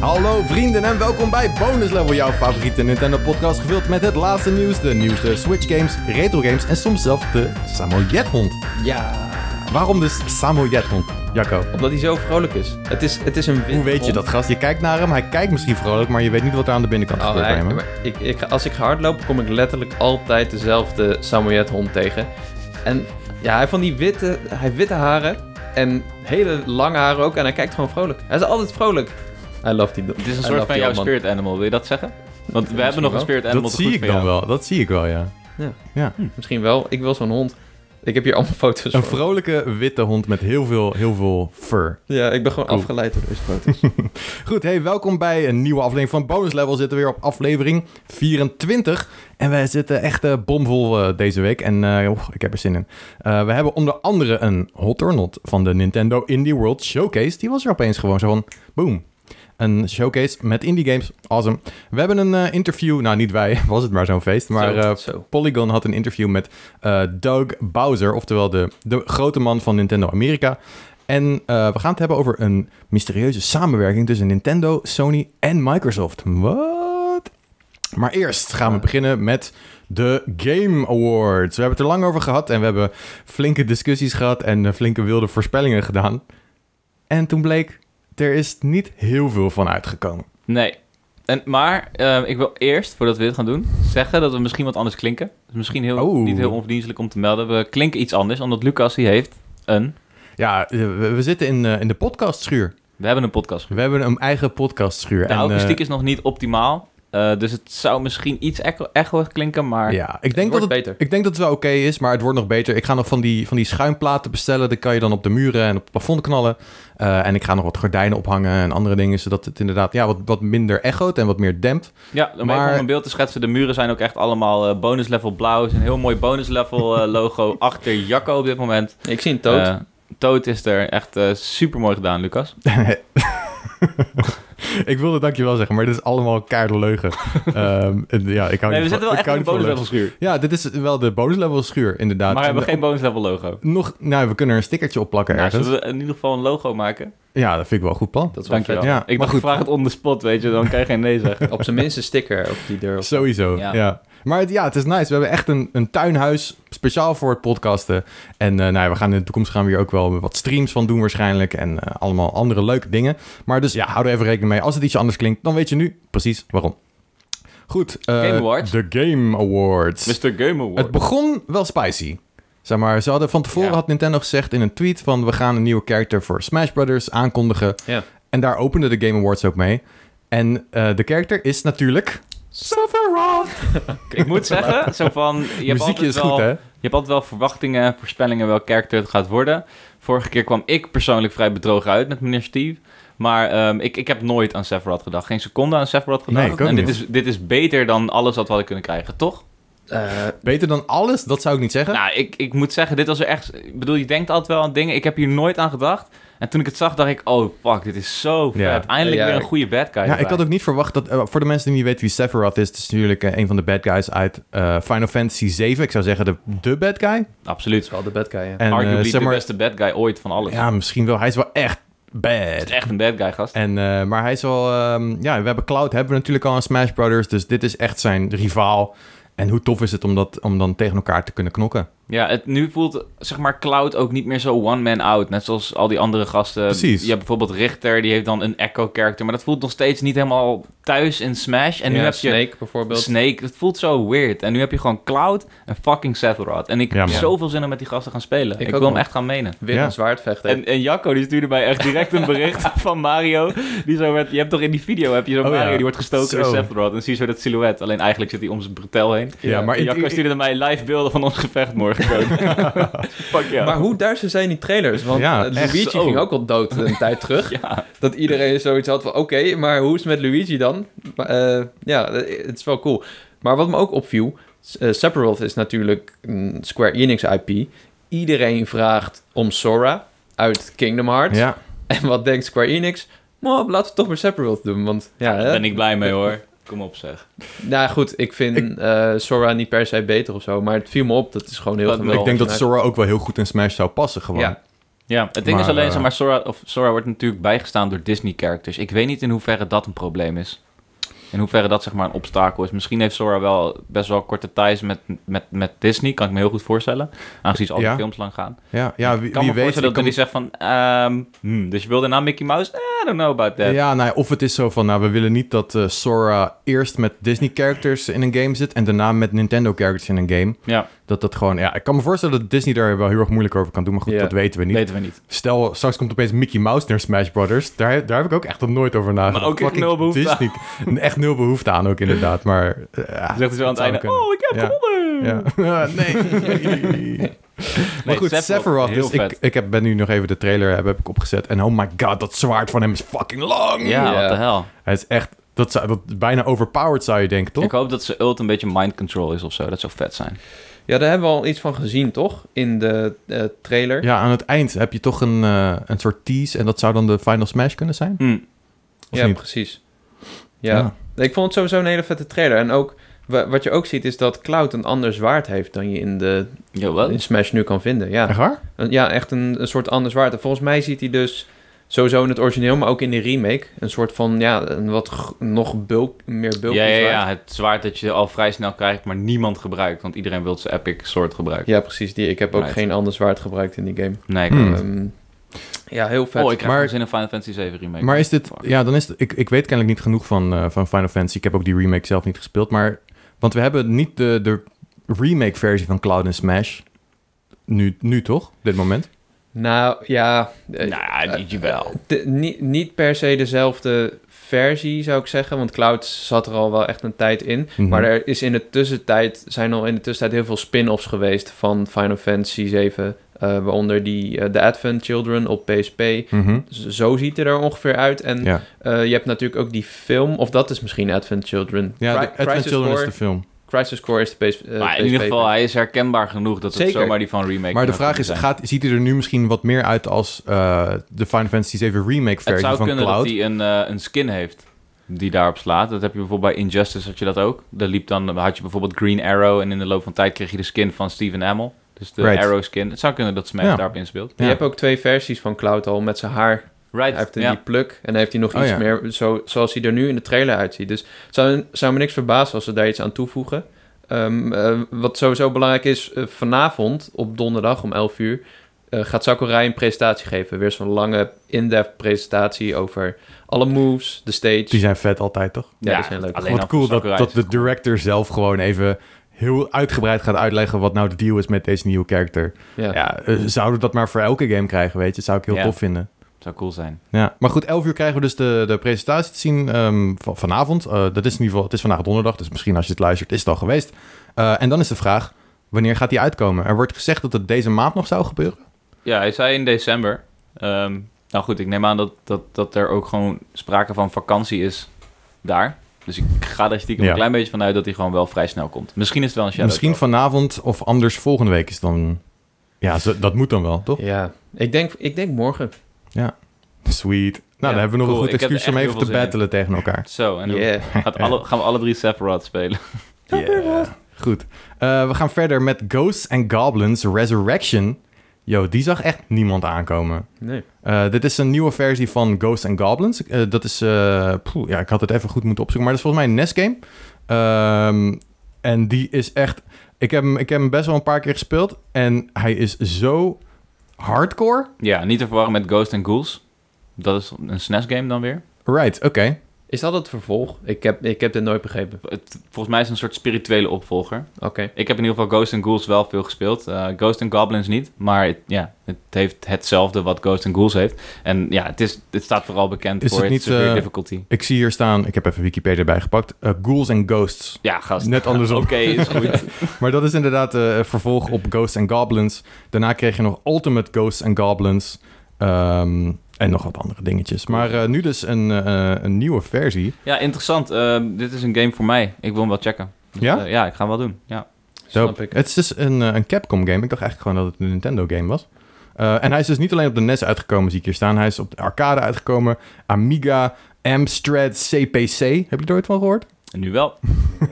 Hallo vrienden en welkom bij Bonus Level, jouw favoriete Nintendo podcast gevuld met het laatste nieuws, de nieuwste Switch games, retro games en soms zelfs de Samoyed-hond. Ja. Waarom de Samoyed-hond, Jacco? Omdat hij zo vrolijk is. Het is, het is een Hoe weet je dat, gast? Je kijkt naar hem, hij kijkt misschien vrolijk, maar je weet niet wat er aan de binnenkant Oh, gebeurt hij- bij hem. hè? maar ik, ik, als ik hardloop, kom ik letterlijk altijd dezelfde Samoyed-hond tegen. En ja, hij heeft van die witte, hij heeft witte haren en hele lange haren ook. En hij kijkt gewoon vrolijk. Hij is altijd vrolijk. I love die Het is een soort van jouw spirit animal, wil je dat zeggen? Want we hebben nog een wel. spirit animal Dat te zie goed ik voor dan jou. wel, dat zie ik wel, ja. Misschien wel. Ik wil zo'n hond. Ik heb hier allemaal foto's Een van. vrolijke witte hond met heel veel, heel veel fur. Ja, ik ben gewoon Cool. afgeleid door deze foto's. Goed, hey, welkom bij een nieuwe aflevering van Bonus Level. We zitten weer op aflevering 24. En wij zitten echt eh, bomvol eh, deze week. En eh, oeh, ik heb er zin in. Eh, we hebben onder andere een Hot or Not van de Nintendo Indie World Showcase. Die was er opeens gewoon zo van, boom. Een showcase met indie games. Awesome. We hebben een eh, interview. Nou, niet wij. Was het maar zo'n feest. Maar zo, eh, zo. Polygon had een interview met eh, Doug Bowser, oftewel de, de grote man van Nintendo Amerika. En eh, we gaan het hebben over een mysterieuze samenwerking tussen Nintendo, Sony en Microsoft. Wat? Maar eerst gaan we beginnen met de Game Awards. We hebben het er lang over gehad en we hebben flinke discussies gehad en eh, flinke wilde voorspellingen gedaan. En toen bleek, er is niet heel veel van uitgekomen. Nee. En, maar eh, ik wil eerst, voordat we dit gaan doen, zeggen dat we misschien wat anders klinken. Het is misschien heel, Oh. niet heel onverdienstelijk om te melden. We klinken iets anders, omdat Lucas die heeft een... Ja, eh, we, we zitten in, eh, in de podcastschuur. We hebben een podcast. We hebben een eigen podcastschuur. De eh, akoestiek is nog niet optimaal, eh, dus het zou misschien iets echo, echo klinken, maar... Ja, ik denk, dat wordt het, beter. ik denk dat het wel oké is, maar het wordt nog beter. Ik ga nog van die, van die schuimplaten bestellen. Die kan je dan op de muren en op het plafond knallen. Eh, en ik ga nog wat gordijnen ophangen en andere dingen, zodat het inderdaad ja, wat, wat minder echoot en wat meer dempt. Ja, om Maar- even om een beeld te schetsen, de muren zijn ook echt allemaal eh, bonus level blauw. Er is een heel mooi bonus level eh, logo achter Jacco op dit moment. Ik zie een toot. Eh, Toad is er echt super mooi gedaan, Lucas. ik wilde dankjewel zeggen, maar dit is allemaal kaarde leugen. Ehm, en ja, ik hou niet Nee, we van- zitten wel ik echt in hou een niet van bonus level leugens. schuur. Ja, dit is wel de bonuslevel schuur, inderdaad. Maar we hebben En geen op- bonus level logo. nog, nou, we kunnen er een stickertje op plakken Nou, ergens. zullen we in ieder geval een logo maken? Ja, dat vind ik wel een goed plan. dat is wel Dankjewel. vet. Ja, maar ik dacht, goed. ik vraag het on the spot, weet je. Dan kan je geen nee zeggen. vet. Op zijn minst een sticker op die deur. Sowieso, ja. Ja. Maar het, ja, het is nice. We hebben echt een, een tuinhuis speciaal voor het podcasten. En eh, nou ja, we gaan in de toekomst gaan we hier ook wel wat streams van doen waarschijnlijk. En eh, allemaal andere leuke dingen. Maar dus ja, hou er even rekening mee. Als het iets anders klinkt, dan weet je nu precies waarom. Goed. eh, Game Awards. De Game Awards. Mr. Game Award. Het begon wel spicy. Zeg maar, ze hadden van tevoren Ja. had Nintendo gezegd in een tweet van we gaan een nieuwe character voor Smash Brothers aankondigen. Ja. En daar opende de Game Awards ook mee. En eh, de character is natuurlijk Sephiroth. ik moet zeggen, zo van... Je hebt Muziekje altijd is wel- goed, hè? Je hebt altijd wel verwachtingen en voorspellingen welk karakter het gaat worden. Vorige keer kwam ik persoonlijk vrij bedrogen uit met meneer Steve. Maar ehm, ik, ik heb nooit aan Sephiroth gedacht. Geen seconde aan Sephiroth gedacht. Nee, ik ook en dit niet. is, dit is beter dan alles wat we hadden kunnen krijgen, toch? Eh, Beter dan alles, dat zou ik niet zeggen. Nou, ik, ik moet zeggen, dit was er echt... Ik bedoel, je denkt altijd wel aan dingen. Ik heb hier nooit aan gedacht. En toen ik het zag, dacht ik... Oh, fuck, dit is zo vet. Ja. Eindelijk Ja, weer een ik- goede bad guy ja, erbij. ik had ook niet verwacht dat... eh, voor de mensen die niet weten wie Sephiroth is... het is natuurlijk eh, een van de bad guys uit eh, Final Fantasy 7. Ik zou zeggen de, de bad guy. dat is Absoluut. wel de bad guy, ja. En, eh, Arguably zeg maar- de beste bad guy ooit van alles. Ja, misschien wel. Hij is wel echt Het is bad. echt een bad guy, gast. En, eh, maar hij is wel... ehm, ja, we hebben Cloud, hebben we natuurlijk al aan Smash Brothers. Dus dit is echt zijn rivaal. En hoe tof is het om, dat, om dan tegen elkaar te kunnen knokken. Ja, het, nu voelt zeg maar Cloud ook niet meer zo one man out. Net zoals al die andere gasten. Precies. Je hebt bijvoorbeeld Richter, die heeft dan een Echo-character. Maar dat voelt nog steeds niet helemaal thuis in Smash. En nu Ja, heb je Snake bijvoorbeeld. Snake. Het voelt zo weird. En nu heb je gewoon Cloud en fucking Sephiroth. En ik Ja, heb man. zoveel zin om met die gasten te gaan spelen. Ik Ik, ook, wil hem man. echt gaan menen. Weer Ja. een zwaardvechter. En, en Jacco die stuurde mij echt direct een bericht van Mario. Die zo werd, je hebt toch in die video heb je zo'n Oh, ja. Mario die wordt gestoken door Zo. Sephiroth. En zie je zo dat silhouet. Alleen eigenlijk zit hij om zijn bretel heen. Ja, Ja, maar... En in- Jacco stuurde mij live beelden van ons gevecht morgen. Fuck ja. Maar hoe duister zijn die trailers? Want Ja, eh, echt Luigi zo. ging ook al dood een tijd terug. Dat iedereen zoiets had van, oké, maar hoe is het met Luigi dan? Maar, eh, ja, eh, het is wel cool. Maar wat me ook opviel, S- eh, Sephiroth is natuurlijk een Square Enix IP. Iedereen vraagt om Sora uit Kingdom Hearts. ja, En wat denkt Square Enix? Mob, laten we toch maar Sephiroth doen, want ja... Daar hè? ben ik blij mee hoor. Kom op zeg. Nou goed, ik vind eh, Sora niet per se beter of zo, maar het viel me op. Dat is gewoon heel Dat wel. ik denk dat gemaakt. Sora ook wel heel goed in Smash zou passen gewoon. Ja. Ja, het ding Maar, is alleen, eh, zeg maar, Sora, of Sora wordt natuurlijk bijgestaan door Disney-characters. Ik weet niet in hoeverre dat een probleem is. In hoeverre dat, zeg maar, een obstakel is. Misschien heeft Sora wel best wel korte ties met, met, met Disney, kan ik me heel goed voorstellen. Aangezien ze al die Ja. films lang gaan. Ja, ja wie, Ik kan wie me weet. voorstellen ik kan- dat die zegt van, ehm, hmm, dus je wilde nou Mickey Mouse? I don't know about that. Ja, nou ja, of het is zo van, nou, we willen niet dat eh, Sora eerst met Disney-characters in een game zit en daarna met Nintendo-characters in een game. Ja. Dat dat gewoon, ja, ik kan me voorstellen dat Disney daar wel heel erg moeilijk over kan doen, maar goed, Ja. dat weten we niet. weten we niet. Stel, straks komt opeens Mickey Mouse naar Smash Brothers. Daar, daar heb ik ook echt nog nooit over nagedacht. ook echt Fucking nul behoefte aan. Disney. Echt nul behoefte aan ook, inderdaad. Maar eh, ja, Dan zegt hij zo aan het zou einde, kunnen. oh, ik heb Ja. gewonnen! Ja. Ah, nee. maar goed, Sephiroth, Sephiroth. heel dus ik, vet. ik heb, ben nu nog even de trailer heb, heb ik opgezet. En oh my god, dat zwaard van hem is fucking lang. Ja, Ja. wat de hel. Hij is echt... Dat, zou, dat is bijna overpowered zou je denken, toch? Ik hoop dat ze ult een beetje mind control is of zo. Dat zou vet zijn. Ja, daar hebben we al iets van gezien, toch? In de eh, trailer. Ja, aan het eind heb je toch een, eh, een soort tease. En dat zou dan de Final Smash kunnen zijn? Hm. Of Ja, niet? precies. Ja. Ik vond het sowieso een hele vette trailer. En ook, wa- wat je ook ziet, is dat Cloud een ander zwaard heeft dan je in, de, Yo, wat? in Smash nu kan vinden. Ja, Echt waar? Een- ja echt een, een soort ander zwaard. En volgens mij ziet hij dus sowieso in het origineel, maar ook in de remake... een soort van, ja, een wat g- nog bulk, meer bulky Ja, ja, ja, zwaard. het zwaard dat je al vrij snel krijgt, maar niemand gebruikt. Want iedereen wil zijn epic soort gebruiken. Ja, precies die. Ik heb ook Right. geen ander zwaard gebruikt in die game. Nee, ik Hmm. kan het. Ehm, ja, heel vet. Oh, ik krijg Maar- maar... zin in Final Fantasy 7 remake. Maar is dit... Fuck. Ja, dan is het- ik, ik weet kennelijk niet genoeg van, eh, van Final Fantasy. Ik heb ook die remake zelf niet gespeeld. Maar... Want we hebben niet de, de remake versie van Cloud en Smash. Nu, nu toch? Op dit moment? Nou, ja... eh, Nou, niet je wel. De- niet, niet per se dezelfde versie, zou ik zeggen. Want Cloud zat er al wel echt een tijd in. Mhm. Maar er is in de tussentijd, zijn al in de tussentijd heel veel spin-offs geweest van Final Fantasy 7. waaronder die eh, The Advent Children op PSP. Mhm. Z- Zo ziet het er ongeveer uit. En Ja, eh, je hebt natuurlijk ook die film, of dat is misschien Advent Children. ja Cri- de Advent Children Core, is de film. Crisis Core is de PS, eh, maar in PSP ieder geval, hij is herkenbaar genoeg dat het Zeker. zomaar die van remake Maar de zou vraag kunnen is, zijn. gaat, ziet hij er nu misschien wat meer uit als eh, de Final Fantasy 7 remake Het versie zou van kunnen Cloud? dat hij een, eh, een skin heeft die daarop slaat. Dat heb je bijvoorbeeld bij Injustice, had je dat ook. Daar liep dan, had je bijvoorbeeld Green Arrow en in de loop van tijd kreeg je de skin van Steven Amell. Dus de Right. Arrow skin. Het zou kunnen dat Smash Ja. daarop inspeelt. Je Ja. hebt ook twee versies van Cloud al met zijn haar Right, Hij heeft een ja. die pluk en heeft hij nog Oh, iets ja. meer zo, zoals hij er nu in de trailer uitziet. Dus zou, zou me niks verbazen als ze daar iets aan toevoegen. Ehm, eh, wat sowieso belangrijk is, eh, vanavond op donderdag om 11 uur eh, gaat Sakurai een presentatie geven. Weer zo'n lange in-depth presentatie over alle moves, de stage. Die zijn vet altijd, toch? Ja, dat zijn leuk. alleen Wat al cool dat, Sakurai dat is de het cool. director zelf gewoon even heel uitgebreid gaat uitleggen wat nou de deal is met deze nieuwe character. Ja. Ja, eh, zouden we dat maar voor elke game krijgen, weet je? Dat zou ik heel Ja. tof vinden. Zou cool zijn. Ja. Maar goed, 11 uur krijgen we dus de, de presentatie te zien ehm, van, vanavond. Eh, dat is in ieder geval, het is vandaag donderdag, dus misschien als je het luistert is het al geweest. Eh, en dan is de vraag, wanneer gaat die uitkomen? Er wordt gezegd dat het deze maand nog zou gebeuren. Ja, hij zei in december. Ehm, nou goed, ik neem aan dat, dat, dat er ook gewoon sprake van vakantie is daar. Dus ik ga er stiekem Ja. een klein beetje vanuit dat hij gewoon wel vrij snel komt. Misschien is het wel een shadow. misschien drop. vanavond of anders volgende week is dan... Ja, zo- dat moet dan wel, toch? ja. Ik, denk, ik denk morgen. Sweet. Nou, dan hebben we nog cool. een goed Ik heb er excuus om echt even heel te veel zin in. battelen tegen elkaar. Zo, en dan Yeah. gaat alle, gaan we alle drie Sephiroth spelen. Yeah. Goed. Eh, we gaan verder met Ghosts and Goblins Resurrection. Yo, die zag echt niemand aankomen. Nee. Eh, dit is een nieuwe versie van Ghosts and Goblins. Eh, dat is... eh, poeh, ja, ik had het even goed moeten opzoeken. Maar dat is volgens mij een NES-game. Ehm, en die is echt... Ik heb, hem, ik heb hem best wel een paar keer gespeeld. En hij is zo hardcore. Ja, niet te verwarren met Ghost and Ghouls. Dat is een SNES-game dan weer. Right, oké. Is dat het vervolg? Ik heb, ik heb dit nooit begrepen. Het, volgens mij is het een soort spirituele opvolger. Oké. Ik heb in ieder geval Ghost and Ghouls wel veel gespeeld. Eh, Ghost and Goblins niet. Maar het, ja, het heeft hetzelfde wat Ghost and Ghouls heeft. En ja, het, is, het staat vooral bekend Is voor het its niet, severe eh, difficulty. Ik zie hier staan... Ik heb even Wikipedia bijgepakt. Eh, Ghouls and Ghosts. Ja, gast. Net andersom. Oké, is goed. Maar dat is inderdaad eh, een vervolg op Ghosts and Goblins. Daarna kreeg je nog Ultimate Ghosts and Goblins. ehm, en nog wat andere dingetjes. Maar eh, nu dus een, eh, een nieuwe versie. ja, interessant. Ehm, dit is een game voor mij. Ik wil hem wel checken. Dus, Ja? eh, ja, ik ga hem wel doen. Ja. Snap Dope. ik. Het is dus een, eh, een Capcom game. Ik dacht eigenlijk gewoon dat het een Nintendo game was. Eh, en hij is dus niet alleen op de NES uitgekomen, zie ik hier staan. Hij is op de arcade uitgekomen. Amiga, Amstrad, CPC. Heb je er ooit van gehoord? En nu wel.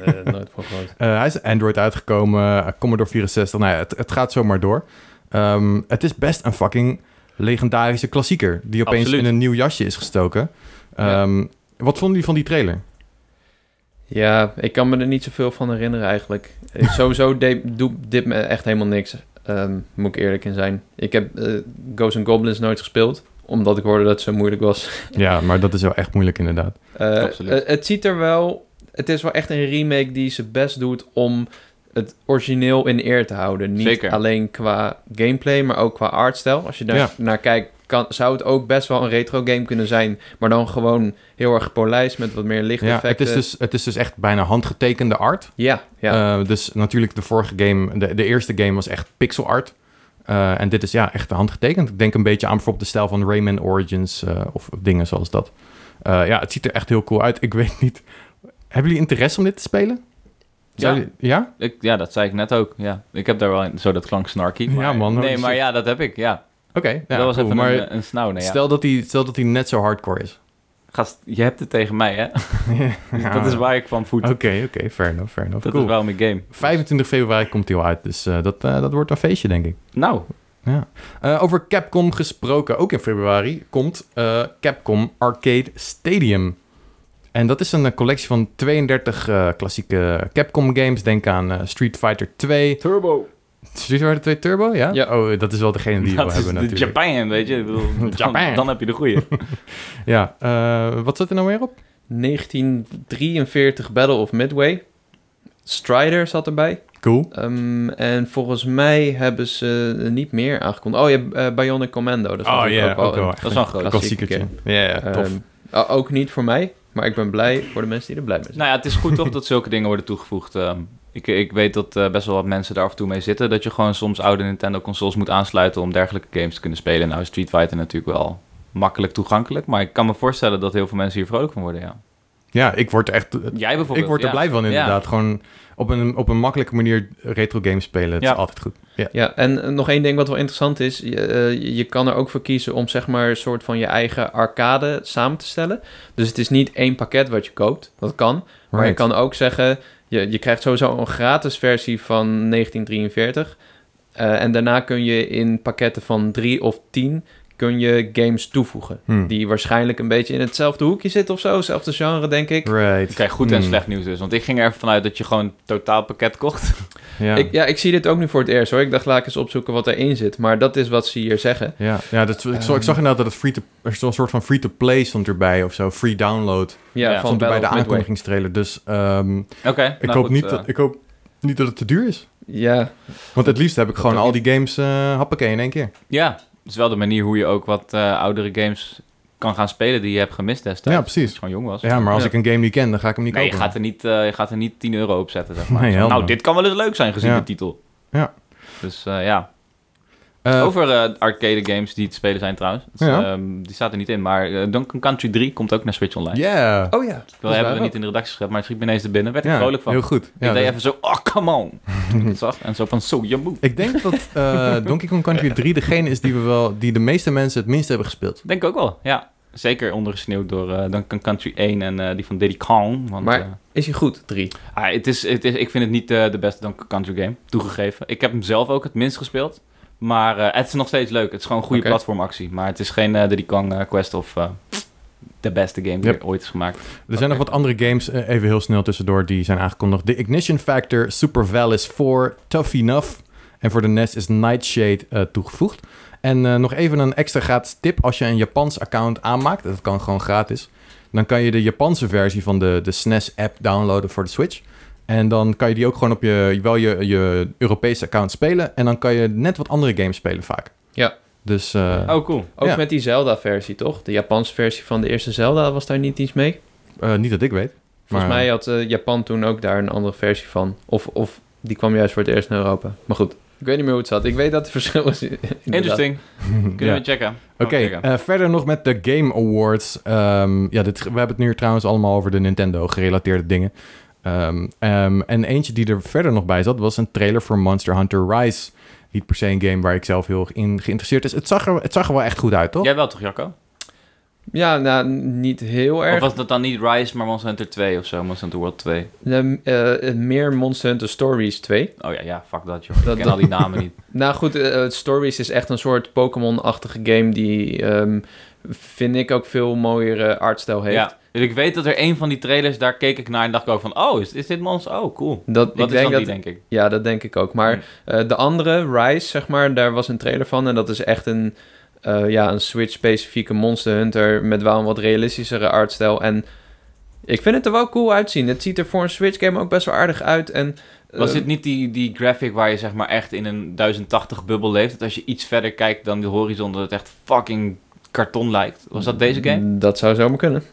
Eh, nooit van gehoord. Eh, hij is Android uitgekomen, eh, Commodore 64. Nou ja, het, het gaat zomaar door. Ehm, het is best een fucking legendarische klassieker die opeens Absoluut. in een nieuw jasje is gestoken. Ja. Ehm, Wat vonden jullie van die trailer? Ja, ik kan me er niet zoveel van herinneren eigenlijk. Ik sowieso de- doe dit me echt helemaal niks. Ehm, moet ik eerlijk in zijn. Ik heb eh, Ghosts and Goblins nooit gespeeld. Omdat ik hoorde dat het zo moeilijk was. Ja, maar dat is wel echt moeilijk inderdaad. Eh, Absoluut. eh, het ziet er wel... Het is wel echt een remake die zijn best doet om het origineel in eer te houden. Niet Zeker. alleen qua gameplay, maar ook qua artstijl. Als je daar Ja. naar kijkt, kan, zou het ook best wel een retro game kunnen zijn. Maar dan gewoon heel erg gepolijst met wat meer Ja, lichteffecten. het, is dus, het is dus echt bijna handgetekende art. ja, ja. Eh, dus natuurlijk de vorige game, de, de eerste game was echt pixel art. Eh, en dit is ja echt handgetekend. Ik denk een beetje aan bijvoorbeeld de stijl van Rayman Origins eh, of dingen zoals dat. Eh, ja, het ziet er echt heel cool uit. Ik weet niet. Hebben jullie interesse om dit te spelen? Zou Ja. jullie- ja? Ik, ja, dat zei ik net ook. Ja. Ik heb daar wel een, zo dat klank snarky. Maar, Ja, man, holy Nee, maar shit. ja, dat heb ik. Ja. Oké. ja, dat was cool. even maar een, een snauw. nee, ja. stel, dat hij, stel dat hij net zo hardcore is. Gast, je hebt het tegen mij, hè? Dus Dat is waar ik van voet. Oké, oké. fair enough, fair enough. Dat cool. is waarom ik game. 25 februari komt hij al uit, dus eh, dat, eh, dat wordt een feestje, denk ik. Nou, Eh, over Capcom gesproken, ook in februari komt eh, Capcom Arcade Stadium. En dat is een eh, collectie van 32 eh, klassieke Capcom games. Denk aan eh, Street Fighter 2. Turbo. Street Fighter 2 Turbo, ja? Ja. Oh, dat is wel degene die Dat we is hebben de natuurlijk. Japan, weet je. Ik bedoel, dan- Japan. Dan, heb je de goede. Ja, eh, wat zit er nou weer op? 1943 Battle of Midway. Strider zat erbij. Cool. Ehm, en volgens mij hebben ze niet meer aangekondigd. Oh ja, eh, Bionic Commando. Dat is Oh natuurlijk ja, ook wel een echt Dat is een wel groot. klassieke klassiekertje. Ja, Eh, ja, tof. Ehm, o- ook niet voor mij, maar ik ben blij voor de mensen die er blij mee zijn. nou ja, het is goed toch dat zulke dingen worden toegevoegd. Ehm, ik, ik weet dat eh, best wel wat mensen daar af en toe mee zitten. Dat je gewoon soms oude Nintendo consoles moet aansluiten om dergelijke games te kunnen spelen. Nou, is Street Fighter natuurlijk wel makkelijk toegankelijk. Maar ik kan me voorstellen dat heel veel mensen hier vrolijk van worden, ja. Ja, ik word er echt... Jij bijvoorbeeld. Ik word er ja. blij van, Ja. inderdaad. Gewoon op een, op een makkelijke manier retro games spelen. Het Ja. is altijd goed. Ja. Ja, en eh, nog één ding wat wel interessant is. Je, eh, je kan er ook voor kiezen om zeg maar een soort van je eigen arcade samen te stellen. Dus het is niet één pakket wat je koopt. Dat kan. Maar Right. je kan ook zeggen, je, je krijgt sowieso een gratis versie van 1943. Eh, en daarna kun je in pakketten van 3 of 10 kun je games toevoegen. Hmm. Die waarschijnlijk een beetje in hetzelfde hoekje zitten of zo. Hetzelfde genre, denk ik. Right. Ik krijg goed en Hmm. slecht nieuws dus. Want ik ging er even vanuit dat je gewoon een totaalpakket kocht. Ja. Ik, ja, ik zie dit ook nu voor het eerst hoor. Ik dacht, laat ik eens opzoeken wat erin zit. Maar dat is wat ze hier zeggen. Ja, ja dat, ik, zag, ik zag inderdaad dat het free to, er stond een soort van free-to-play stond erbij of zo. Free download Ja, Ja, van stond er bij de Battle of Midway. aankondigingstrailer. Dus ehm, Oké. nou eh. ik, hoop niet dat, ik hoop niet dat het te duur is. Ja, Want het liefst heb ik gewoon ook al die games eh hoppakee in één keer. Ja, het is wel de manier hoe je ook wat eh, oudere games kan gaan spelen die je hebt gemist destijds. Ja, precies. Als je gewoon jong was. Ja, maar als Ja. ik een game niet ken, dan ga ik hem niet Nee, je kopen. gaat, er niet, eh, je gaat er niet 10 euro op zetten, zeg maar. Nee, Zo, helemaal. nou, dit kan wel eens leuk zijn, gezien Ja. de titel. Ja. Dus eh, ja. Eh, Over eh, arcade games die te spelen zijn trouwens. Dus, Ja. ehm, die staat er niet in, maar eh, Donkey Country 3 komt ook naar Switch Online. yeah. Oh ja. We hebben we niet in de redactie geschreven, maar het schiet me ineens er binnen. Werd ik vrolijk van. Heel goed. Ja, dus ik dat- deed even zo, oh, come on. Toen ik het zag. En zo van, zo, jamoe. ik denk dat eh, Donkey Kong Country 3 degene is die, we wel, die de meeste mensen het minst hebben gespeeld. Denk ik ook wel, ja. Zeker ondergesneeuwd door eh Donkey Country 1 en eh, die van Diddy Kong. Want, Maar- eh, Is hij goed? Drie. Ah, het is, het is, ik vind het niet eh, de beste Donkey Country game, toegegeven. Ik heb hem zelf ook het minst gespeeld. Maar eh, het is nog steeds leuk. Het is gewoon een goede Oké. platformactie. Maar het is geen eh Diddy Kong eh, Quest of eh, de beste game die Yep. er ooit is gemaakt. Er zijn nog wat andere games, eh, even heel snel tussendoor, die zijn aangekondigd. The Ignition Factor, Super Valis 4, Tough Enough. En voor de NES is Nightshade eh, toegevoegd. En eh, nog even een extra gratis tip. Als je een Japans account aanmaakt, dat kan gewoon gratis... dan kan je de Japanse versie van de, de SNES-app downloaden voor de Switch. En dan kan je die ook gewoon op je, wel je, je Europese account spelen. En dan kan je net wat andere games spelen vaak. Ja. Dus eh, Oh, cool. Ook Ja. met die Zelda-versie, toch? De Japanse versie van de eerste Zelda was daar niet iets mee. eh, niet dat ik weet. Volgens Maar- mij had eh, Japan toen ook daar een andere versie van. Of, of die kwam juist voor het eerst naar Europa. Maar goed, ik weet niet meer hoe het zat. Ik weet dat het verschil is. inderdaad. Interesting. Ja. Kunnen we checken. Gaan we Oké, checken. eh, verder nog met de Game Awards. Ehm, ja, dit, we hebben het nu trouwens allemaal over de Nintendo-gerelateerde dingen. Ehm, ehm, en eentje die er verder nog bij zat, was een trailer voor Monster Hunter Rise. Niet per se een game waar ik zelf heel in geïnteresseerd is. Het zag er, het zag er wel echt goed uit, toch? Jij wel toch, Jacco? Ja, nou, niet heel Of erg. was dat dan niet Rise, maar Monster Hunter 2 of zo? Monster Hunter World 2. De, eh, meer Monster Hunter Stories 2. Oh ja, ja, fuck dat, joh. Ik Dat- ken al die namen niet. Nou goed, eh, eh, Stories is echt een soort Pokémon-achtige game die, ehm, vind ik, ook veel mooiere artstijl heeft. Ja. Dus ik weet dat er een van die trailers, daar keek ik naar en dacht ik ook van... Oh, is, is dit Monster? Oh, cool. Dat, Dat ik is denk dan dat, die, denk ik. Ja, dat denk ik ook. Maar eh, de andere, Rise, zeg maar, daar was een trailer van. En dat is echt een, eh, ja, een Switch-specifieke Monster Hunter met wel een wat realistischere artstijl. En ik vind het er wel cool uitzien. Het ziet er voor een Switch-game ook best wel aardig uit. En, eh, Was dit niet die, die graphic waar je zeg maar echt in een 1080-bubbel leeft? Dat als je iets verder kijkt dan de horizon, dat het echt fucking karton lijkt. Was dat deze Mm, game? Mm, Dat zou zomaar kunnen.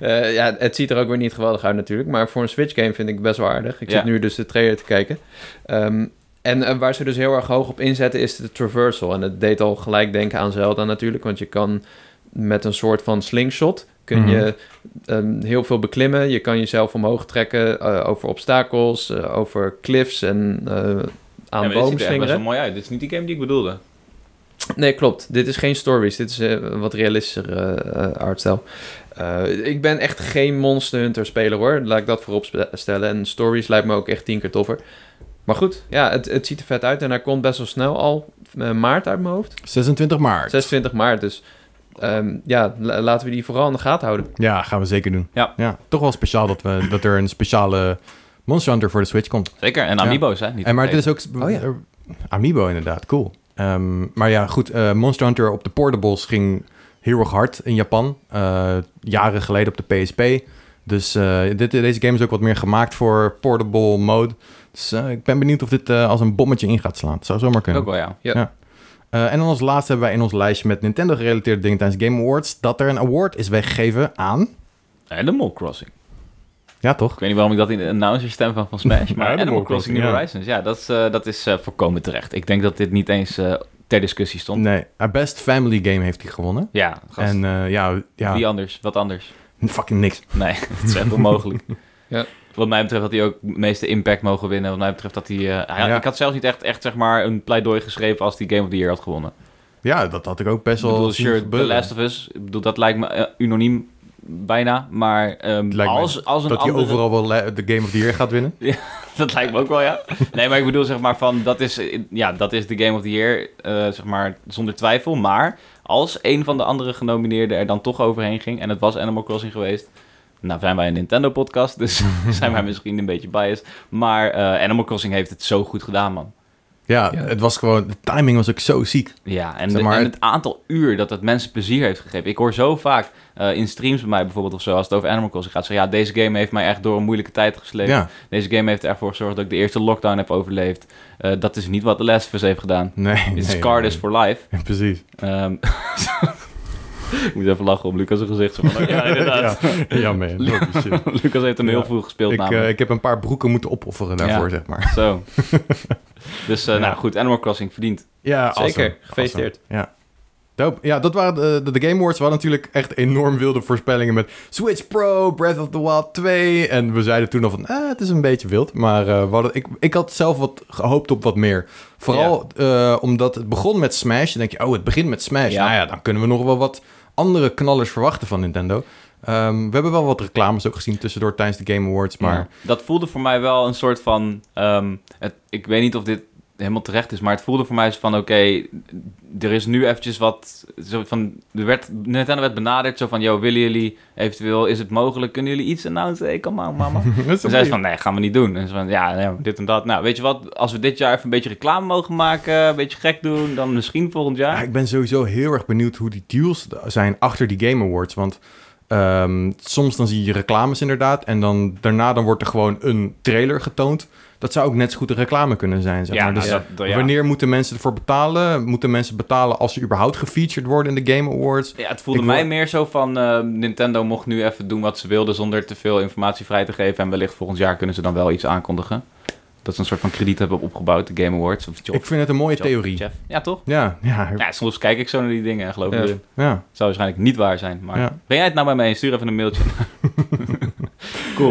Eh, ja, het ziet er ook weer niet geweldig uit natuurlijk. Maar voor een Switch game vind ik het best wel aardig. Ik Ja. zit nu dus de trailer te kijken. Ehm, en eh, waar ze dus heel erg hoog op inzetten is de traversal. En het deed al gelijk denken aan Zelda natuurlijk. Want je kan met een soort van slingshot... kun Mhm. je ehm, heel veel beklimmen. Je kan jezelf omhoog trekken eh, over obstakels... eh, over cliffs en eh, aan ja, maar bomen dit ziet er echt best slingeren. wel mooi uit. Dit is niet die game die ik bedoelde. Nee, klopt. Dit is geen stories. Dit is eh, een wat realistischere eh artstijl. Eh, ik ben echt geen Monster Hunter speler hoor. Laat ik dat voorop spe- stellen. En stories lijkt me ook echt tien keer toffer. Maar goed, ja, het, het ziet er vet uit. En hij komt best wel snel al. eh, maart uit mijn hoofd. 26 maart. 26 maart. Dus ehm, ja, la- laten we die vooral in de gaten houden. Ja, gaan we zeker doen. Ja. toch wel speciaal dat, we, dat er een speciale Monster Hunter voor de Switch komt. Zeker. En Amiibo's, hè? Niet En maar te dit is ook Oh ja. eh, Amiibo inderdaad, cool. Ehm, maar ja, goed, eh, Monster Hunter op de portables ging heel erg hard in Japan. eh, jaren geleden op de PSP. Dus eh, dit, deze game is ook wat meer gemaakt voor portable mode. Dus eh, ik ben benieuwd of dit eh, als een bommetje in gaat slaan. Het zou zomaar vergeten. kunnen. Ook wel, ja. Eh, en dan als laatste hebben wij in ons lijstje met Nintendo-gerelateerde dingen tijdens Game Awards... dat er een award is weggegeven aan... Animal Crossing. Ja, toch? Ik weet niet waarom ik dat in de announcer stem van, van Smash, maar Animal, Crossing New ja. Horizons. Ja, dat is, eh, dat is eh, voorkomen terecht. Ik denk dat dit niet eens eh, ter discussie stond. Nee, haar Best Family Game heeft hij gewonnen. Ja, gast. En eh, ja, ja Wie anders? Wat anders? fucking niks. Nee, het is echt onmogelijk. Ja. Wat mij betreft had hij ook het meeste impact mogen winnen. Wat mij betreft dat hij... eh, hij had- Ja. Ik had zelfs niet echt, echt zeg maar, een pleidooi geschreven als die Game of the Year had gewonnen. Ja, dat had ik ook best wel ik bedoel, zien sure, The gebeuren. Last of Us, ik bedoel, dat lijkt me eh, unaniem bijna. Maar ehm, Lijkt me als, als een Dat hij andere... overal wel le- de Game of the Year gaat winnen. Dat lijkt me ook wel, ja. Nee, maar ik bedoel, zeg maar, van, dat is, eh, ja, dat is de Game of the Year, eh, zeg maar, zonder twijfel. Maar als een van de andere genomineerden er dan toch overheen ging, en het was Animal Crossing geweest, nou zijn wij een Nintendo-podcast, dus zijn wij misschien een beetje biased. Maar eh, Animal Crossing heeft het zo goed gedaan, man. Ja, Ja. het was gewoon... De timing was ook zo ziek. Ja, en, Zeg de- maar, en het- het aantal uur dat dat mensen plezier heeft gegeven. Ik hoor zo vaak eh, in streams bij mij bijvoorbeeld of zo, als het over Animal Crossing gaat, zeggen ja, deze game heeft mij echt door een moeilijke tijd gesleept. Ja, Deze game heeft ervoor gezorgd dat ik de eerste lockdown heb overleefd. Eh, dat is niet wat The Last of Us heeft gedaan. nee. nee, It's nee, scarred nee. is for life. Precies. Ehm, ik moet even lachen om Lucas' gezicht. zo van, ja, inderdaad. ja, jammer. Holy shit. Lucas heeft hem heel Ja. vroeg gespeeld Ik, eh, namelijk. ik heb een paar broeken moeten opofferen daarvoor, zeg maar. Zo. dus eh, Ja. nou goed, Animal Crossing verdient. Ja, Zeker. awesome. Gefeliciteerd. Awesome. Ja. Dope. Ja, dat waren de, de, de Game Awards. We hadden natuurlijk echt enorm wilde voorspellingen met Switch Pro, Breath of the Wild 2. En we zeiden toen al van, eh, het is een beetje wild. Maar eh, we hadden, ik, ik had zelf wat gehoopt op wat meer. Vooral eh, omdat het begon met Smash. Dan denk je, oh, het begint met Smash. Ja. Nou ja, dan kunnen we nog wel wat andere knallers verwachten van Nintendo. Ehm, we hebben wel wat reclames ook gezien tussendoor tijdens de Game Awards. Maar Ja. Dat voelde voor mij wel een soort van... ehm, het, ik weet niet of dit helemaal terecht is, maar het voelde voor mij zo van... Oké, er is nu eventjes wat... Zo van, er werd, Nintendo werd benaderd zo van... Yo, willen jullie eventueel... Is het mogelijk? Kunnen jullie iets announcen? Ik kom aan, mama. dat is Toen zei ze van, nee, gaan we niet doen. En ze van, ja, nee, maar dit en dat. Nou, weet je wat? Als we dit jaar even een beetje reclame mogen maken... Een beetje gek doen, dan misschien volgend Ja, jaar. ik ben sowieso heel erg benieuwd hoe die deals zijn achter die Game Awards. Want ehm, soms dan zie je reclames inderdaad. En dan, daarna dan wordt er gewoon een trailer getoond. Dat zou ook net zo goed een reclame kunnen zijn. Zeg maar. nou, Dus ja. dat- dat- ja. Wanneer moeten mensen ervoor betalen? Moeten mensen betalen als ze überhaupt gefeatured worden in de Game Awards? Ja, het voelde Ik mij hoor- meer zo van eh, Nintendo mocht nu even doen wat ze wilden zonder te veel informatie vrij te geven. En wellicht volgend jaar kunnen ze dan wel iets aankondigen. Dat ze een soort van krediet hebben opgebouwd, de Game Awards. Of Job, Ik vind het een mooie Job- theorie. Jeff. Ja, toch? Ja, ja, Ja, soms kijk ik zo naar die dingen en geloof Ja. ik. Het ja. zou waarschijnlijk niet waar zijn. Maar Ja. ben jij het nou bij mij eens? Stuur even een mailtje.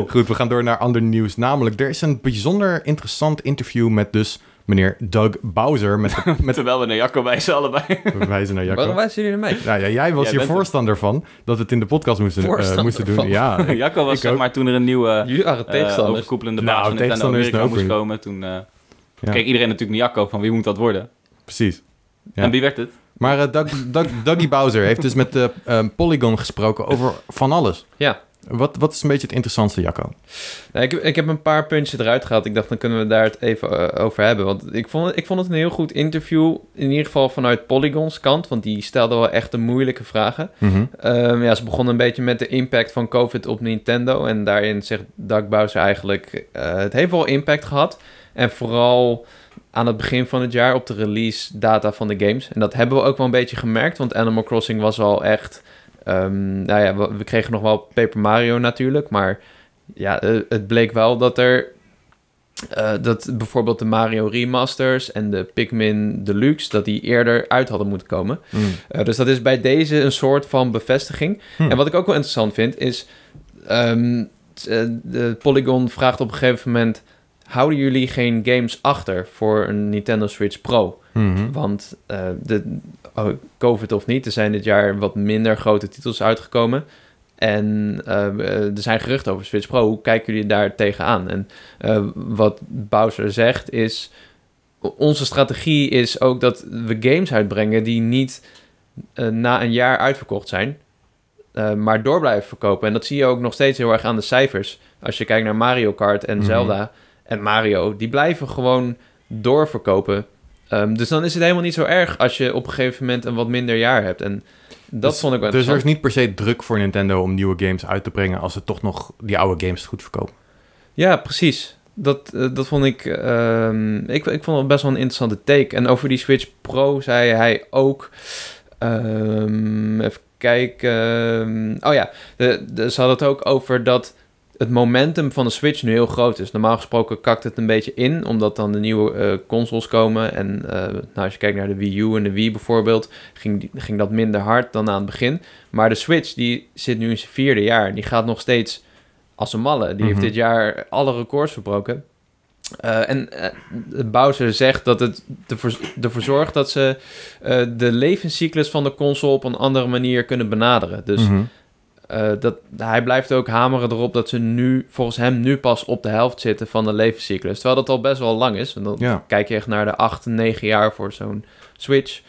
Goed, we gaan door naar ander nieuws. Namelijk, er is een bijzonder interessant interview met dus meneer Doug Bowser met, met Terwijl we naar Jacco wijzen allebei. wijzen naar Waarom Jacco. wijzen jullie naar mij? Nou ja, jij was Jij hier bent voorstander van dat we het in de podcast moesten, eh, Voorstander moesten van. doen. Ja, ik- Jacco was ik zeg ook. maar toen er een nieuwe Jullie waren eh tegenstanders. overkoepelende Nou, baas van Nintendo tegenstander is Amerika het ook niet. moest komen. Toen eh, Ja. keek iedereen natuurlijk naar Jacco van wie moet dat worden. precies. Ja. En wie werd het? Maar eh, Doug, Doug, Dougie Bowser heeft dus met eh, eh, Polygon gesproken over van alles. Ja. Wat, wat is een beetje het interessantste, Jacco? Nou, ik, heb- ik heb een paar puntjes eruit gehaald. Ik dacht, dan kunnen we daar het even eh, over hebben. Want ik vond, het- ik vond het een heel goed interview. In ieder geval vanuit Polygons kant. Want die stelde wel echt de moeilijke vragen. Ehm, ja, ze begonnen een beetje met de impact van COVID op Nintendo. En daarin zegt Doug Bowser eigenlijk... eh, het heeft wel impact gehad. En vooral aan het begin van het jaar op de release data van de games. En dat hebben we ook wel een beetje gemerkt. Want Animal Crossing was al echt... ehm, nou ja, we, we kregen nog wel Paper Mario natuurlijk. Maar ja, eh, het bleek wel dat er... eh, dat bijvoorbeeld de Mario remasters en de Pikmin Deluxe... dat die eerder uit hadden moeten komen. Mm-hmm. Eh, dus dat is bij deze een soort van bevestiging. Hmm. En wat ik ook wel interessant vind is... ehm, t- eh, de Polygon vraagt op een gegeven moment... Houden jullie geen games achter voor een Nintendo Switch Pro? Mhm. Want eh, de, oh, COVID of niet, er zijn dit jaar wat minder grote titels uitgekomen. En eh, eh, er zijn geruchten over Switch Pro. Hoe kijken jullie daar tegenaan? En eh, wat Bowser zegt is... o- Onze strategie is ook dat we games uitbrengen die niet eh, na een jaar uitverkocht zijn. eh, maar door blijven verkopen. En dat zie je ook nog steeds heel erg aan de cijfers. Als je kijkt naar Mario Kart en Mhm. Zelda en Mario. Die blijven gewoon doorverkopen. Ehm, dus dan is het helemaal niet zo erg als je op een gegeven moment een wat minder jaar hebt. En dat Dus- vond ik wel Dus er is interessant. niet per se druk voor Nintendo om nieuwe games uit te brengen als ze toch nog die oude games goed verkopen. Ja, precies. Dat, eh, dat vond ik, ehm, ik... Ik vond het best wel een interessante take. En over die Switch Pro zei hij ook... ehm, even kijken... ehm, oh ja, de, de- ze hadden het ook over dat het momentum van de Switch nu heel groot is. Normaal gesproken kakt het een beetje in... omdat dan de nieuwe eh, consoles komen. En eh, nou, als je kijkt naar de Wii U en de Wii bijvoorbeeld... Ging, die- ging dat minder hard dan aan het begin. Maar de Switch die zit nu in zijn vierde jaar. Die gaat nog steeds als een malle. Die heeft Mhm. dit jaar alle records verbroken. Eh, en eh, Bowser zegt dat het ervoor, ervoor zorgt dat ze eh, de levenscyclus van de console op een andere manier kunnen benaderen. Dus Mhm. eh, dat, hij blijft ook hameren erop dat ze nu, volgens hem, nu pas op de helft zitten van de levenscyclus. Terwijl dat al best wel lang is. En dan Ja. kijk je echt naar de 8, 9 jaar voor zo'n Switch.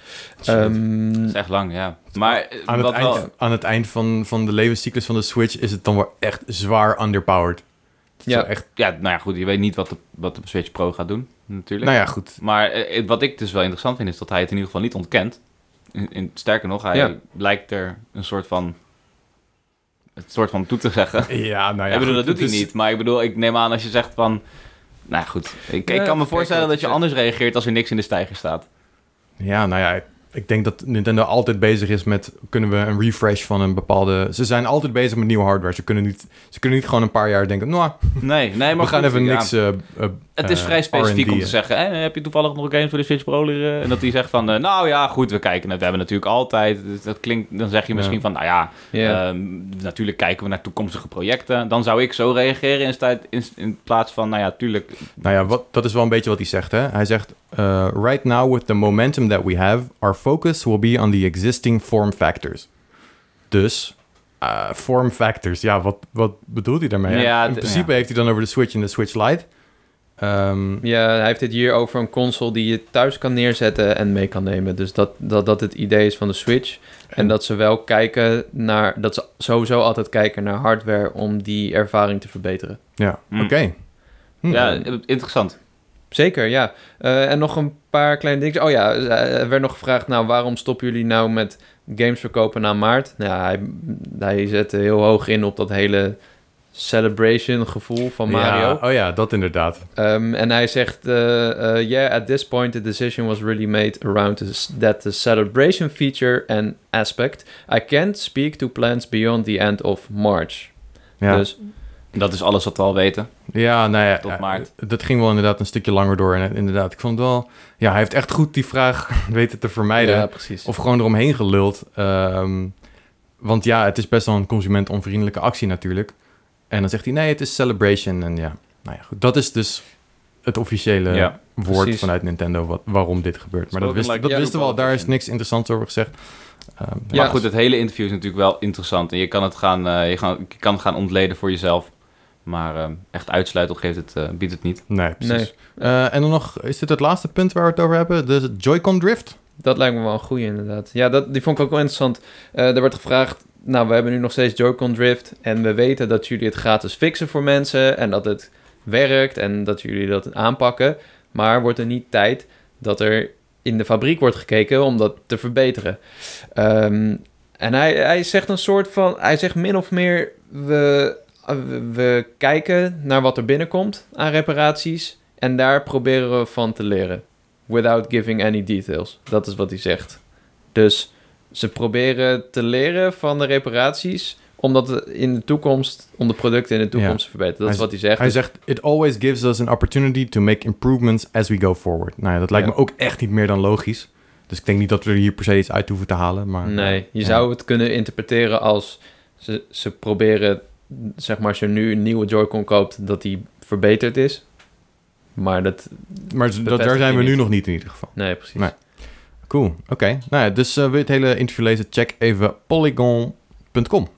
Ehm, Dat is echt lang, ja. Maar eh, Aan het wat eind, wel... aan het eind van, van de levenscyclus van de Switch is het dan wel echt zwaar underpowered. Ja. Ja. Echt, Ja, nou ja, goed, je weet niet wat de, wat de Switch Pro gaat doen, natuurlijk. nou ja, goed. Maar eh, wat ik dus wel interessant vind, is dat hij het in ieder geval niet ontkent. In, in- sterker nog, hij Ja. lijkt er een soort van... Het soort van toe te zeggen. Ja, nou ja. ik bedoel, dat goed, doet hij het is- niet. Maar ik bedoel, ik neem aan als je zegt van... Nou goed, ik, ik Ja, kan me kijk, voorstellen dat dat is je het. anders reageert als er niks in de stijger staat. Ja, nou ja, ik denk dat Nintendo altijd bezig is met... kunnen we een refresh van een bepaalde... Ze zijn altijd bezig met nieuwe hardware. Ze kunnen niet, ze kunnen niet gewoon een paar jaar denken... Nou, Nee, nee, maar we gaan goed, even ja. niks... eh, eh, Het is eh, vrij specifiek R&D, om eh. te zeggen, hè, heb je toevallig nog games voor de Switch Pro liggen? En dat hij zegt van, eh, nou ja, goed, we kijken het. We hebben natuurlijk altijd, dus dat klinkt, dan zeg je misschien Ja. van, nou ja, eh, ja. ehm, natuurlijk kijken we naar toekomstige projecten. Dan zou ik zo reageren in, staat- in, in plaats van, nou ja, tuurlijk. Nou ja, wat, dat is wel een beetje wat hij zegt. Hè? Hij zegt: eh, Right now, with the momentum that we have, our focus will be on the existing form factors. Dus. eh, form factors, ja, wat, wat bedoelt hij daarmee? Ja, In het- principe heeft hij dan over de Switch en de Switch Lite. Ehm, Ja, hij heeft het hier over een console die je thuis kan neerzetten en mee kan nemen. Dus dat dat, dat het idee is van de Switch. En dat ze wel kijken naar, dat ze sowieso altijd kijken naar hardware om die ervaring te verbeteren. ja, Hmm. oké. Hm. Ja, interessant. Zeker, ja. Eh, en nog een paar kleine dingen. Oh ja, eh, er werd nog gevraagd, nou waarom stoppen jullie nou met games verkopen na maart? Nou, ja, hij, hij zette heel hoog in op dat hele celebration gevoel van Mario. Ja, oh ja, dat inderdaad. Um, en hij zegt, eh, eh, yeah, at this point the decision was really made around this, that the celebration feature and aspect. I can't speak to plans beyond the end of March. Ja, Dus Dat is alles wat we al weten. ja nou ja. Tot ja, maart. Dat ging wel inderdaad een stukje langer door. En eh, inderdaad, ik vond het wel. Ja, hij heeft echt goed die vraag weten te vermijden. ja, precies. Of gewoon eromheen geluld. Ehm, want ja, het is best wel een consumentonvriendelijke actie natuurlijk. En dan zegt hij, nee, het is celebration. En ja, nou ja, goed. Dat is dus het officiële Ja. woord Precies. vanuit Nintendo wat, waarom dit gebeurt. Maar dat, Spoken wist, like dat Yahoo wisten we al, daar is politician. niks interessants over gezegd. Ehm, Ja. Maar goed, het hele interview is natuurlijk wel interessant. En je kan het gaan, eh, je gaan, je kan het gaan ontleden voor jezelf. Maar ehm, echt uitsluiten geeft het, eh, biedt het niet. Nee, precies. Nee. Eh, en dan nog, is dit het laatste punt waar we het over hebben? De Joy-Con Drift. Dat lijkt me wel een goeie, inderdaad. Ja, dat, die vond ik ook wel interessant. Eh, er werd gevraagd, nou, we hebben nu nog steeds Joy-Con Drift... en we weten dat jullie het gratis fixen voor mensen... en dat het werkt en dat jullie dat aanpakken. Maar wordt er niet tijd dat er in de fabriek wordt gekeken om dat te verbeteren? Ehm, en hij, hij zegt een soort van... Hij zegt min of meer, we, we- we kijken naar wat er binnenkomt aan reparaties... en daar proberen we van te leren without giving any details. Dat is wat hij zegt. Dus ze proberen te leren van de reparaties, omdat het in de toekomst, om de producten in de toekomst te verbeteren. Dat Hij is wat hij zegt. Hij Dus zegt, it always gives us an opportunity to make improvements as we go forward. Nou ja, dat lijkt Ja. me ook echt niet meer dan logisch. Dus ik denk niet dat we er hier per se iets uit hoeven te halen. Maar, eh, nee, je ja. zou het kunnen interpreteren als ze, ze proberen, zeg maar, als je nu een nieuwe Joy-Con koopt, dat die verbeterd is. Maar dat, maar z- dat, daar bevestigt zijn we hij nu niet. nog niet in ieder geval. nee, precies. Nee. Cool, oké. Nou ja, dus eh, wil je het hele interview lezen? Check even polygon.com.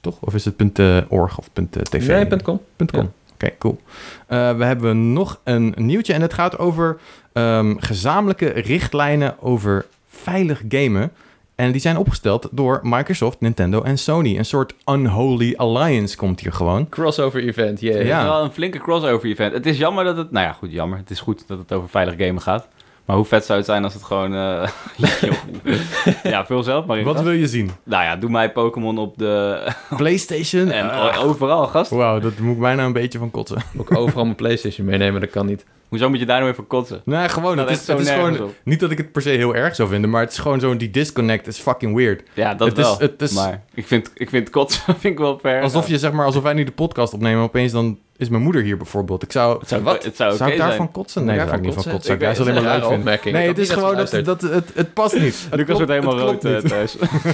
Toch? Of is het punt, eh, .org of punt, eh, .tv? Nee, punt com. Punt com. Ja. Oké, cool. Eh, we hebben nog een nieuwtje en het gaat over ehm, gezamenlijke richtlijnen over veilig gamen. En die zijn opgesteld door Microsoft, Nintendo en Sony. Een soort unholy alliance komt hier gewoon. Crossover event, Ja. yeah. Het is wel een flinke crossover event. Het is jammer dat het... Nou ja, goed, jammer. Het is goed dat het over veilig gamen gaat. Maar hoe vet zou het zijn als het gewoon... eh, joh. ja, vul zelf maar in. Wat gast. wil je zien? Nou ja, doe mij Pokémon op de... PlayStation? en Ah, overal, gast. Wauw, dat moet ik bijna een beetje van kotsen. Ook overal mijn PlayStation meenemen, dat kan niet. Hoezo moet je daar nou even kotsen? Nee, gewoon. Dat Het is is, zo het is nergens gewoon, op. niet dat ik het per se heel erg zou vinden, maar het is gewoon zo'n die disconnect is fucking weird. Ja, dat Het is- wel. het is- Maar ik vind, ik vind kotsen vind ik wel ver. Alsof je zeg maar, alsof wij nu de podcast opnemen, opeens dan is mijn moeder hier bijvoorbeeld. Ik zou, Het zou, Wat? Het zou, zou oké ik daarvan zijn. kotsen? Nee, daar zou ik niet van Daarvan kotsen. kotsen? Hij is alleen maar leuk vinden. Nee, het is gewoon dat, het dat het, het past niet. Het Lucas klopt- wordt helemaal het rood klopt eh, niet.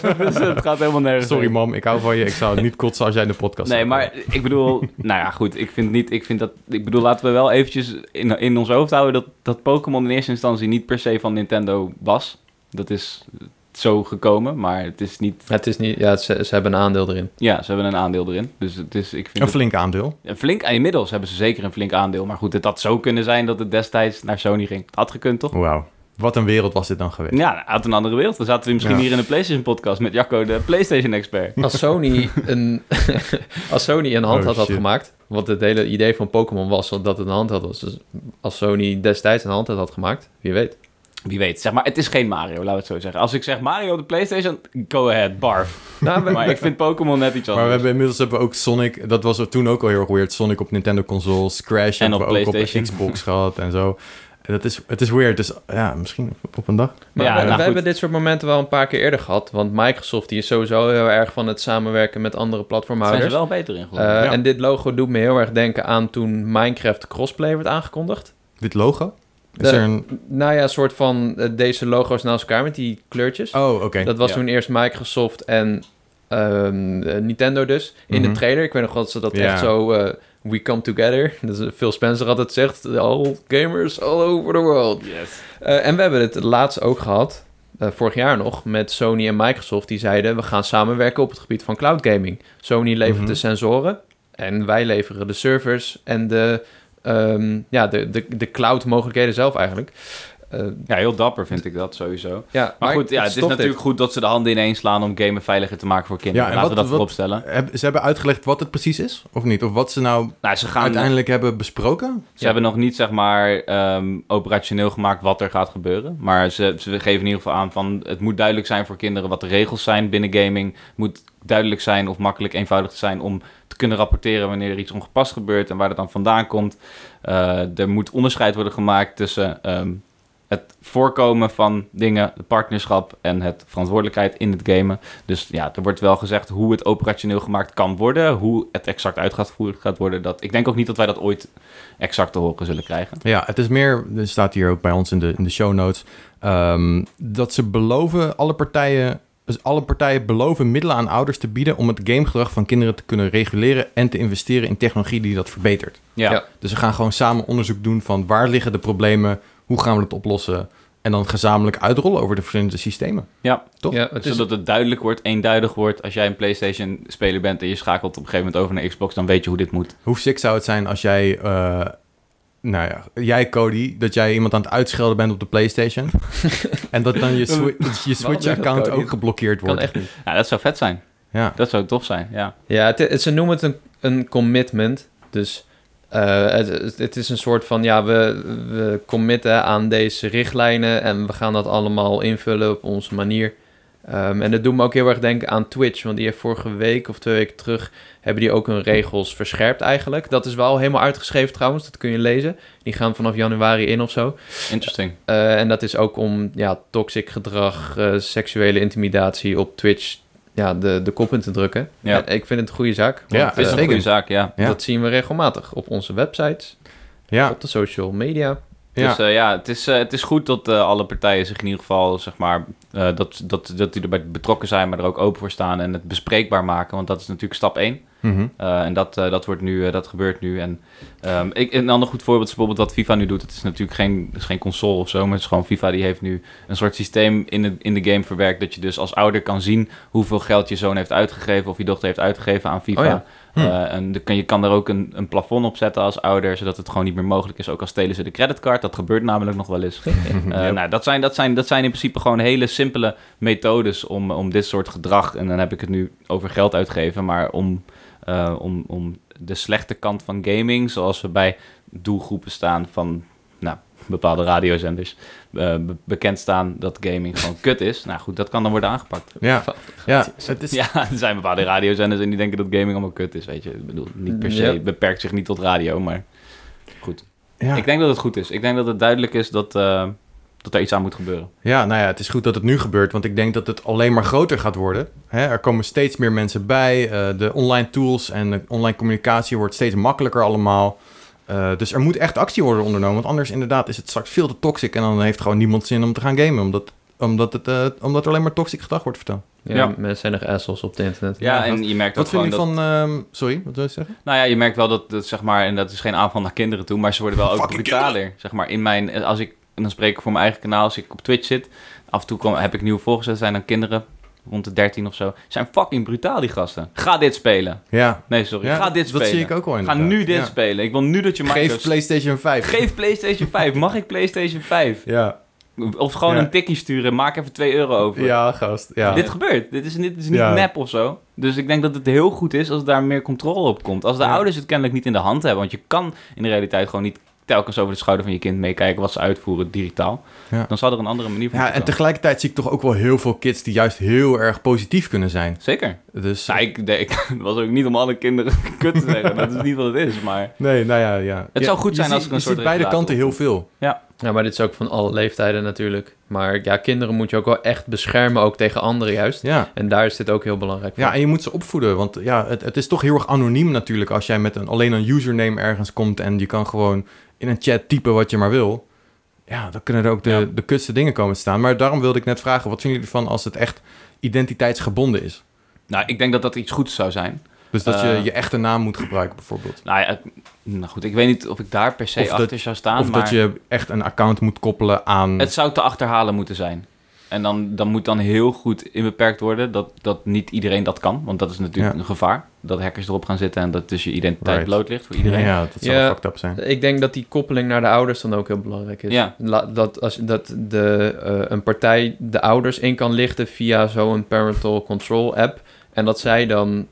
thuis. dus het gaat helemaal nergens eh, Sorry heen. mam, ik hou van je. Ik zou niet kotsen als jij in de podcast Nee, zat. maar ik bedoel, nou ja, goed. Ik vind niet, ik vind dat, ik bedoel, laten we wel eventjes in, in ons hoofd houden dat, dat Pokémon in eerste instantie niet per se van Nintendo was. Dat is zo gekomen, maar het is niet, Het is niet, ja, ze, ze hebben een aandeel erin. ja, ze hebben een aandeel erin. Dus het is, ik vind Een het- flink aandeel. een flink, eh, inmiddels hebben ze zeker een flink aandeel. Maar goed, het had zo kunnen zijn dat het destijds naar Sony ging. Het had gekund, toch? Wauw. Wat een wereld was dit dan geweest. Ja, uit een andere wereld. Dan zaten we misschien Ja. hier in de PlayStation-podcast met Jacco, de PlayStation-expert. Als Sony een, als Sony een handheld Oh, had shit. gemaakt, wat het hele idee van Pokémon was, dat het een handheld was. Dus als Sony destijds een handheld had gemaakt, wie weet. Wie weet, zeg maar, het is geen Mario, laten we het zo zeggen. Als ik zeg Mario op de PlayStation, go ahead, barf. Nou, we- Maar ik vind Pokémon net iets anders. Maar we hebben, inmiddels hebben we ook Sonic. Dat was er toen ook al heel erg weird. Sonic op Nintendo consoles. Crash En hebben op we ook PlayStation. op Xbox gehad en zo. En Dat is, het is weird. Dus ja, misschien op- op een dag. maar Ja, we, nou we goed. hebben dit soort momenten wel een paar keer eerder gehad. Want Microsoft die is sowieso heel erg van het samenwerken met andere zijn ze platformhouders. wel beter in geworden. Eh, Ja. En dit logo doet me heel erg denken aan toen Minecraft Crossplay werd aangekondigd. Dit logo? Is De- er een... Nou ja, een soort van eh, deze logo's naast elkaar met die kleurtjes. Oh, oké. Dat was Ja. toen eerst Microsoft en ehm, eh, Nintendo dus. In Mhm. de trailer. Ik weet nog wel dat ze dat Ja. echt zo... eh, We come together. Dat is Phil Spencer altijd zegt. All gamers all over the world. yes. Eh, en we hebben het laatst ook gehad. eh, vorig jaar nog. Met Sony en Microsoft. Die zeiden we gaan samenwerken op het gebied van cloud gaming. Sony levert Mhm. de sensoren. En wij leveren de servers. En de, ehm, ja, de, de, de cloud mogelijkheden zelf eigenlijk. Eh, Ja, heel dapper vind ik dat sowieso. ja, Maar goed, ja, het het is stopt natuurlijk goed dat ze de handen ineens slaan om gamen veiliger te maken voor kinderen. Ja, en Laten wat- we dat wat- vooropstellen. Heb- Ze hebben uitgelegd wat het precies is, of niet? Of wat ze nou Nou, ze, gaan, uiteindelijk hebben besproken? ze Ja. hebben nog niet, zeg maar, ehm, operationeel gemaakt wat er gaat gebeuren. Maar ze, ze geven in ieder geval aan van, het moet duidelijk zijn voor kinderen wat de regels zijn binnen gaming. Het moet duidelijk zijn of makkelijk eenvoudig te zijn om te kunnen rapporteren wanneer er iets ongepast gebeurt en waar dat dan vandaan komt. Eh, er moet onderscheid worden gemaakt tussen ehm, het voorkomen van dingen, de partnerschap en het verantwoordelijkheid in het gamen. Dus ja, er wordt wel gezegd hoe het operationeel gemaakt kan worden, hoe het exact uitgevoerd gaat worden. Dat, ik denk ook niet dat wij dat ooit exact te horen zullen krijgen. Ja, het is meer, er staat hier ook bij ons in de, in de show notes, ehm, dat ze beloven alle partijen Dus alle partijen beloven middelen aan ouders te bieden om het gamegedrag van kinderen te kunnen reguleren en te investeren in technologie die dat verbetert. Ja. Ja. Dus we gaan gewoon samen onderzoek doen van waar liggen de problemen, hoe gaan we dat oplossen en dan gezamenlijk uitrollen over de verschillende systemen. Toch? Ja, het is, Zodat het duidelijk wordt, eenduidig wordt. Als jij een PlayStation-speler bent en je schakelt op een gegeven moment over naar Xbox, dan weet je hoe dit moet. Hoe sick zou het zijn als jij, eh, nou ja, jij Cody, dat jij iemand aan het uitschelden bent op de PlayStation en dat dan je, swi- je Switch-account Cody? ook geblokkeerd kan wordt. echt niet. Ja, dat zou vet zijn. Ja. Dat zou tof zijn, ja. Ja, het, het- ze noemen het een, een commitment. Dus eh, het- het, het is een soort van, ja, we, we committen aan deze richtlijnen en we gaan dat allemaal invullen op onze manier. Ehm, en dat doet me ook heel erg denken aan Twitch, want die heeft vorige week of twee weken terug, hebben die ook hun regels verscherpt eigenlijk. Dat is wel helemaal uitgeschreven trouwens, dat kun je lezen. Die gaan vanaf januari in of zo. Interesting. Eh, en dat is ook om ja, toxic gedrag, eh, seksuele intimidatie op Twitch ja, de, de kop in te drukken. Ja. En ik vind het een goede zaak. Ja, want, eh, Het is een Uitstekend. goede zaak, ja. Ja. Dat zien we regelmatig op onze websites, Ja, op de social media. ja. Dus eh, ja, het is, eh, het is goed dat eh, alle partijen zich in ieder geval, zeg maar, eh, dat, dat, dat die erbij betrokken zijn, maar er ook open voor staan en het bespreekbaar maken. Want dat is natuurlijk stap 1. Mhm. en dat, eh, dat, wordt nu, eh, dat gebeurt nu. En ehm, ik, een ander goed voorbeeld is bijvoorbeeld wat FIFA nu doet. Het is natuurlijk geen, het is geen console of zo, maar het is gewoon FIFA die heeft nu een soort systeem in de, in de game verwerkt. Dat je dus als ouder kan zien hoeveel geld je zoon heeft uitgegeven of je dochter heeft uitgegeven aan FIFA. Oh ja. Hm. Eh, en de- kan, je kan er ook een, een plafond op zetten als ouder, zodat het gewoon niet meer mogelijk is. Ook al stelen ze de creditcard, dat gebeurt namelijk nog wel eens. Eh, Yep. nou, dat, zijn, dat, zijn, dat zijn in principe gewoon hele simpele methodes om, om dit soort gedrag, en dan heb ik het nu over geld uitgeven, maar om, eh, om, om de slechte kant van gaming, zoals we bij doelgroepen staan van nou, bepaalde radiozenders, eh, be- bekend staan dat gaming gewoon kut is. Nou goed, dat kan dan worden aangepakt. Ja, ja, het is, Ja, er zijn bepaalde radiozenders en die denken dat gaming allemaal kut is, weet je. Ik bedoel, niet per se, Ja. het beperkt zich niet tot radio, maar goed. ja. Ik denk dat het goed is. Ik denk dat het duidelijk is dat, eh, dat er iets aan moet gebeuren. Ja, nou ja, het is goed dat het nu gebeurt, want ik denk dat het alleen maar groter gaat worden. Hè, er komen steeds meer mensen bij, eh, de online tools en de online communicatie wordt steeds makkelijker allemaal. Eh, dus er moet echt actie worden ondernomen, want anders inderdaad is het straks veel te toxic en dan heeft gewoon niemand zin om te gaan gamen, omdat, omdat, het, eh, omdat er alleen maar toxic gedrag wordt verteld. Ja, Ja. Mensen zijn nog assholes op het internet. Ja, Ja, en wat- je merkt Wat ook vind gewoon je dat... van, ehm, sorry, wat wil je zeggen? Nou ja, je merkt wel dat, dat, zeg maar... En dat is geen aanval naar kinderen toe, maar ze worden wel ook Fucking brutaler. Zeg maar, in mijn... eh, Als ik... En dan spreek ik voor mijn eigen kanaal. Als ik op Twitch zit, af en toe kom, heb ik nieuwe volgers. Dat zijn dan kinderen rond de 13 of zo. Zijn fucking brutaal, die gasten. Ga dit spelen. Ja, Nee, sorry. ja Ga dit dat spelen. zie ik ook al in. Ga nu dit spelen. Ik wil nu dat je Geef Microsoft... PlayStation 5. Geef PlayStation 5. Mag ik PlayStation 5? Ja, Of gewoon Ja. een tikkie sturen. Maak even 2 euro over. ja, gast. Ja. Dit gebeurt. Dit is, dit is niet Ja. nep of zo. Dus ik denk dat het heel goed is als daar meer controle op komt. Als de Ja. ouders het kennelijk niet in de hand hebben. Want je kan in de realiteit gewoon niet telkens over de schouder van je kind meekijken wat ze uitvoeren digitaal. Ja. Dan zal er een andere manier voor Ja, moeten en tegelijkertijd zie ik toch ook wel heel veel kids die juist heel erg positief kunnen zijn. komen. Zeker. Dus, Nou, ik, nee, ik- het was ook niet om alle kinderen kut te zeggen. Dat is niet wat het is, maar... nee, nou ja, ja. Het Ja, zou goed je zijn als ziet- er een je soort ziet beide regulator kanten heel veel. Ja, maar dit is ook van alle leeftijden natuurlijk. Maar ja, kinderen moet je ook wel echt beschermen, ook tegen anderen juist. Ja. En daar is dit ook heel belangrijk voor. ja, en je moet ze opvoeden. Want ja, het, het is toch heel erg anoniem natuurlijk als jij met een, alleen een username ergens komt en je kan gewoon in een chat typen wat je maar wil. Ja, dan kunnen er ook de, Ja. de kutste dingen komen te staan. Maar daarom wilde ik net vragen, wat vinden jullie ervan als het echt identiteitsgebonden is? Nou, ik denk dat dat iets goeds zou zijn. Dus dat je Eh. je echte naam moet gebruiken bijvoorbeeld. Nou ja, nou goed, ik weet niet of ik daar per se Of dat- achter zou staan. of maar... dat je echt een account moet koppelen aan... Het zou te achterhalen moeten zijn. En dan, dan moet dan heel goed inbeperkt worden dat, dat niet iedereen dat kan. Want dat is natuurlijk Ja. een gevaar. Dat hackers erop gaan zitten en dat dus je identiteit Right. bloot ligt voor iedereen. Ja, Ja, dat zou Ja. fucked up zijn. Ik denk dat die koppeling naar de ouders dan ook heel belangrijk is. Ja. La- dat als, dat de, eh, een partij de ouders in kan lichten via zo'n parental control app. En dat zij dan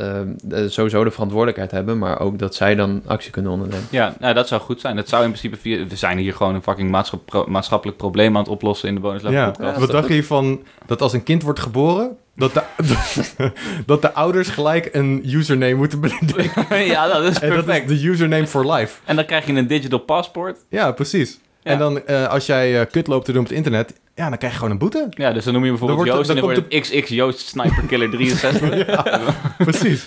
eh, de- sowieso de verantwoordelijkheid hebben, maar ook dat zij dan actie kunnen ondernemen. nou, dat zou goed zijn. Dat zou in principe via... We zijn hier gewoon een fucking maatschapp- pro- maatschappelijk probleem aan het oplossen in de Bonus Lab Ja, podcast. wat dacht je van dat als een kind wordt geboren, dat de, dat de ouders gelijk een username moeten bedenken. ja, dat is En dat perfect. is de username for life. En dan krijg je een digital passport. Ja, precies. Ja. En dan eh, als jij eh, kut loopt te doen op het internet, ja, dan krijg je gewoon een boete. Ja, dus dan noem je bijvoorbeeld Dan wordt het- Joost en dan dan wordt het XX Joost Sniper Killer 63. Precies.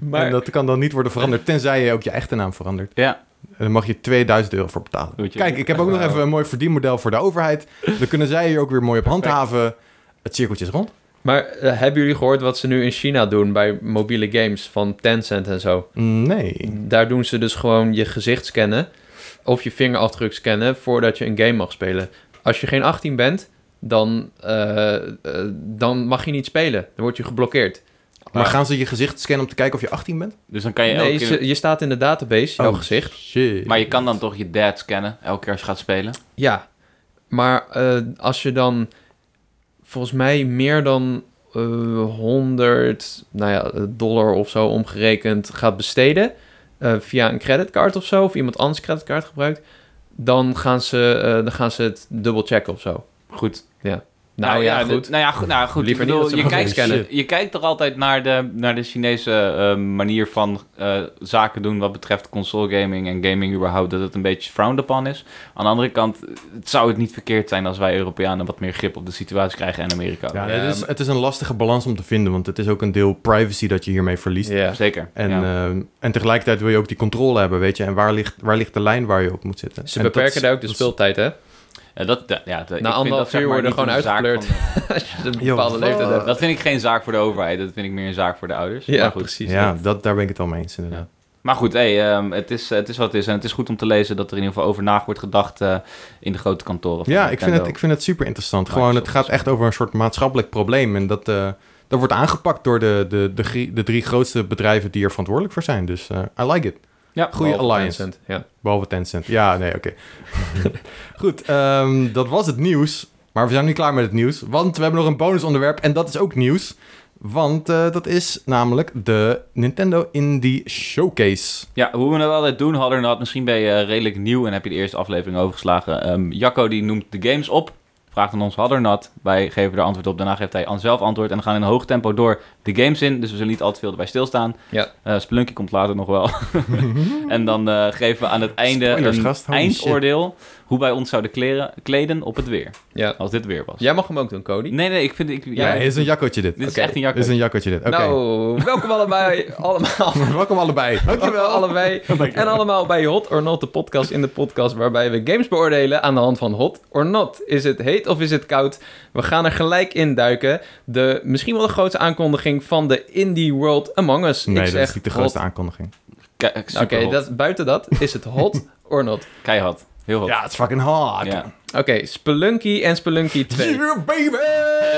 Maar En dat kan dan niet worden veranderd, tenzij je ook je echte naam verandert. Ja. En dan mag je 2000 euro voor betalen. Goed, ja. Kijk, ik heb ook nog even een mooi verdienmodel voor de overheid. Dan kunnen zij hier ook weer mooi op handhaven. Het cirkeltje is rond. Maar eh, hebben jullie gehoord wat ze nu in China doen bij mobiele games van Tencent en zo? Nee. Daar doen ze dus gewoon je gezicht scannen of je vingerafdruk scannen voordat je een game mag spelen. Als je geen 18 bent, dan, eh, eh, dan mag je niet spelen. Dan word je geblokkeerd. Maar gaan ze je gezicht scannen om te kijken of je 18 bent? Dus dan kan je nee, elke keer... ze- je staat in de database, jouw Oh, gezicht. Shit. Maar je kan dan toch je dad scannen elke keer als je gaat spelen? Ja, maar eh, als je dan volgens mij meer dan eh 100 nou ja, dollar of zo omgerekend gaat besteden eh, via een creditcard of zo, of iemand anders creditcard gebruikt, dan gaan ze, eh, dan gaan ze het dubbel checken of zo. Goed. Nou, ja, de- goed. nou ja, goed. Nou, goed. Liever Ik bedoel, niet dat ze je, maar kijkt, gewoon je kijkt toch altijd naar de, naar de Chinese eh, manier van eh, zaken doen wat betreft console gaming en gaming überhaupt, dat het een beetje frowned upon is. Aan de andere kant, het zou het niet verkeerd zijn als wij Europeanen wat meer grip op de situatie krijgen en Amerika. Ja, Ja, het, is, maar- het is een lastige balans om te vinden, want het is ook een deel privacy dat je hiermee verliest. Ja. Zeker. En, eh, ja. ehm, en tegelijkertijd wil je ook die controle hebben, weet je. En waar ligt, waar ligt de lijn waar je op moet zitten? Ze En dat beperken is- daar ook de dat is- speeltijd, hè? Ja, Eh, dat, dat- ja, dat- ik vind anderhalf dat, zeg uur maar, worden niet gewoon een zaak uitgekleurd. van- Als je een Yo, bepaalde leeftijd wat? hebt. dat vind ik geen zaak voor de overheid, dat vind ik meer een zaak voor de ouders. Ja, maar goed. precies. Ja, dat, daar ben ik het al mee eens, inderdaad. Maar goed, hey, ehm, het, is, het is wat het is. En het is goed om te lezen dat er in ieder geval over na wordt gedacht eh, in de grote kantoren. van Ja, ik vind, Nintendo. het, ik vind het super interessant. Microsoft Gewoon, het gaat is- echt over een soort maatschappelijk probleem. En dat, eh, dat wordt aangepakt door de, de, de, grie- de drie grootste bedrijven die er verantwoordelijk voor zijn. Dus eh, I like it. Ja, Goede Behalve alliance. Tencent, Ja. Behalve Tencent. Ja, nee, oké. Goed, ehm, dat was het nieuws. Maar we zijn niet klaar met het nieuws. Want we hebben nog een bonusonderwerp. En dat is ook nieuws. Want eh, dat is namelijk de Nintendo Indie Showcase. Ja, hoe we dat altijd doen, hadden we dat. Misschien ben je eh, redelijk nieuw en heb je de eerste aflevering overgeslagen. Ehm, Jacco die noemt de games op. Vraagt aan ons hadden nat. Wij geven er antwoord op. Daarna geeft hij aan zelf antwoord. En we gaan in hoog tempo door de games in. Dus we zullen niet al te veel erbij stilstaan. Ja. Eh, Spelunky komt later nog wel. en dan eh, geven we aan het einde Spoilers, een gast. Holy shit. eindoordeel. Hoe wij ons zouden kleren, kleden op het weer. ja. Als dit weer was. Jij mag hem ook doen, Cody. Nee, nee, ik vind... Ik, Ja, ja, is een jakkotje dit. Dit is Oké. echt een jakko. Dit is een jakkotje dit. Oké. Nou, welkom allebei. allemaal. Welkom allebei. Dankjewel Oh, allebei. En allemaal bij Hot or Not, de podcast in de podcast waarbij we games beoordelen aan de hand van Hot or Not. Is het heet of is het koud? We gaan er gelijk in duiken. De, misschien wel de grootste aankondiging van de Indie World Among Us. Nee, Ik dat zeg is niet de hot- grootste aankondiging. Ke- Oké, super hot. dat, buiten dat is het Hot or Not. Keihard. Heel hot. Ja, het is fucking hard. Ja. Oké, Spelunky en Spelunky 2. Yeah, baby!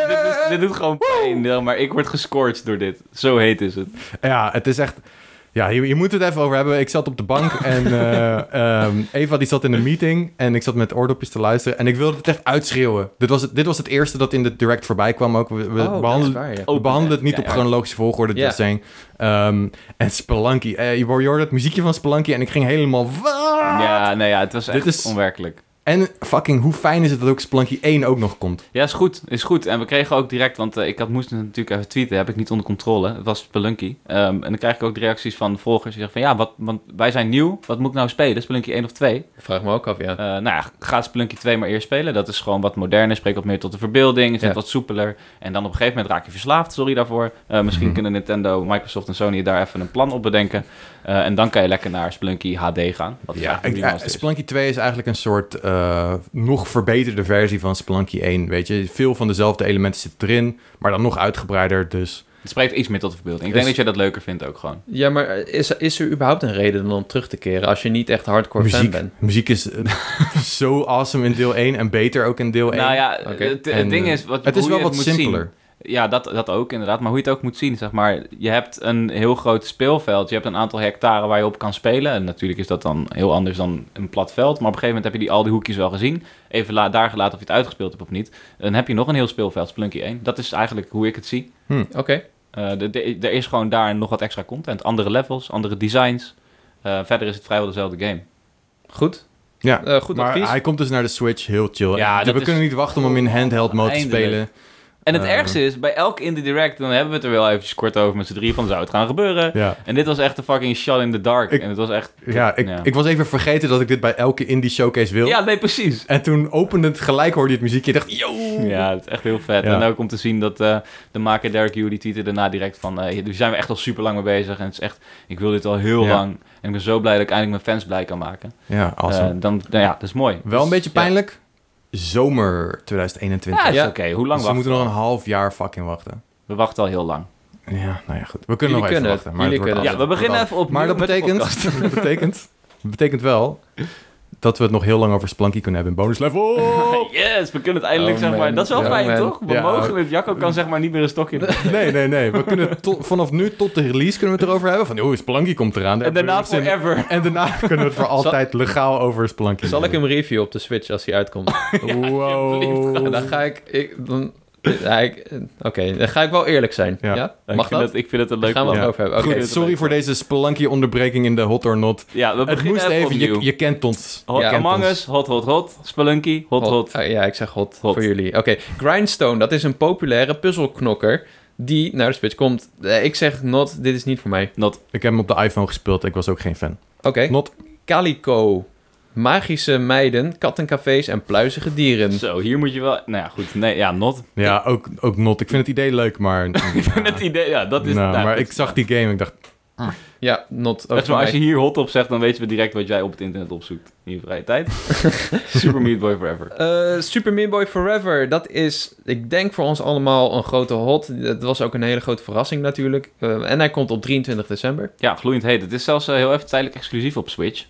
Dit, is- dit doet gewoon pijn, Del, maar ik word gescorched door dit. Zo heet is het. Ja, het is echt... Ja, je, je moet het even over hebben. Ik zat op de bank en eh, ehm, Eva die zat in een meeting en ik zat met oordopjes te luisteren en ik wilde het echt uitschreeuwen. Dit was het, dit was het eerste dat in de direct voorbij kwam ook. We, we Oh, dat is behandelen, waar, ja. we behandelen het niet op Keihard. chronologische volgorde, Ja. just saying. Ehm, en Spelunky. eh, je hoorde je hoorde het muziekje van Spelunky en ik ging helemaal... Ja, nou ja, het was echt Dit is- onwerkelijk. En fucking hoe fijn is het dat ook Spelunky 1 ook nog komt. Ja, is goed. Is goed. En we kregen ook direct, want eh, ik had, moest het natuurlijk even tweeten, heb ik niet onder controle. Het was Spelunky. Ehm, en dan krijg ik ook de reacties van de volgers die zeggen van ja, wat, want wij zijn nieuw, wat moet ik nou spelen? Spelunky 1 of 2? Ik Vraag me ook af, ja. Eh, nou ja, ga Spelunky 2 maar eerst spelen. Dat is gewoon wat moderner, spreekt wat meer tot de verbeelding, het is Ja. wat soepeler. En dan op een gegeven moment raak je verslaafd, sorry daarvoor. Eh, Mhm. misschien kunnen Nintendo, Microsoft en Sony daar even een plan op bedenken. Eh, en dan kan je lekker naar Spelunky HD gaan. Wat ja, Ik- eh, Spelunky 2 is eigenlijk een soort eh, nog verbeterde versie van Spelunky 1. Weet je, veel van dezelfde elementen zitten erin, maar dan nog uitgebreider. Dus Het spreekt iets meer tot de verbeelding. Ik denk Is- dat jij dat leuker vindt ook gewoon. Ja, maar is, is er überhaupt een reden dan om terug te keren als je niet echt hardcore fan muziek, bent? muziek is eh, zo awesome in deel 1 en beter ook in deel 1. Nou ja, Oké. het, het En, ding eh, is... Wat, het is hoe wel je wat moet zien. simpeler. Ja, dat, dat ook inderdaad. Maar hoe je het ook moet zien, zeg maar. Je hebt een heel groot speelveld. Je hebt een aantal hectare waar je op kan spelen. En natuurlijk is dat dan heel anders dan een plat veld. Maar op een gegeven moment heb je die, al die hoekjes wel gezien. Even la, daar gelaten of je het uitgespeeld hebt of niet. Dan heb je nog een heel speelveld, Splunky 1. Dat is eigenlijk hoe ik het zie. Oké. Eh, de- de- er is gewoon daar nog wat extra content. Andere levels, andere designs. Eh, verder is het vrijwel dezelfde game. Goed. Ja, Eh, goed maar advies. hij komt dus naar de Switch, heel chill. Ja, En dat we is- Oh, kunnen niet wachten om hem in handheld mode te Eindelijk. spelen. En het Eh. ergste is, bij elk Indie Direct... dan hebben we het er wel eventjes kort over met z'n drie van... zou het gaan gebeuren? Ja, En dit was echt een fucking shot in the dark. Ik- en het was echt... ja, ik, ik was even vergeten dat ik dit bij elke indie showcase wil. Ja, nee, precies. En toen opende het gelijk, hoorde je het muziekje. en dacht, yo! Ja, het is echt heel vet. Ja. En ook om te zien dat eh, de maker Derek Yu die tweette daarna direct van... eh hier zijn we echt al super lang mee bezig. En het is echt... Ik wil dit al heel Ja. lang. En ik ben zo blij dat ik eindelijk mijn fans blij kan maken. Ja, awesome. Eh, dan, nou ja, dat is mooi. Wel een beetje ja. pijnlijk. zomer 2021. Ja, is Ja. oké. Hoe lang dus we wachten moeten we? nog een half jaar fucking wachten. We wachten al heel lang. Ja, nou ja, goed. We kunnen Jullie nog even kunnen het. wachten. Maar Jullie het wordt kunnen anders. Het Ja, we wordt beginnen anders. even opnieuw Maar dat met de betekent, dat betekent, dat betekent wel dat we het nog heel lang over Splanky kunnen hebben in bonus level. Yes, we kunnen het eindelijk, Oh, zeg maar. man. Dat is wel Ja, fijn, man. toch? We Ja. mogen het. Jacco kan zeg maar niet meer een stokje doen. Nee, nee, nee. We kunnen tot- vanaf nu tot de release kunnen we het erover hebben. Van, joh, Splanky komt eraan. Daar En daarna hebben we zin in. forever. En daarna kunnen we het voor altijd legaal over Splanky Zal ik hem reviewen op de Switch als hij uitkomt? Oh. hebben. Wow. En dan ga ik... ik dan, ja, ik- Oké, dan ga ik wel eerlijk zijn. Ja. Ja? Ik Mag vind dat? het- Ik vind het een leuk gaan we plan. het Ja. over hebben. Oké. Goed, sorry voor deze Spelunky-onderbreking in de hot or not. Ja, we Het beginnen moest even, even, je, opnieuw. je kent ons. Hot, Ja. Among Ons. Us, hot, hot, hot. Spelunky, hot, hot. Ah, ja, ik zeg hot, Hot. voor jullie. Oké, Grindstone, dat is een populaire puzzelknokker die naar de Switch komt. Eh, ik zeg not, dit is niet voor mij. Not. Ik heb hem op de iPhone gespeeld. Ik was ook geen fan. Oké. Not. Calico. Magische meiden, kattencafés en pluizige dieren. Zo, hier moet je wel... Nou ja, goed. Nee, ja, not. Ja, ook, ook not. Ik vind het idee leuk, maar... ik vind Het idee, ja, dat is... nou, maar dat ik is- zag die game en ik dacht... Ja, not. Dat Ook is maar, voor als je mij. hier hot op zegt, dan weten we direct wat jij op het internet opzoekt in je vrije tijd. Super Meat Boy Forever. Eh, Super Meat Boy Forever, dat is, ik denk voor ons allemaal een grote hot. Dat was ook een hele grote verrassing natuurlijk. Eh, en hij komt op 23 december. Ja, gloeiend heet. Het is zelfs eh, heel even tijdelijk exclusief op Switch.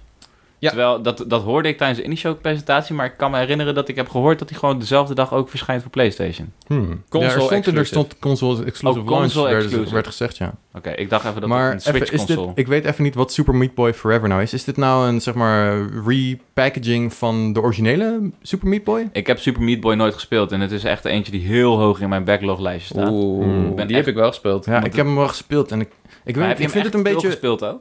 Ja. Terwijl, dat, dat hoorde ik tijdens de in-show presentatie, maar ik kan me herinneren dat ik heb gehoord dat hij gewoon dezelfde dag ook verschijnt voor PlayStation. Hmm. Console ja, er stond, er exclusive. stond console exclusive Oh, launch, console werd- exclusive. werd gezegd, ja. Oké, ik dacht even dat het maar een Switch even, is dit, console. ik weet even niet wat Super Meat Boy Forever nou is. Is dit nou een, zeg maar, repackaging van de originele Super Meat Boy? Ik heb Super Meat Boy nooit gespeeld en het is echt eentje die heel hoog in mijn backloglijstje staat. Oeh, Hmm. die Ben heb echt- ik wel gespeeld. Ja, ik heb hem wel gespeeld en ik... Ik, Maar weet, niet, heb je ik hem vind het echt een veel beetje... gespeeld ook?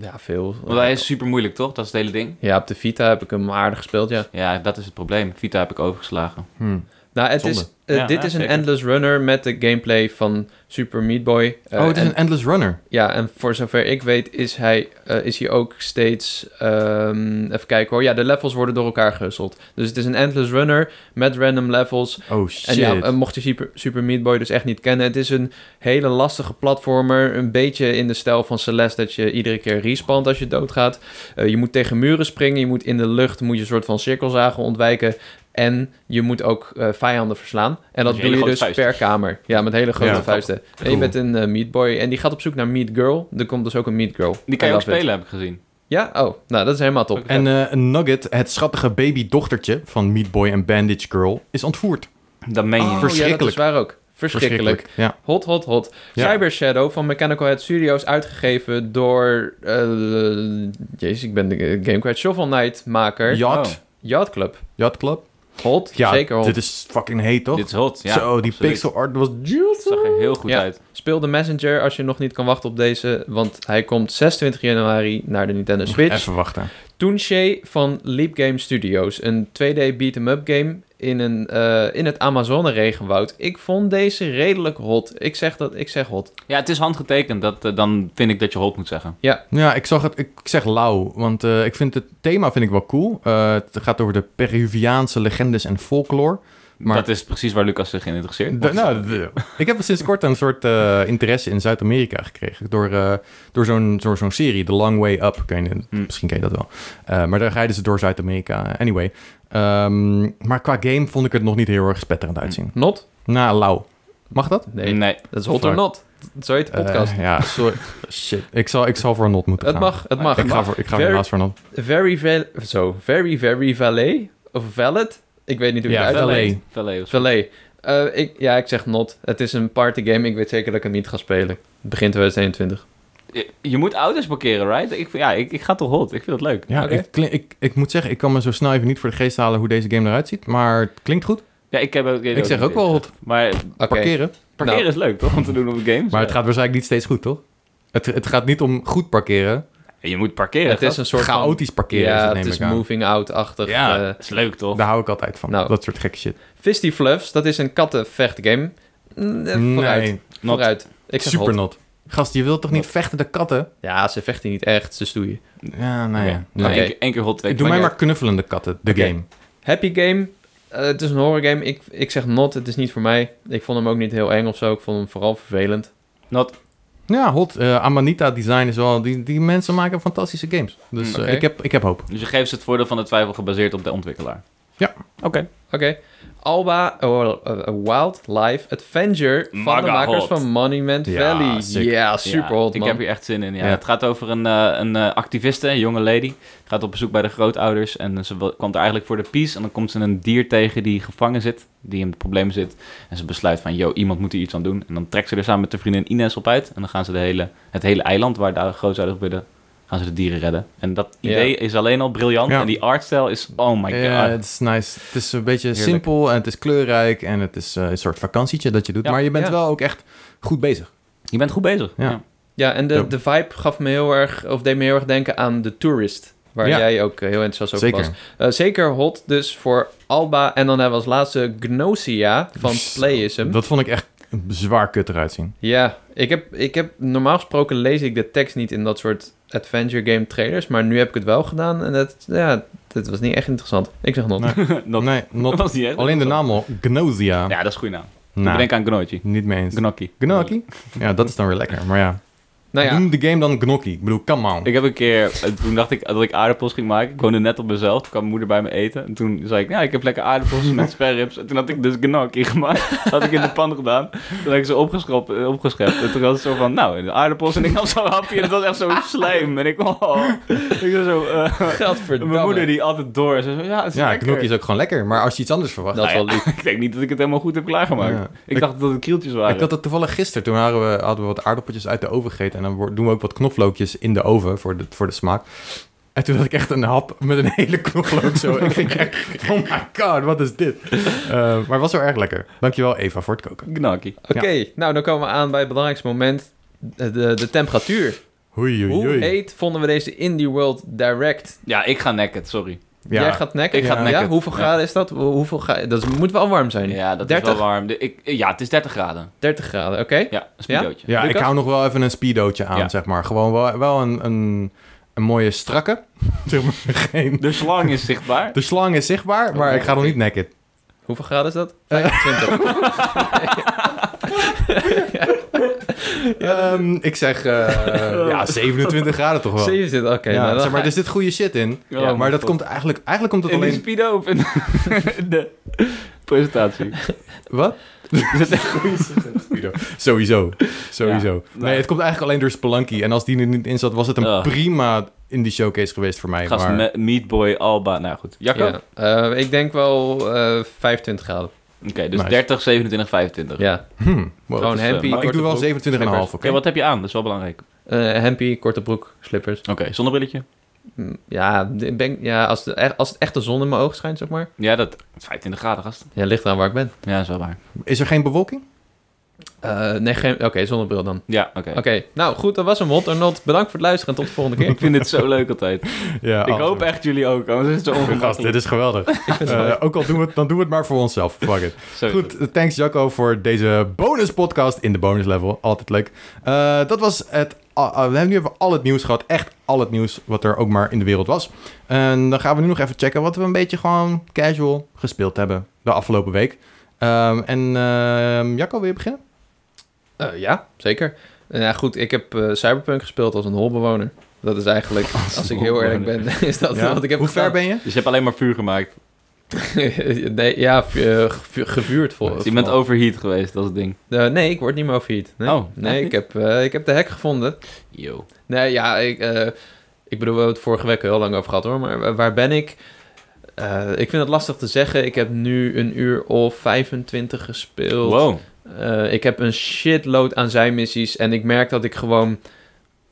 Ja, veel. Want hij is super moeilijk, toch? Dat is het hele ding. Ja, op de Vita heb ik hem aardig gespeeld, ja. Ja, dat is het probleem. Vita heb ik overgeslagen. Hmm. Nou, het Zonde. is, eh, Ja, dit ja, is een zeker. Endless Runner met de gameplay van Super Meat Boy. Eh, oh, het is en- een Endless Runner. Ja, en voor zover ik weet is hij, eh, is hij ook steeds... ehm, even kijken hoor. Ja, de levels worden door elkaar gehusteld. Dus het is een Endless Runner met random levels. Oh, shit. En ja, eh, mocht je Super, Super Meat Boy dus echt niet kennen... het is een hele lastige platformer. Een beetje in de stijl van Celeste dat je iedere keer respawnt als je doodgaat. Eh, je moet tegen muren springen. Je moet in de lucht moet je een soort van cirkelzagen ontwijken... En je moet ook eh, vijanden verslaan. En dat Met doe hele je grote dus vuisten. per kamer. Ja, met hele grote Ja. vuisten. En je Cool. bent een eh, meat boy en die gaat op zoek naar meat girl. Er komt dus ook een meat girl. Die kan je I ook love it. spelen, heb ik gezien. Ja? Oh, nou dat is helemaal top. En eh, een Nugget, het schattige babydochtertje van Meat Boy en Bandage Girl, is ontvoerd. Dat meen je. Oh, niet. Ja, dat Verschrikkelijk. is waar ook. Verschrikkelijk. Ja. Hot, hot, hot. Ja. Cyber Shadow van Mechanical Head Studios, uitgegeven door... eh, jezus, ik ben de eh, game kwijt. Shovel Knight maker. Yacht. Oh. Yacht Club. Yacht Club. Hot, Ja, zeker hot. dit is fucking heet, toch? Dit is hot, ja. Zo, die absoluut. pixel art was juicy. Het zag er heel goed Ja. uit. Speel de Messenger als je nog niet kan wachten op deze, want hij komt 26 januari naar de Nintendo Switch. Even wachten. Toonshay van Leap Game Studios. Een 2D beat-em-up game in, een, eh, in het Amazone-regenwoud. Ik vond deze redelijk hot. Ik zeg, dat, ik zeg hot. Ja, het is handgetekend. Dat, eh, dan vind ik dat je hot moet zeggen. Ja, ik zag het. Ik zeg lauw, want eh, ik vind het thema vind ik wel cool. Eh, het gaat over de Peruviaanse legendes en folklore. Maar- Dat is precies waar Lucas zich in interesseert. De- nou, de- ik heb sinds kort een soort eh, interesse in Zuid-Amerika gekregen. Door, eh, door zo'n door zo'n serie, The Long Way Up. Ken je- Hmm. Misschien ken je dat wel. Eh, maar daar rijden ze door Zuid-Amerika. Anyway. Ehm, maar qua game vond ik het nog niet heel erg Hmm. spetterend uitzien. Not? Nou, lauw. Mag dat? Nee, nee. dat is hot or Fuck. not. Zo heet de podcast. Eh, ja, sorry. Shit. Ik zal, ik zal voor een not moeten het gaan. mag, het mag. Ik ga, voor, ik ga Very- helaas voor een not. Very, val- zo, very, very valet. Of valid. Ik weet niet hoe je Ja, het valet. uitspreekt. Valet was- Valet. Eh, ik, ja, ik zeg not. Het is een party game. Ik weet zeker dat ik hem niet ga spelen. Begin 2021. Je- Je moet auto's parkeren, right? Ik, vind- ja, ik, ik ga toch hot. Ik vind dat leuk. Ja, Oké. ik, klink- ik, ik moet zeggen, ik kan me zo snel even niet voor de geest halen hoe deze game eruit ziet. Maar het klinkt goed. Ja, ik, heb ook, Ik zeg ook wel hot. Maar Oké. Parkeren. parkeren Nou. is leuk, toch? Om te doen op de games. Maar het gaat waarschijnlijk niet steeds goed, toch? Het, het gaat niet om goed parkeren. Je moet parkeren. Het is gast. een soort van... chaotisch parkeren is Ja, het, het neem is ik aan. moving out-achtig. Ja. eh, Dat is leuk, toch? Daar hou ik altijd van. Nou. Dat soort gekke shit. Fisty Fluffs, dat is een kattenvechtgame. Mm, eh, Vooruit, nee, Not. vooruit. Ik zeg super hot. not. Gast, je wilt toch niet Not. vechten de katten? Ja, ze vechten niet echt, ze stoeien. Ja, nou ja. Oké. Nee. Nou, Oké. één keer- één keer hot, twee Ik keer Doe mij maar parkeren. knuffelende katten, de Oké. game. Happy Game, eh, het is een horror game. Ik, ik zeg not, het is niet voor mij. Ik vond hem ook niet heel eng of zo. Ik vond hem vooral vervelend. Not. Ja, hot. eh, Amanita Design is wel... Die, die mensen maken fantastische games. Dus Mm, eh, oké. Oh ik, heb, ik heb hoop. Dus je geeft ze het voordeel van de twijfel gebaseerd op de ontwikkelaar. Ja. Oké. Oké. Alba oh, eh, Wildlife Adventure van Mega de makers hot. van Monument Ja, Valley. sick. Ja, super hot, Ik man. heb hier echt zin in. Ja. Ja. Het gaat over een, eh, een eh, activiste, een jonge lady. Gaat op bezoek bij de grootouders en eh, ze wil- komt er eigenlijk voor de peace. En dan komt ze een dier tegen die gevangen zit, die in de problemen zit. En ze besluit van, yo, iemand moet hier iets aan doen. En dan trekt ze er samen met haar vriendin Ines op uit. En dan gaan ze de hele, het hele eiland waar de grootouders bidden, gaan ze de dieren redden. En dat Ja. idee is alleen al briljant. Ja. En die artstijl is, oh my Ja, god. Eh, het is nice. Het is een beetje Heerlijk. simpel en het is kleurrijk en het is eh, een soort vakantietje dat je doet. Ja, maar je bent ja. wel ook echt goed bezig. Je bent goed bezig. Ja. Ja, en de, Dope. de vibe gaf me heel erg, of deed me heel erg denken aan The Tourist. Waar Ja. jij ook eh, heel enthousiast over Zeker. was. Eh, zeker hot dus voor Alba. En dan hebben we als laatste Gnosia van Pff, Playism. Dat vond ik echt zwaar kut eruit zien. Ja, ik heb, ik heb normaal gesproken lees ik de tekst niet in dat soort adventure game trailers. Maar nu heb ik het wel gedaan. En dat, ja, dat was niet echt interessant. Ik zeg Nee. nog. dat, nee, not- dat was niet echt. alleen de naam al. Gnosia. Ja, dat is een goede naam. Nou, Ik denk aan Gnocchi. niet mee eens. Gnocchi. Gnocchi? Ja, dat is dan weer lekker. Maar ja, Nou ja, noem de game dan Gnocchi. Ik bedoel, come on. Ik heb een keer, eh, toen dacht ik dat ik aardappels ging maken. Ik woonde net op mezelf. Toen kwam mijn moeder bij me eten. En toen zei ik, nou, ik heb lekker aardappels met sperrips. En toen had ik dus gnocchi gemaakt. Dat had ik in de pan gedaan. Toen heb ik ze opgeschropt- eh, opgeschept. En toen was het zo van, nou, de aardappels. En ik nam zo'n hapje en het was echt zo'n slijm. En ik, oh. Ik was zo, eh, geldverdamme. mijn moeder die altijd door. Ze zei, ja, het is ja, lekker. Gnocchi is ook gewoon lekker. Maar als je iets anders verwacht... Dat is Nou wel ja, lief. ik denk niet dat ik het helemaal goed heb klaargemaakt. Ja. Ik, Ik- dacht dat het krieltjes waren. Ik had dat toevallig gisteren. Toen hadden we, hadden we wat aardappeltjes uit de oven gegeten. En dan wo- doen we ook wat knoflookjes in de oven voor de, voor de smaak. En toen had ik echt een hap met een hele knoflook zo. ik ging echt, oh my god, wat is dit? Eh, maar het was wel erg lekker. Dankjewel Eva voor het koken. Gnocchi. Oké, nou dan komen we aan bij het belangrijkste moment. De, de, de temperatuur. Oei, oei, Hoe oei. heet vonden we deze Indie World Direct? Ja, ik ga naked, sorry. Ja, Jij gaat nekken? Ik ga Ja. nekken. Ja, hoeveel Ja. graden is dat? Hoe- Hoeveel gra- dat is- moet wel warm zijn. Ja, dat 30. is wel warm. De- ik, ja, het is 30 graden. 30 graden, oké. Ja, een speedootje. ja ik Lucas? hou nog wel even een speedootje aan, Ja. zeg maar. Gewoon wel, wel een, een, een mooie strakke. Zeg maar, geen- De slang is zichtbaar. De slang is zichtbaar, maar ik ga nog niet naked. Hoeveel graden is dat? Eh. 25. Ehm, ik zeg eh, ja, 27 graden toch wel. 27, oké. ja, nou, dan zeg maar, dus ga- er zit goede shit in. Ja, Ja, maar maar dat goed. komt eigenlijk, eigenlijk komt het in die alleen... speedo of in de presentatie? Wat? Sowieso. Sowieso. Ja. nee, het komt eigenlijk alleen door Spelunky. En als die er niet in zat, was het een Ugh. prima in die showcase geweest voor mij. Gast, maar... me- Meatboy, Alba. Nou goed, Jacco. ja. Eh, ik denk wel eh 25 graden. Oké, dus Nice. 30, 27, 25. Oké, Ja. Hmm, wow. Gewoon dat is, hempie, eh, Maar ik korte doe wel broek. 27,5, oké? wat heb je aan? Dat is wel belangrijk. Eh, hempie, korte broek, slippers. Oké, zonnebrilletje. Hm, Ja, ik ben, ja als, de, e- als het echt de zon in mijn ogen schijnt, zeg maar. Ja, dat 25 graden, gast. Ja, ligt eraan waar ik ben. Ja, dat is wel waar. Is er geen bewolking? Eh, nee, geen... Oké, zonnebril dan. Ja, oké. Oké, nou goed, dat was hem, Hot or Not. Bedankt voor het luisteren en tot de volgende keer. Ik vind het zo leuk altijd. Ja, ik hoop echt jullie ook, anders is het zo Gast, dit ongemakkelijk. is geweldig. Eh, ook al doen we het, dan doen we het maar voor onszelf. Fuck it. Sorry. Goed, thanks Jacco voor deze bonus podcast in de bonus level. Altijd leuk. Eh, dat was het. ah, ah, we hebben nu even al het nieuws gehad. Echt al het nieuws wat er ook maar in de wereld was. En dan gaan we nu nog even checken wat we een beetje gewoon casual gespeeld hebben de afgelopen week. Ehm, en ehm, Jacco, wil je beginnen? Eh, ja, zeker. Nou ja, goed, ik heb eh, Cyberpunk gespeeld als een holbewoner. Dat is eigenlijk, als, een ik heel eerlijk ben, is dat Ja? wat ik heb Hoe ver ben je? Dus je hebt alleen maar vuur gemaakt. ben nee, ja, vu- eh, gevu- gevuurd voor. Dus je bent overheat geweest, dat is het ding. Eh, nee, ik word niet meer overheat. Nee, Oh, echt nee ik, niet? heb, eh, ik heb de hack gevonden. Yo. Nee, ja, ik, eh, ik bedoel, we hebben het vorige week heel lang over gehad hoor. Maar wa- waar ben ik? Eh, ik vind het lastig te zeggen. Ik heb nu een uur of 25 gespeeld. Wow. Eh, ik heb een shitload aan zijmissies. En ik merk dat ik gewoon...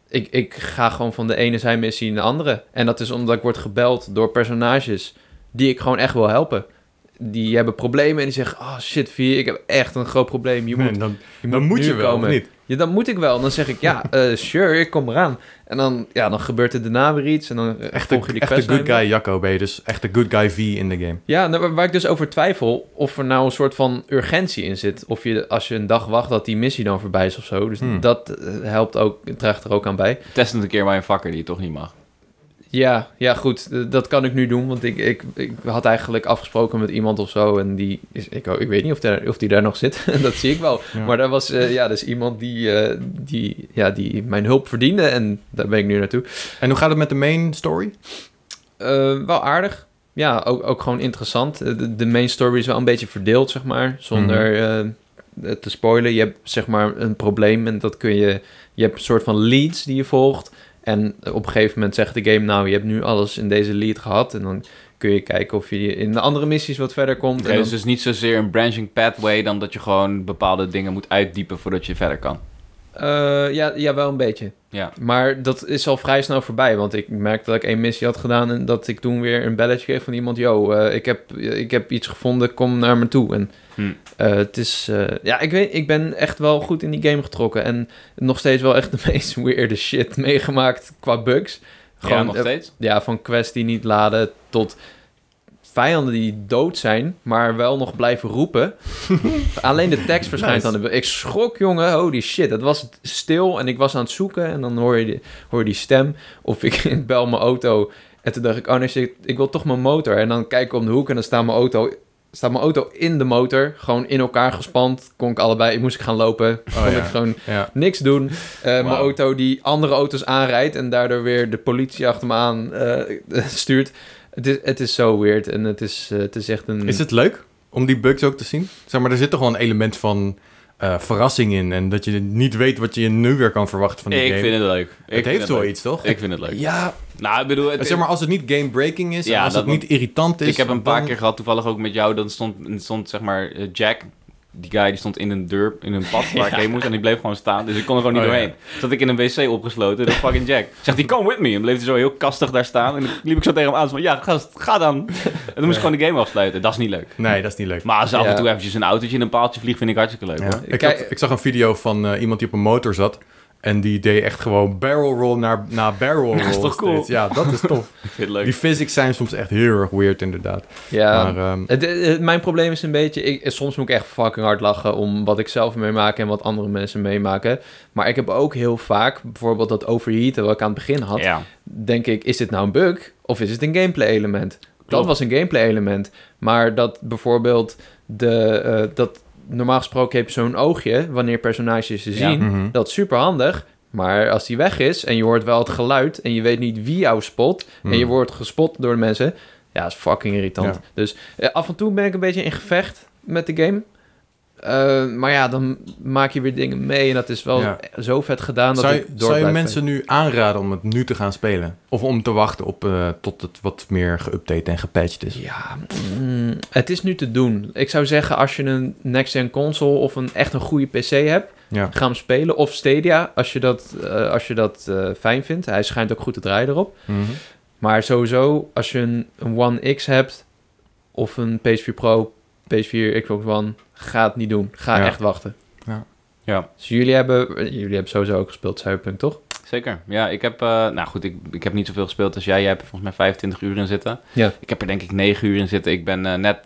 Ik, ik ga gewoon van de ene zijmissie naar de andere. En dat is omdat ik word gebeld door personages... die ik gewoon echt wil helpen. Die hebben problemen en die zeggen... Oh shit, vier, ik heb echt een groot probleem. Je moet, Nee, dan, je dan moet nu je wel, komen. of niet? Ja, dan moet ik wel. Dan zeg ik, ja, eh, sure, ik kom eraan. En dan, ja, dan gebeurt er daarna weer iets. En dan eh, Echt volg je een, die echt een questline good guy Jacco ben je. Dus echt een good guy V in de game. Ja, nou, waar- waar ik dus over twijfel of er nou een soort van urgentie in zit. Of je, als je een dag wacht, dat die missie dan voorbij is of zo. Dus Hmm. dat eh, helpt ook, draagt er ook aan bij. Test het een keer bij een vakker die je toch niet mag. Ja, ja goed, eh, dat kan ik nu doen. Want ik, ik, ik had eigenlijk afgesproken met iemand of zo. En die is, ik, oh, ik weet niet of, daar, of die daar nog zit. dat zie ik wel. Ja. Maar daar was, eh, ja, dus iemand die, eh, die, ja, die mijn hulp verdiende. En daar ben ik nu naartoe. En hoe gaat het met de main story? Eh, wel aardig. ja, ook, ook gewoon interessant. Eh, De, de main story is wel een beetje verdeeld, zeg maar. Zonder eh, te spoilen. Je hebt zeg maar een probleem en dat kun je... Je hebt een soort van leads die je volgt. En op een gegeven moment zegt de game... Nou, je hebt nu alles in deze lead gehad. En dan kun je kijken of je in de andere missies wat verder komt. Het En dan- is dus niet zozeer een branching pathway dan dat je gewoon bepaalde dingen moet uitdiepen voordat je verder kan. Eh, ja, ja, wel een beetje. Ja. Maar dat is al vrij snel voorbij. Want ik merkte dat ik één missie had gedaan. En dat ik toen weer een belletje kreeg van iemand. Yo, eh, ik, heb, ik heb iets gevonden. Kom naar me toe. En Hm. eh, het is. eh, ja, ik weet. Ik ben echt wel goed in die game getrokken. En nog steeds wel echt de meest weirde shit meegemaakt qua bugs. Gewoon Gewoon, nog eh, steeds? ja, van quests die niet laden tot vijanden die dood zijn, maar wel nog blijven roepen. Alleen de tekst verschijnt Nice. aan de... Ik schrok, jongen. Holy shit. Dat was stil en ik was aan het zoeken en dan hoor je die, hoor je die stem. Of ik bel mijn auto en toen dacht ik, oh nee, shit, ik wil toch mijn motor. En dan kijk ik om de hoek en dan staat mijn auto... Staat mijn auto in de motor, gewoon in elkaar gespand. Kon ik allebei, moest ik gaan lopen. Oh, kon Oh ja. ik gewoon Ja. niks doen. Eh, Mijn Wauw. auto die andere auto's aanrijdt en daardoor weer de politie achter me aan eh, stuurt. Het is, het is zo weird en het is, eh, het is echt Mm. een... Is het leuk om die bugs ook te zien? Zeg maar, er zit toch wel een element van eh, verrassing in. En dat je niet weet wat je nu weer kan verwachten van die ik game. vind het leuk. Ik het vind heeft wel leuk. iets, toch? Ik vind het leuk. Ja, Nou, ik bedoel... Het, zeg maar, als het niet game-breaking is, Ja, en als dat het niet irritant is... ik heb een paar dan- keer gehad, toevallig ook met jou, dan stond, stond zeg maar eh, Jack, die guy die stond in een deur, in een pad waar ik heen moest en die bleef gewoon staan, dus ik kon er gewoon niet Oh, ja. doorheen. Zat ik in een wc opgesloten, dan fucking Jack. Zegt hij, come with me. En bleef hij zo heel kastig daar staan en dan liep ik zo tegen hem aan, zo van, ja gast, ga dan. En dan moest ik gewoon de game afsluiten, dat is niet leuk. Nee, dat is niet leuk. Maar als af Ja. en toe eventjes een autootje in een paaltje vliegt, vind ik hartstikke leuk hoor. Ja. Ik, Kijk- had- ik zag een video van eh, iemand die op een motor zat. En die deed echt gewoon barrel roll naar, naar barrel roll. is toch cool? steeds. Ja, dat is tof. Ik vind het leuk. Die physics zijn soms echt heel erg weird, inderdaad. ja, maar ehm, het, het- mijn probleem is een beetje... Ik, eh, soms moet ik echt fucking hard lachen om wat ik zelf meemaak en wat andere mensen meemaken. Maar ik heb ook heel vaak bijvoorbeeld dat overheaten wat ik aan het begin had. Ja. denk ik, is dit nou een bug of is het een gameplay element? Klopt. Dat was een gameplay element. Maar dat bijvoorbeeld de, eh, dat normaal gesproken heb je zo'n oogje wanneer personages te Ja. zien. mhm. Dat is super handig. Maar als die weg is en je hoort wel het geluid en je weet niet wie jou spot en je Mm. wordt gespot door de mensen, ja, is fucking irritant. Ja. Dus eh, af en toe ben ik een beetje in gevecht met de game. Eh, maar ja, dan maak je weer dingen mee en dat is wel Ja. zo vet gedaan. Dat Zou je, ik door zou je blijf mensen nu aanraden om het nu te gaan spelen? Of om te wachten op, eh, tot het wat meer geüpdate en gepatcht is? Ja, mm, het is nu te doen. Ik zou zeggen, als je een next-gen console of een echt een goede PC hebt, Ja. ga hem spelen. Of Stadia, als je dat, eh, als je dat eh, fijn vindt. Hij schijnt ook goed te draaien erop. Mhm. Maar sowieso, als je een, een One X hebt of een PS4 Pro, PS4, Xbox One, ga het niet doen. Ga Ja. echt wachten. Ja. Ja. Dus jullie hebben, eh, jullie hebben sowieso ook gespeeld Cyberpunk, toch? Zeker. Ja, ik heb... eh, nou goed, ik, ik heb niet zoveel gespeeld als jij. Jij hebt er volgens mij 25 uur in zitten. Ja. Ik heb er denk ik 9 uur in zitten. Ik ben eh, net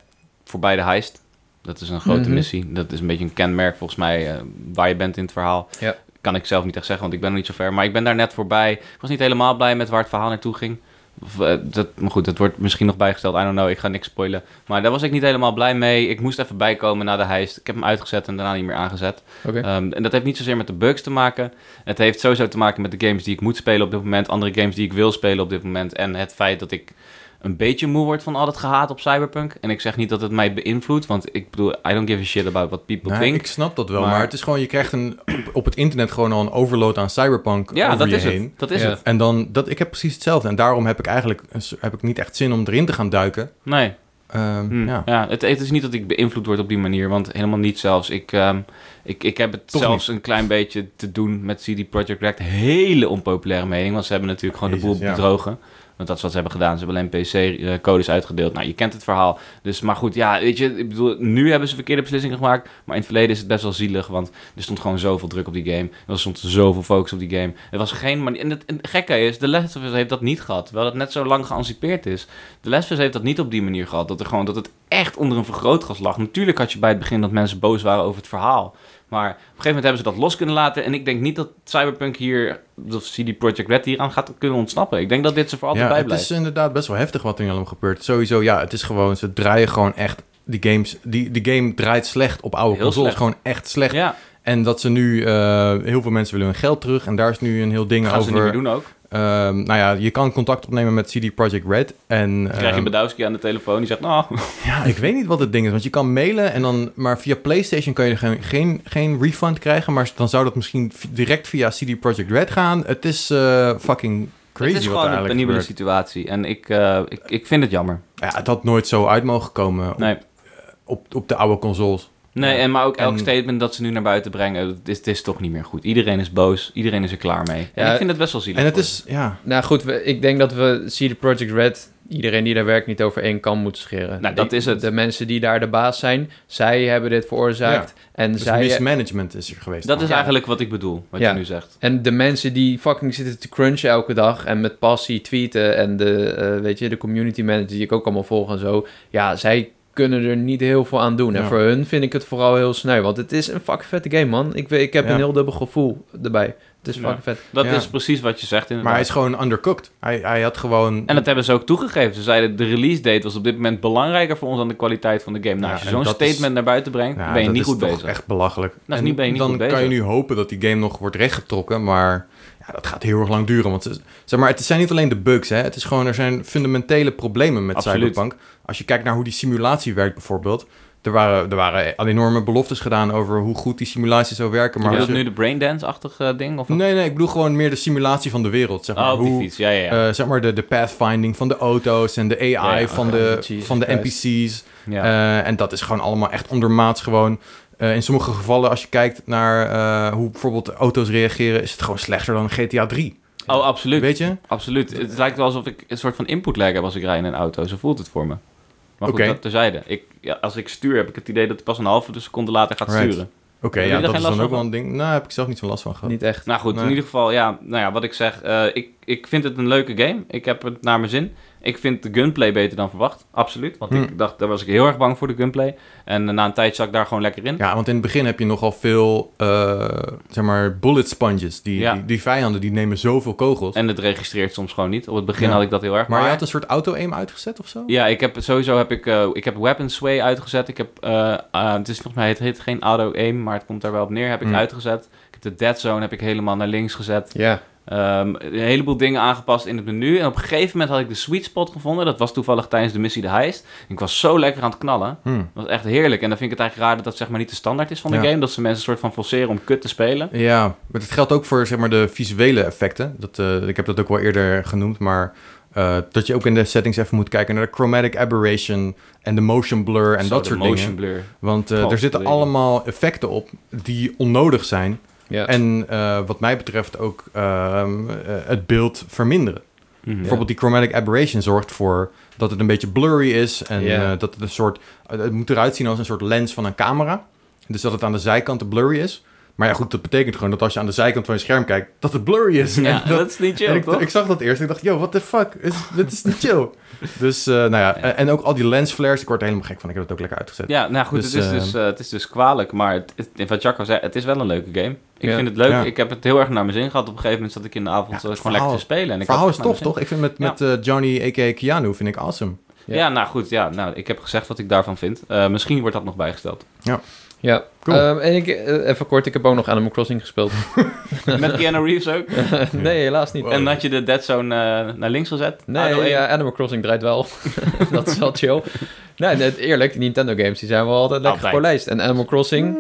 voorbij de heist. Dat is een grote Mhm. missie. Dat is een beetje een kenmerk volgens mij eh, waar je bent in het verhaal. Ja. Kan ik zelf niet echt zeggen, want ik ben nog niet zo ver. Maar ik ben daar net voorbij. Ik was niet helemaal blij met waar het verhaal naartoe ging. Of, eh, dat, maar goed, dat wordt misschien nog bijgesteld. I don't know, ik ga niks spoilen. Maar daar was ik niet helemaal blij mee. Ik moest even bijkomen na de heist. Ik heb hem uitgezet en daarna niet meer aangezet. Oké. Ehm, en dat heeft niet zozeer met de bugs te maken. Het heeft sowieso te maken met de games die ik moet spelen op dit moment, andere games die ik wil spelen op dit moment. En het feit dat ik een beetje moe word van al dat gehaat op Cyberpunk. En ik zeg niet dat het mij beïnvloedt, want ik bedoel, I don't give a shit about what people Nou, think. ik snap dat wel, maar... Maar- het is gewoon, je krijgt een, op, op het internet gewoon al een overload aan cyberpunk ja, over dat je is heen. het. Dat is Ja. het. En dan, dat, ik heb precies hetzelfde. En daarom heb ik eigenlijk een s- heb ik niet echt zin om erin te gaan duiken. Nee. Ehm, Hm. ja. Ja. het, het is niet dat ik beïnvloed word op die manier, want helemaal niet zelfs. Ik, ehm, ik, ik heb het Toch zelfs een klein beetje te doen met CD Projekt Red. Hele onpopulaire mening, want ze hebben natuurlijk gewoon de Jezus, boel ja. bedrogen. Want dat is wat ze hebben gedaan. Ze hebben alleen PC-codes uitgedeeld. Nou, je kent het verhaal. Dus, maar goed, ja, weet je, ik bedoel, nu hebben ze verkeerde beslissingen gemaakt. Maar in het verleden is het best wel zielig, want er stond gewoon zoveel druk op die game. Er stond zoveel focus op die game. Er was geen manier... En het, en het gekke is, The Last of Us heeft dat niet gehad. Terwijl dat net zo lang geanticipeerd is. The Last of Us heeft dat niet op die manier gehad. Dat, er gewoon, dat het echt onder een vergrootglas lag. Natuurlijk had je bij het begin dat mensen boos waren over het verhaal. Maar op een gegeven moment hebben ze dat los kunnen laten. En ik denk niet dat Cyberpunk hier, of CD Projekt Red hier aan gaat kunnen ontsnappen. Ik denk dat dit ze voor altijd Ja, bij het blijft. is inderdaad best wel heftig wat er allemaal gebeurt. Sowieso, ja, het is gewoon, ze draaien gewoon echt... Die, games, die, die game draait slecht op oude Heel consoles. slecht. Gewoon echt slecht. Ja, En dat ze nu... eh, heel veel mensen willen hun geld terug. En daar is nu een heel ding dat gaan ze niet over. meer doen ook. Ehm, nou ja, je kan contact opnemen met CD Projekt Red. En, Dan krijg je ehm, Bedowski aan de telefoon, die zegt, nou, ja, ik weet niet wat het ding is. Want je kan mailen, en dan, maar via PlayStation kan je geen, geen, geen refund krijgen. Maar dan zou dat misschien v- direct via CD Projekt Red gaan. Het is eh, fucking crazy het is wat er gewoon een eigenlijk penibele gebeurt. situatie. En ik, eh, ik, ik vind het jammer. Ja, het had nooit zo uit mogen komen op, Nee, op, op de oude consoles. nee Ja. en maar ook elk En- statement dat ze nu naar buiten brengen, het is, het is toch niet meer goed. Iedereen is boos, iedereen is er klaar mee. En Ja, ik vind het best wel zielig. En het voor is, ja... Nou goed, we- ik denk dat we CD Projekt Red, iedereen die daar werkt, niet over één kam moeten scheren. Nou, Die- dat is het. De mensen die daar de baas zijn, zij hebben dit veroorzaakt. En, Dus zij, mismanagement is er geweest. ze. eh, Dat is Ja. eigenlijk wat ik bedoel, wat Ja. je nu zegt. en de mensen die fucking zitten te crunchen elke dag en met passie tweeten en de, eh, weet je, de community managers die ik ook allemaal volg en zo. Ja, zij kunnen er niet heel veel aan doen. En Ja. voor hun vind ik het vooral heel sneu, want het is een fucking vette game, man. Ik, weet- ik heb Ja. een heel dubbel gevoel erbij. Het is Ja. fucking vet. Dat Ja. is precies wat je zegt inderdaad. maar hij is gewoon undercooked. Hij, hij had gewoon... En dat hebben ze ook toegegeven. Ze zeiden, de release date was op dit moment belangrijker voor ons dan de kwaliteit van de game. Nou, Ja, als je en zo'n dat is- statement naar buiten brengt, Ja, ben je dat niet is goed toch bezig. Nou, echt belachelijk. is En niet- ben je niet dan goed kan bezig. je nu hopen dat die game nog wordt rechtgetrokken, maar ja, dat gaat heel erg lang duren. Want ze- zeg maar, het zijn niet alleen de bugs, hè. Het is gewoon, er zijn fundamentele problemen met Absoluut. Cyberpunk. Als je kijkt naar hoe die simulatie werkt bijvoorbeeld. Er waren, er waren al enorme beloftes gedaan over hoe goed die simulatie zou werken. Maar Maar is als dat je- nu de braindance-achtig eh, ding? Of Nee, nee, ik bedoel gewoon meer de simulatie van de wereld. Zeg maar. Oh, op die Hoe- fiets, ja, ja, ja. eh, zeg maar de, de pathfinding van de auto's en de AI Ja, ja, van, oké. de, Jesus van de Christ. NPC's. ja. Eh, en dat is gewoon allemaal echt ondermaats gewoon. Eh, in sommige gevallen, als je kijkt naar eh, hoe bijvoorbeeld auto's reageren, is het gewoon slechter dan GTA 3. oh, absoluut. Weet je? Absoluut. Het lijkt wel alsof ik een soort van input lag heb als ik rijd in een auto. Zo voelt het voor me. Maar goed, Oké. dat terzijde. Ik, ja, als ik stuur, heb ik het idee dat hij pas een halve seconde later gaat Right. sturen. Oké, Heb je ja, daar dat geen is dan last van ook wel een ding. Nou, daar heb ik zelf niet zo'n last van gehad. Niet echt. Nou goed, Nee. in ieder geval, ja, nou ja, wat ik zeg. eh, ik, ik vind het een leuke game. Ik heb het naar mijn zin. Ik vind de gunplay beter dan verwacht. Absoluut. Want Hmm. ik dacht, daar was ik heel erg bang voor, de gunplay. En eh, na een tijd zat ik daar gewoon lekker in. Ja, want in het begin heb je nogal veel, eh, zeg maar, bullet sponges. Die, Ja. die, die vijanden, die nemen zoveel kogels. En het registreert soms gewoon niet. Op het begin Ja. had ik dat heel erg. maar je had een soort auto-aim uitgezet of zo? Ja, ik heb sowieso heb ik, eh, ik heb Weapon Sway uitgezet. Ik heb, eh, eh, het is volgens mij, het heet geen auto aim, maar het komt daar wel op neer. Heb ik Mm. uitgezet. Ik heb de Dead Zone heb ik helemaal naar links gezet. Ja. Ehm, een heleboel dingen aangepast in het menu. En op een gegeven moment had ik de sweet spot gevonden. Dat was toevallig tijdens de missie de heist. En ik was zo lekker aan het knallen. Hmm. Dat was echt heerlijk. En dan vind ik het eigenlijk raar dat dat zeg maar niet de standaard is van de Ja. game. Dat ze mensen een soort van forceren om kut te spelen. Ja, maar dat geldt ook voor zeg maar, de visuele effecten. Dat, eh, ik heb dat ook wel eerder genoemd, maar eh, dat je ook in de settings even moet kijken naar de chromatic aberration en de motion blur en Zo, dat de soort motion dingen. blur. Want eh, Oh, er zitten leren. allemaal effecten op die onnodig zijn. ja. En eh, wat mij betreft ook ehm, eh, het beeld verminderen. Mhm. Bijvoorbeeld die chromatic aberration zorgt voor dat het een beetje blurry is. En Ja. eh, dat het een soort... eh, het moet eruit zien als een soort lens van een camera. Dus dat het aan de zijkanten blurry is. Maar ja, goed, dat betekent gewoon dat als je aan de zijkant van je scherm kijkt, dat het blurry is. En Ja, dat- dat is niet en chill, ik, toch? ik zag dat eerst en ik dacht, yo, what the fuck? Is, dit is niet chill. dus, eh, nou ja, en, en ook al die lens flares. Ik word er helemaal gek van. Ik heb dat ook lekker uitgezet. Ja, nou goed, Dus, het, is eh, dus, eh, het is dus kwalijk, maar het, het- wat Jacco zei, het is wel een leuke game. Ik Ja. vind het leuk, Ja. ik heb het heel erg naar mijn zin gehad. Op een gegeven moment zat ik in de avond Ja, zat ik het gewoon lekker te verhaal- spelen. En ik Het verhaal had is het naar tof, mijn toch? Ik vind met, Ja. met eh, Johnny, a.k.a. Keanu, vind ik awesome. zin. Ja, nou goed, ja, nou, ik heb gezegd wat ik daarvan vind. Eh, misschien wordt dat nog bijgesteld. ja. Cool. Ehm, en ik, eh, even kort, ik heb ook nog Animal Crossing gespeeld. Met Keanu Reeves ook. nee, helaas niet. Wow. En had je de Dead Zone eh, naar links gezet? Nee, ADO1. ja, Animal Crossing draait wel. dat is wel chill. Nee, net eerlijk, de Nintendo games die zijn wel altijd lekker Altijd. gepolijst. En Animal Crossing,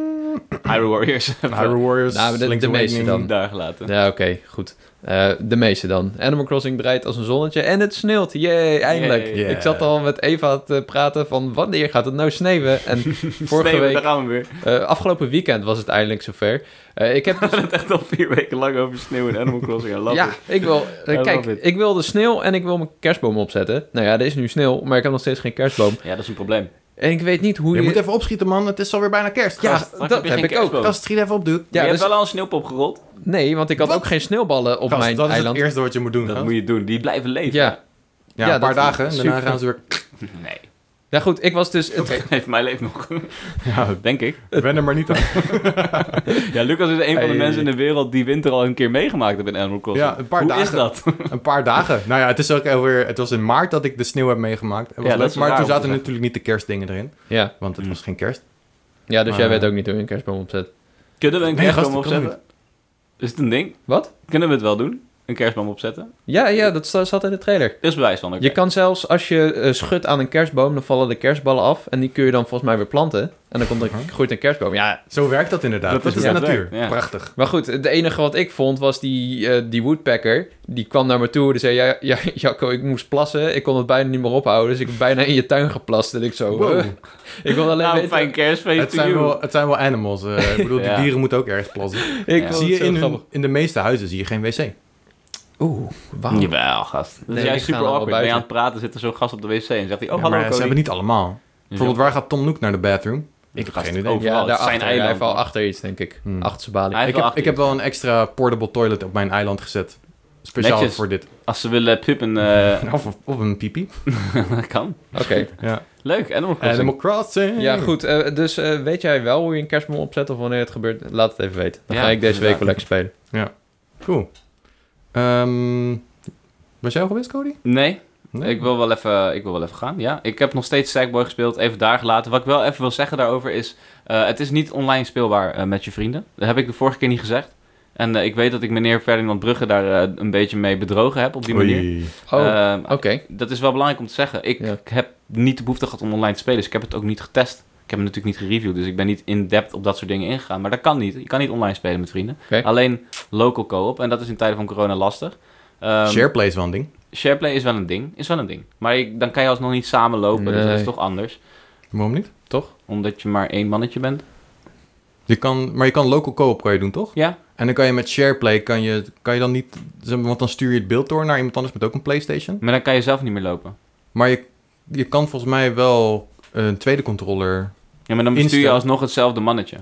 Iron Warriors. Hyrule Warriors, Nou, de- Link's de meeste Awakening. dan. Daar gelaten. ja oké, goed. Eh, de meeste dan. Animal Crossing draait als een zonnetje en het sneeuwt. Jee, eindelijk. Yay. Yeah. Ik zat al met Eva te praten van wanneer gaat het nou sneeuwen? En vorige Steven, week, Daar gaan we weer. eh, afgelopen weekend was het eindelijk zover. Eh, ik heb dus- We hadden het echt al vier weken lang over sneeuw en Animal Crossing. I love ja, it. ik wil. eh, I love kijk, it. ik wil de sneeuw en ik wil mijn kerstboom opzetten. Nou ja, er is nu sneeuw, maar ik heb nog steeds geen kerstboom. Ja, dat is een probleem. En ik weet niet hoe Je je. moet even opschieten, man. Het is alweer bijna kerst. ja, Gast, Straks dat je heb geen ik ook. kerstboom. gast schiet even op, dude. je Ja, hebt dus, wel al een sneeuwpop gerold. nee, want ik had Wat? ook geen sneeuwballen op Gast, mijn dat is eiland. het eerste wat je moet doen. Dat gast. moet je doen. Die blijven leven. ja. ja, Ja, een paar dat- dagen. en Daarna super. gaan ze weer... Nee. Nou goed, ik was dus. Dat heeft mijn leven nog. Ja, Denk ik. wen er maar niet aan. Ja, Lucas is een van de Hey. mensen in de wereld die winter al een keer meegemaakt heeft in Animal Crossing. Ja, een paar Hoe dagen. is dat? Een paar dagen. Nou ja, het is ook alweer... Het was in maart dat ik de sneeuw heb meegemaakt. Het was Ja, dat leuk, is maar raar toen om te zaten zeggen. natuurlijk niet de kerstdingen erin. Ja, Want het Hmm. was geen kerst. ja dus Maar- jij weet ook niet hoe je een kerstboom opzet. Kunnen we een Nee, kerstboom gast, dat kan opzetten? Is het een ding? Wat? Kunnen we het wel doen? een kerstboom opzetten. Ja, ja, dat sta- zat in de trailer. Dus bewijs van, oké. Je kan zelfs, als je eh, schudt aan een kerstboom, dan vallen de kerstballen af. En die kun je dan volgens mij weer planten. En dan komt er, Mhm. groeit een kerstboom. Ja, Zo werkt dat inderdaad. Dat Dat is is dus de hoe dat natuur. werkt, ja. Prachtig. maar goed, het enige wat ik vond was die, eh, die woodpecker. Die kwam naar me toe en zei, ja, ja, Jacco, ik moest plassen. Ik kon het bijna niet meer ophouden, dus ik heb bijna in je tuin geplast. En ik zo, Wow. eh, ik wil alleen Nou, weten... fijn kerstfeest Het Oh, to zijn, you. wel, het zijn wel animals. eh, ik bedoel, Ja. die dieren moeten ook ergens plassen. Ik Ja. vond Zie je het zo in, hun- grappig. in de meeste huizen zie je geen wc. Oeh, wauw. Jawel, gast. Dat Nee, die is juist gaan super awkward. allemaal Ben je aan buiten. het praten, zit er zo'n gast op de wc en zegt hij... Oh, Ja, hallo, maar ze Cody. hebben niet allemaal. Bijvoorbeeld, waar gaat Tom Nook naar de bathroom? Ik heb Gast, geen idee. overal. Ja, het daarachter. zijn Hij eilanden. heeft al achter iets, denk ik. Hmm. Achter zijn balie. Hij heeft Ik wel heb, achter ik heb iets. wel een extra portable toilet op mijn eiland gezet. Speciaal Netjes. voor dit. Als ze willen pippen, eh Of, of een pipi. kan. Oké. Ja. Leuk, Animal Crossing. Animal Crossing. Ja, goed. eh, dus eh, weet jij wel hoe je een kerstboom opzet of wanneer het gebeurt? Laat het even weten. Dan Ja, ga ik deze week inderdaad. wel lekker spelen. Cool. Ehm, was jij al geweest, Cody? Nee, Nee? Ik, wil wel even, ik wil wel even gaan, ja. Ik heb nog steeds Sackboy gespeeld, even daar gelaten. Wat ik wel even wil zeggen daarover is... eh, het is niet online speelbaar eh, met je vrienden. Dat heb ik de vorige keer niet gezegd. En eh, ik weet dat ik meneer Ferdinand Brugge daar eh, een beetje mee bedrogen heb op die manier. Oei. Oh, Ehm, oké. dat is wel belangrijk om te zeggen. Ik Ja. heb niet de behoefte gehad om online te spelen, dus ik heb het ook niet getest. Ik heb hem natuurlijk niet gereviewd, dus ik ben niet in-depth op dat soort dingen ingegaan. Maar dat kan niet. Je kan niet online spelen met vrienden. Oké. Alleen local co-op, en dat is in tijden van corona lastig. Ehm, Shareplay is wel een ding. Shareplay is wel een ding, is wel een ding. Maar je- dan kan je alsnog niet samen lopen, dus dat is Nee. toch anders. Waarom niet? Toch? Omdat je maar één mannetje bent. Je kan, maar je kan local co-op kan je doen, toch? Ja, En dan kan je met SharePlay, kan je, kan je dan niet... zeg maar, Want dan stuur je het beeld door naar iemand anders met ook een PlayStation. maar dan kan je zelf niet meer lopen. Maar je, je kan volgens mij wel een tweede controller... Ja, maar dan bestuur je Instel. alsnog hetzelfde mannetje.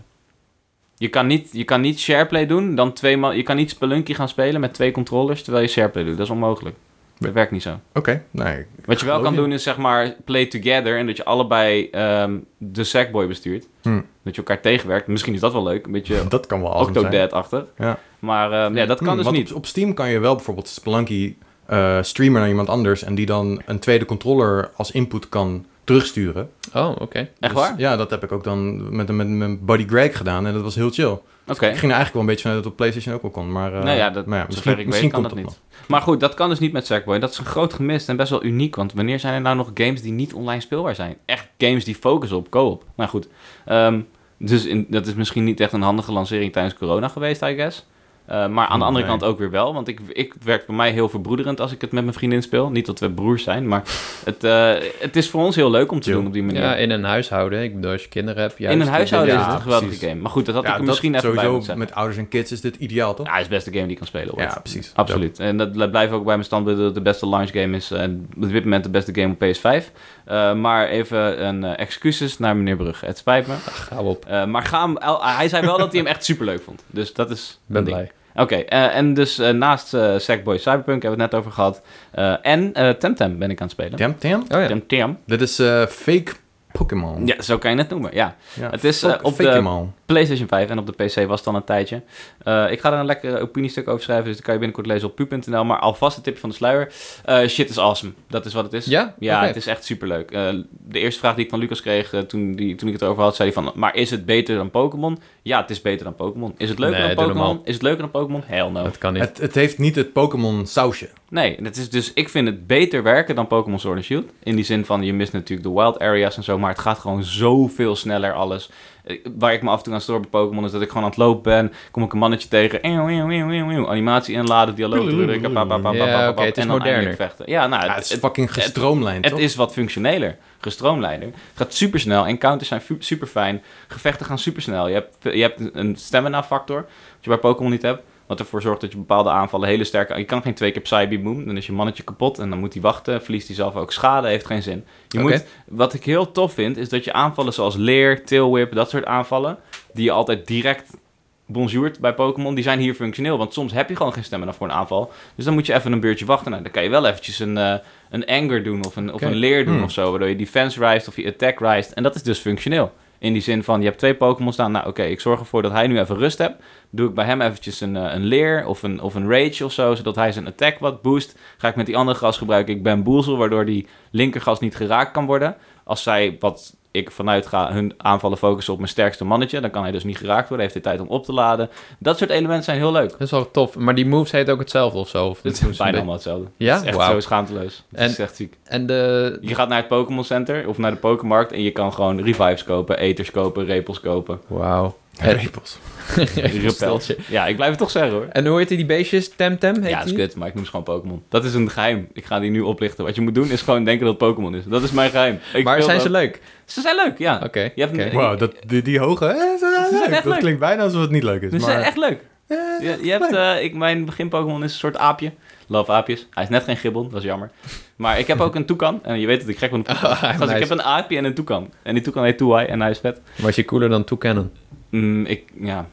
Je kan niet, je kan niet shareplay doen, dan twee man, je kan niet Spelunky gaan spelen met twee controllers terwijl je shareplay doet. Dat is onmogelijk. Dat werkt niet zo. Oké, nee. Wat je wel Geloof kan je? doen is zeg maar play together en dat je allebei ehm, de Sackboy bestuurt. Hm. Dat je elkaar tegenwerkt. Misschien is dat wel leuk, een beetje Dat kan wel awesome zijn. Octodad-achtig. Ja. Maar ehm, ja, dat kan Hmm, dus want niet. Op, op Steam kan je wel bijvoorbeeld Spelunky eh streamen naar iemand anders... en die dan een tweede controller als input kan terugsturen. Oh, oké. Echt Dus waar? Ja, dat heb ik ook dan met, met mijn buddy Greg gedaan en dat was heel chill. Dus Oké. Ik ging er eigenlijk wel een beetje vanuit dat het op PlayStation ook wel kon, maar... eh, nou ja, dat, maar zover ik weet kan dat komt niet. Maar goed, dat kan dus niet met Sackboy. Dat is een groot gemist en best wel uniek. Want wanneer zijn er nou nog games die niet online speelbaar zijn? Echt games die focussen op co-op. Maar goed, ehm, dus in, dat is misschien niet echt een handige lancering tijdens corona geweest, I guess. Eh, maar aan de andere Nee. kant ook weer wel. Want ik, ik het werkt bij mij heel verbroederend als ik het met mijn vriendin speel. Niet dat we broers zijn, maar het, eh, het is voor ons heel leuk om te Chill. doen op die manier. Ja, in een huishouden. Ik bedoel, als je kinderen hebt. in juist, een huishouden dit- is het een geweldige precies. game. Maar goed, dat had Ja, ik er dat misschien even bij moeten sowieso zeggen. met ouders en kids is dit ideaal, toch? Ja, het is best de game die ik kan spelen. hoor. Ja, precies. Absoluut. En dat bl- blijft ook bij mijn standpunt dat het de beste launch game is. eh, En op dit moment de beste game op PS5. Eh, maar even een eh, excuses naar meneer Brugge. Het spijt me. Ga "Ah, op. Eh, maar ga hem, el- hij zei wel dat hij hem echt superleuk vond. Dus dat is Ben een ding. blij. Oké, eh, en dus eh, naast eh, Sackboy Cyberpunk hebben we het net over gehad. Eh, en eh Temtem ben ik aan het spelen. Damn, damn. Oh ja. Temtem. Dit is eh, fake Pokémon. Ja, zo kan je het noemen. Ja. Ja, Het is, fuck eh, op de- Pokémon. PlayStation 5 en op de PC was het al een tijdje. Eh, ik ga daar een lekker opiniestuk over schrijven, dus dat kan je binnenkort lezen op pu.nl. Maar alvast een tipje van de sluier. Eh, shit is awesome. Dat is wat het is. Ja? Dus- Ja, Oké. het is echt superleuk. Eh de eerste vraag die ik van Lucas kreeg eh, toen, die, toen ik het erover had, zei hij van... Maar is het beter dan Pokémon? Ja, het is beter dan Pokémon. Is het leuker Nee, dan doe Pokémon? normaal. Is het leuker dan Pokémon? Hell no. Dat kan niet. Het, het heeft niet het Pokémon sausje. Nee, en het is dus, ik vind het beter werken dan Pokémon Sword and Shield. In die zin van, je mist natuurlijk de wild areas en zo, maar het gaat gewoon zoveel sneller alles. Eh, Waar ik me af en toe aan stoor bij Pokémon is dat ik gewoon aan het lopen ben, kom ik een mannetje tegen, eeuw, eeuw, eeuw, eeuw, eeuw, animatie inladen, dialoog drukken, pa, pa, pa, pa, Ja, pa, pa, oké, pa, het is en dan moderner. eindelijk vechten. Ja, nou, Ja, het het, is fucking gestroomlijnd, het toch? is wat functioneler, gestroomlijnder. Het gaat supersnel, encounters zijn fu- super fijn, gevechten gaan supersnel. Je hebt, je hebt een- een stamina factor, wat je bij Pokémon niet hebt. Wat ervoor zorgt dat je bepaalde aanvallen hele sterke... Je kan geen twee keer Psybeam doen, dan is je mannetje kapot en dan moet hij wachten. Verliest hij zelf ook schade, heeft geen zin. Je Oké. moet, wat ik heel tof vind, is dat je aanvallen zoals leer, tailwhip, dat soort aanvallen... die je altijd direct bonjourd bij Pokémon, die zijn hier functioneel. Want soms heb je gewoon geen stamina voor een aanval. Dus dan moet je even een beurtje wachten. Nou, dan kan je wel eventjes een, eh, een anger doen of een, of Oké. een leer doen Hmm. of zo. Waardoor je defense rijst of je attack rijst. En dat is dus functioneel. In die zin van, je hebt twee Pokémon staan. Nou, oké, ik zorg ervoor dat hij nu even rust hebt. Doe ik bij hem eventjes een, eh, een leer of een, of een rage of zo. Zodat hij zijn attack wat boost. Ga ik met die andere gas gebruiken. Ik ben boezel, waardoor die linkergas niet geraakt kan worden. Als zij wat ik vanuit ga hun aanvallen focussen op mijn sterkste mannetje. Dan kan hij dus niet geraakt worden. Heeft hij tijd om op te laden. Dat soort elementen zijn heel leuk. Dat is wel tof. Maar die moves heet ook hetzelfde of zo? Of dit Dit doen is ze bijna een beetje- allemaal hetzelfde. Ja? Het is echt Wauw. zo schaamteloos. Het is En- echt ziek. En de... Je gaat naar het Pokémon Center of naar de Pokémarkt en je kan gewoon revives kopen, eters kopen, repels kopen, Wauw. Repels. repels. Ja, ik blijf het toch zeggen hoor. En hoe heet die beestjes? Temtem heet Ja, dat is die? kut, maar ik noem ze gewoon Pokémon. Dat is een geheim. Ik ga die nu oplichten. Wat je moet doen is gewoon denken dat het Pokémon is. Dat is mijn geheim. Ik Maar wil zijn ze dat- leuk? Ze zijn leuk, ja. Oké. Je hebt een- oké. Wow, dat, die, die hoge. eh, dat is zijn leuk. echt Dat leuk. klinkt bijna alsof het niet leuk is. Dus ze maar, zijn echt leuk. eh, Je, je hebt, eh, ik, mijn begin Pokémon is een soort aapje. Love aapjes. Hij is net geen gibbon, dat is jammer. Maar ik heb ook een toekan. En je weet dat ik gek ben op toekans. Ah, Gast, Ik nice. heb een aapje en een toekan. En die toekan heet Toei en hij is vet. Was je cooler dan Toucanon? Mm, ik, ja.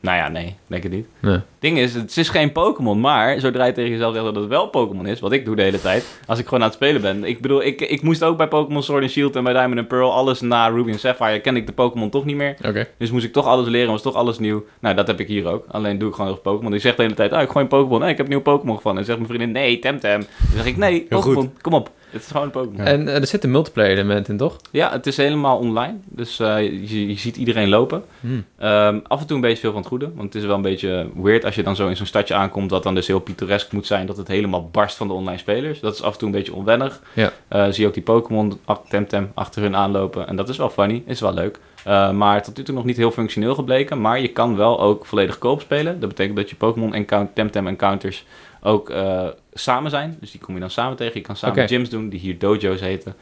Nou ja, nee, denk het niet. Nee. Ding is, het is geen Pokémon, maar zodra je tegen jezelf zegt dat het wel Pokémon is, wat ik doe de hele tijd, als ik gewoon aan het spelen ben. Ik bedoel, ik, ik moest ook bij Pokémon Sword and Shield en bij Diamond and Pearl, alles na Ruby en Sapphire, ken ik de Pokémon toch niet meer. Oké. Dus moest ik toch alles leren, was toch alles nieuw. Nou, dat heb ik hier ook. Alleen doe ik gewoon heel veel Pokémon. Ik zeg de hele tijd, ah, ik gooi een Pokémon. Nee, ik heb een nieuw Pokémon gevonden. En zegt mijn vriendin, nee, Temtem. Dan zeg ik, nee, Heel Pokémon, kom op. Het is gewoon een Pokémon. En eh, er zit een multiplayer element in, toch? Ja, het is helemaal online. Dus eh, je, je ziet iedereen lopen. Hmm. Ehm, af en toe een beetje veel van het goede. Want het is wel een beetje weird als je dan zo in zo'n stadje aankomt... dat dan dus heel pittoresk moet zijn... dat het helemaal barst van de online spelers. Dat is af en toe een beetje onwennig. Ja. Eh, zie je ook die Pokémon ach- Temtem achter hun aanlopen. En dat is wel funny, is wel leuk. Eh, maar tot nu toe nog niet heel functioneel gebleken. Maar je kan wel ook volledig koop spelen. Dat betekent dat je Pokémon encount- Temtem encounters ook eh, samen zijn. Dus die kom je dan samen tegen. Je kan samen Oké. gyms doen, die hier dojo's heten.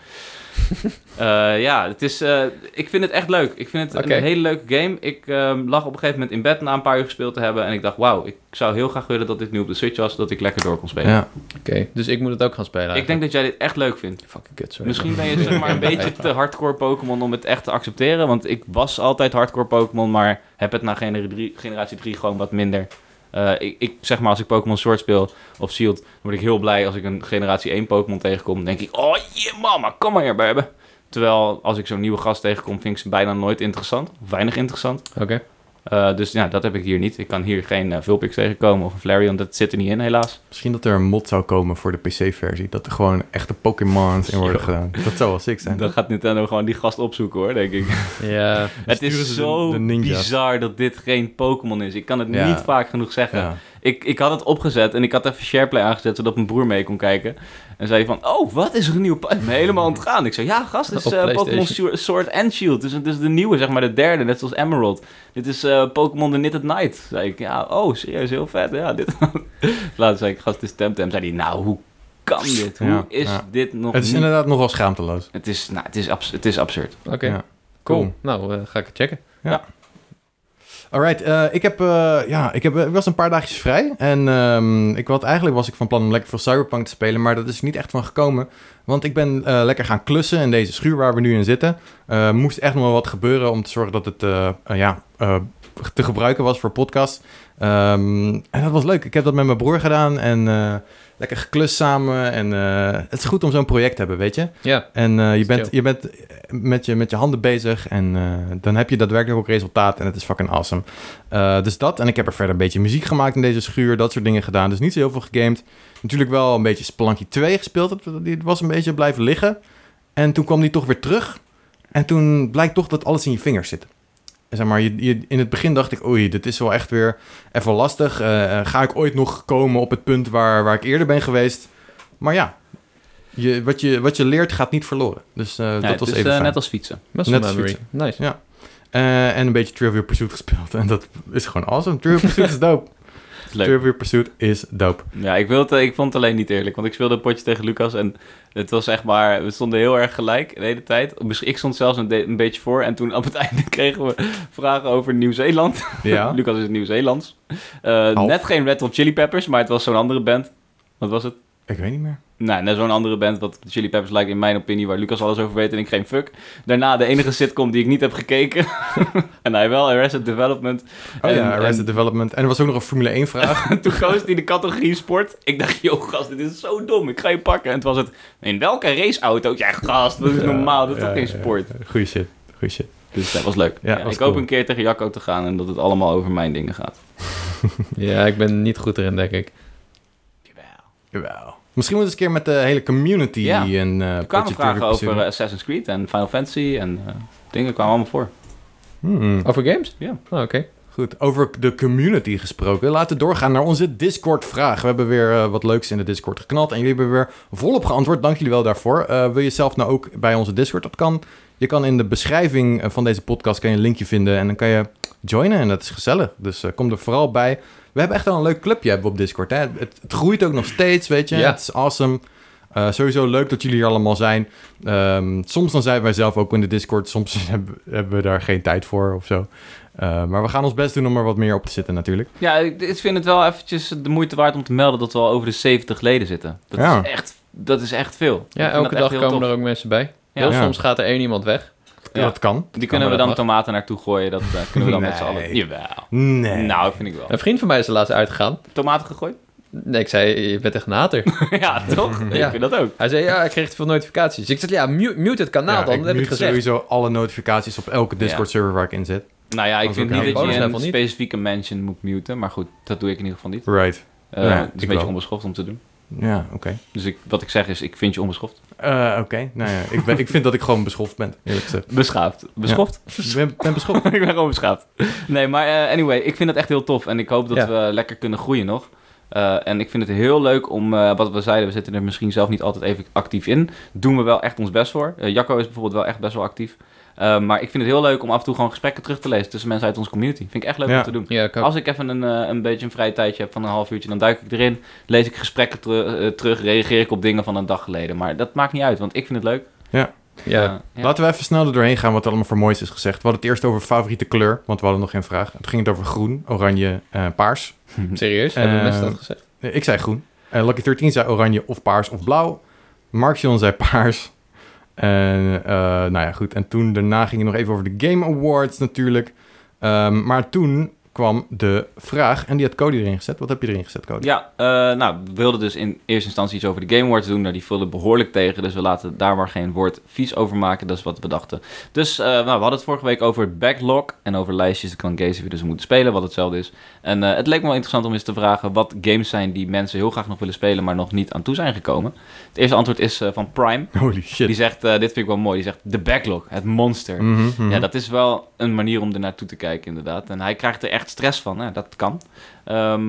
Eh, ja, het is, eh, ik vind het echt leuk. Ik vind het Oké. een hele leuke game. Ik ehm, lag op een gegeven moment in bed na een paar uur gespeeld te hebben. En ik dacht, wauw, ik zou heel graag willen dat dit nu op de Switch was. Dat ik lekker door kon spelen. Ja. Oké. Dus ik moet het ook gaan spelen ik denk dat jij dit echt leuk vindt. Fucking kut, sorry. Misschien ben je zeg maar een beetje te hardcore Pokémon om het echt te accepteren. Want ik was altijd hardcore Pokémon, maar heb het na gener- drie- generatie 3 gewoon wat minder. Eh, ik, ik zeg maar, als ik Pokémon Sword speel of Shield, dan word ik heel blij als ik een generatie 1 Pokémon tegenkom. Dan denk ik, oh je mama, kom maar hier, baby. Terwijl als ik zo'n nieuwe gast tegenkom, vind ik ze bijna nooit interessant. Of Weinig interessant. Oké. Eh, dus ja, dat heb ik hier niet. Ik kan hier geen eh, Vulpix tegenkomen of een Flareon. Dat zit er niet in, helaas. Misschien dat er een mod zou komen voor de PC-versie. Dat er gewoon echte Pokémons in worden gedaan. Dat zou wel sick zijn. Dan gaat Nintendo gewoon die gast opzoeken hoor, denk ik. Ja. Het Sturen is ze zo de ninjas. bizar dat dit geen Pokémon is. Ik kan het Ja. niet vaak genoeg zeggen. Ja. Ik, ik had het opgezet en ik had even SharePlay aangezet, zodat mijn broer mee kon kijken. En zei van, oh, wat is er een nieuw Pokémon? Ik ben helemaal ontgaan. Ik zei, ja, gast, dit is Op eh, Pokémon PlayStation. Swo- Sword and Shield. Dus het is de nieuwe, zeg maar, de derde, net zoals Emerald. Dit is eh, Pokémon The Knitted Knight. Zei ik, ja, oh, serieus, heel vet. Ja, dit. Later zei ik, gast, dit is Temtem. Zei hij, nou, hoe kan dit? Hoe Ja, is ja. dit nog Het is niet? inderdaad nogal schaamteloos. Het is, nou, het is, abs- het is absurd. Oké. Ja. Cool. Cool. Nou, eh, ga ik het checken. Alright, eh, ik, heb, eh, ja, ik, heb, ik was een paar dagjes vrij. En ehm, ik had, eigenlijk was ik van plan om lekker veel Cyberpunk te spelen. Maar dat is niet echt van gekomen. Want ik ben eh, lekker gaan klussen in deze schuur waar we nu in zitten. Eh, moest echt nog wel wat gebeuren om te zorgen dat het eh, eh, ja, eh, te gebruiken was voor podcast. Ehm, en dat was leuk. Ik heb dat met mijn broer gedaan. En eh, lekker geklust samen. En eh, het is goed om zo'n project te hebben, weet je. Ja. En eh, je, Chill. bent, je bent met je, met je handen bezig en eh, dan heb je daadwerkelijk ook resultaat en het is fucking awesome. Eh, dus dat, en ik heb er verder een beetje muziek gemaakt in deze schuur, dat soort dingen gedaan. Dus niet zo heel veel gegamed. Natuurlijk wel een beetje Spelunky 2 gespeeld, dat- die was een beetje blijven liggen. En toen kwam die toch weer terug en toen blijkt toch dat alles in je vingers zit. Zeg maar, je, je- in het begin dacht ik, oei, dit is wel echt weer even lastig. Eh, eh, ga ik ooit nog komen op het punt waar, waar ik eerder ben geweest? Maar ja, je, wat, je, wat je leert gaat niet verloren. Dus eh, Ja, dat het was is even eh, fijn. net als fietsen. Muscle Net als memory. Nice. Ja. Eh, en een beetje Trivial Pursuit gespeeld. En dat is gewoon awesome. Trivial Pursuit is dope. Het is leuk. Trivial Pursuit is dope. Ja, ik, wil het, eh, ik vond het alleen niet eerlijk. Want ik speelde een potje tegen Lucas en het was echt maar... We stonden heel erg gelijk de hele tijd. Misschien, ik stond zelfs een, de- een beetje voor. En toen op het einde kregen we vragen over Nieuw-Zeeland. Ja. Lucas is Nieuw-Zeelands. Eh, Half. net geen Red Hot Chili Peppers, maar het was zo'n andere band. Wat was het? Ik weet niet meer. Nou, net zo'n andere band wat de Chili Peppers lijkt in mijn opinie, waar Lucas alles over weet en ik geen fuck. Daarna de enige sitcom die ik niet heb gekeken. en hij wel, Arrested Development. Oh En- ja, Arrested en- Development. En er was ook nog een Formule 1 vraag. En toen koos hij de categorie sport. Ik dacht, joh gast, dit is zo dom, ik ga je pakken. En toen was het, in welke raceauto? Ja gast, dat is normaal, dat is Ja, toch geen ja, sport? ja. Goeie shit. Goeie shit. Dus dat was leuk. Ja, was ik cool. hoop een keer tegen Jacco te gaan en dat het allemaal over mijn dingen gaat. Ja, ik ben niet goed erin, denk ik. Jawel. Jawel. Misschien moeten we eens een keer met de hele community en Ja. eh Er kwamen Project vragen Verification- over eh, Assassin's Creed en Final Fantasy en eh, dingen kwamen allemaal voor. eh, Hmm. Over games? Ja. Oh, oké. Goed, over de community gesproken. Laten we doorgaan naar onze Discord-vraag. We hebben weer eh, wat leuks in de Discord geknald. En jullie hebben weer volop geantwoord. Dank jullie wel daarvoor. Eh, wil je zelf nou ook bij onze Discord? Dat kan. Je kan in de beschrijving eh, van deze podcast kan je een linkje vinden. En dan kan je joinen. En dat is gezellig. Dus eh, kom er vooral bij. We hebben echt al een leuk clubje hebben we op Discord. Hè? Het, het groeit ook nog steeds, weet je. Ja. Het is awesome. Eh, sowieso leuk dat jullie hier allemaal zijn. Ehm, soms dan zijn wij zelf ook in de Discord. Soms hebben, hebben we daar geen tijd voor of zo. Eh, maar we gaan ons best doen om er wat meer op te zitten natuurlijk. Ja, ik ik vind het wel eventjes de moeite waard om te melden dat we al over de 70 leden zitten. Dat, Ja. is, echt, dat is echt veel. Ik Ja, vind elke dat echt dag heel komen tof. er ook mensen bij. Ja. Heel Ja. soms gaat er één iemand weg. Ja. Dat kan. Die kunnen we dat dan mag. tomaten naartoe gooien. Dat eh, kunnen we dan met z'n Nee. allen. Jawel. Nee. Nou, vind ik wel. Een vriend van mij is er laatst uitgegaan. Tomaten gegooid? Nee, ik zei, je bent echt een hater. ja, toch? Ja. Ik vind dat ook. Hij zei, ja, ik kreeg te veel notificaties. Ik zei, ja, mute, mute het kanaal nou, Ja, dan, ik dat heb ik mute gezegd. sowieso alle notificaties op elke Discord-server waar ik in zit. Nou ja, ik Als vind ook aan niet dat je bonuslevel een niet. specifieke mention moet muten. Maar goed, dat doe ik in ieder geval niet. Right. Eh, Ja, ik het is een wel. beetje onbeschoft om te doen. Ja, oké. Dus ik, wat ik zeg is, ik vind je onbeschoft. Eh, oké. Nou ja, ik, ben, ik vind dat ik gewoon beschoft ben, eerlijk gezegd. Beschaafd. Beschoft? Ik ben, ben beschoft. ik ben gewoon beschaafd. Nee, maar eh, anyway, ik vind het echt heel tof. En ik hoop dat Ja. we lekker kunnen groeien nog. Eh, en ik vind het heel leuk om, eh, wat we zeiden, we zitten er misschien zelf niet altijd even actief in. Doen we wel echt ons best voor. Eh, Jacco is bijvoorbeeld wel echt best wel actief. Eh, maar ik vind het heel leuk om af en toe gewoon gesprekken terug te lezen tussen mensen uit onze community. Vind ik echt leuk Ja. om te doen. Ja, ik ook. Als ik even een, eh, een beetje een vrij tijdje heb van een half uurtje, dan duik ik erin. Lees ik gesprekken teru- eh, terug, reageer ik op dingen van een dag geleden. Maar dat maakt niet uit, want ik vind het leuk. Ja. Eh, ja. Laten we even snel er doorheen gaan wat er allemaal voor moois is gezegd. We hadden het eerst over favoriete kleur, want we hadden nog geen vraag. Het ging het over groen, oranje, eh, paars. Hm. Serieus? Eh, Hebben mensen dat gezegd? Nee, ik zei groen. Eh, Lucky 13 zei oranje of paars of blauw. Mark John zei paars. En eh, nou ja, goed. En toen daarna ging het nog even over de Game Awards natuurlijk. Ehm, maar toen kwam de vraag en die had Cody erin gezet. Wat heb je erin gezet, Cody? Ja, eh, nou, we wilden dus in eerste instantie iets over de Game Awards doen. Nou, die vullen behoorlijk tegen, dus we laten daar maar geen woord vies over maken. Dat is wat we dachten. Dus eh, nou, we hadden het vorige week over het backlog en over lijstjes. Ik kan games die we dus moeten spelen, wat hetzelfde is. En eh, het leek me wel interessant om eens te vragen wat games zijn die mensen heel graag nog willen spelen, maar nog niet aan toe zijn gekomen. Het eerste antwoord is eh, van Prime. Holy shit. Die zegt, eh, dit vind ik wel mooi, die zegt de backlog, het monster. Mhm, mhm. Ja, dat is wel een manier om er naartoe te kijken, inderdaad. En hij krijgt er echt stress van, hè? dat kan. Ehm,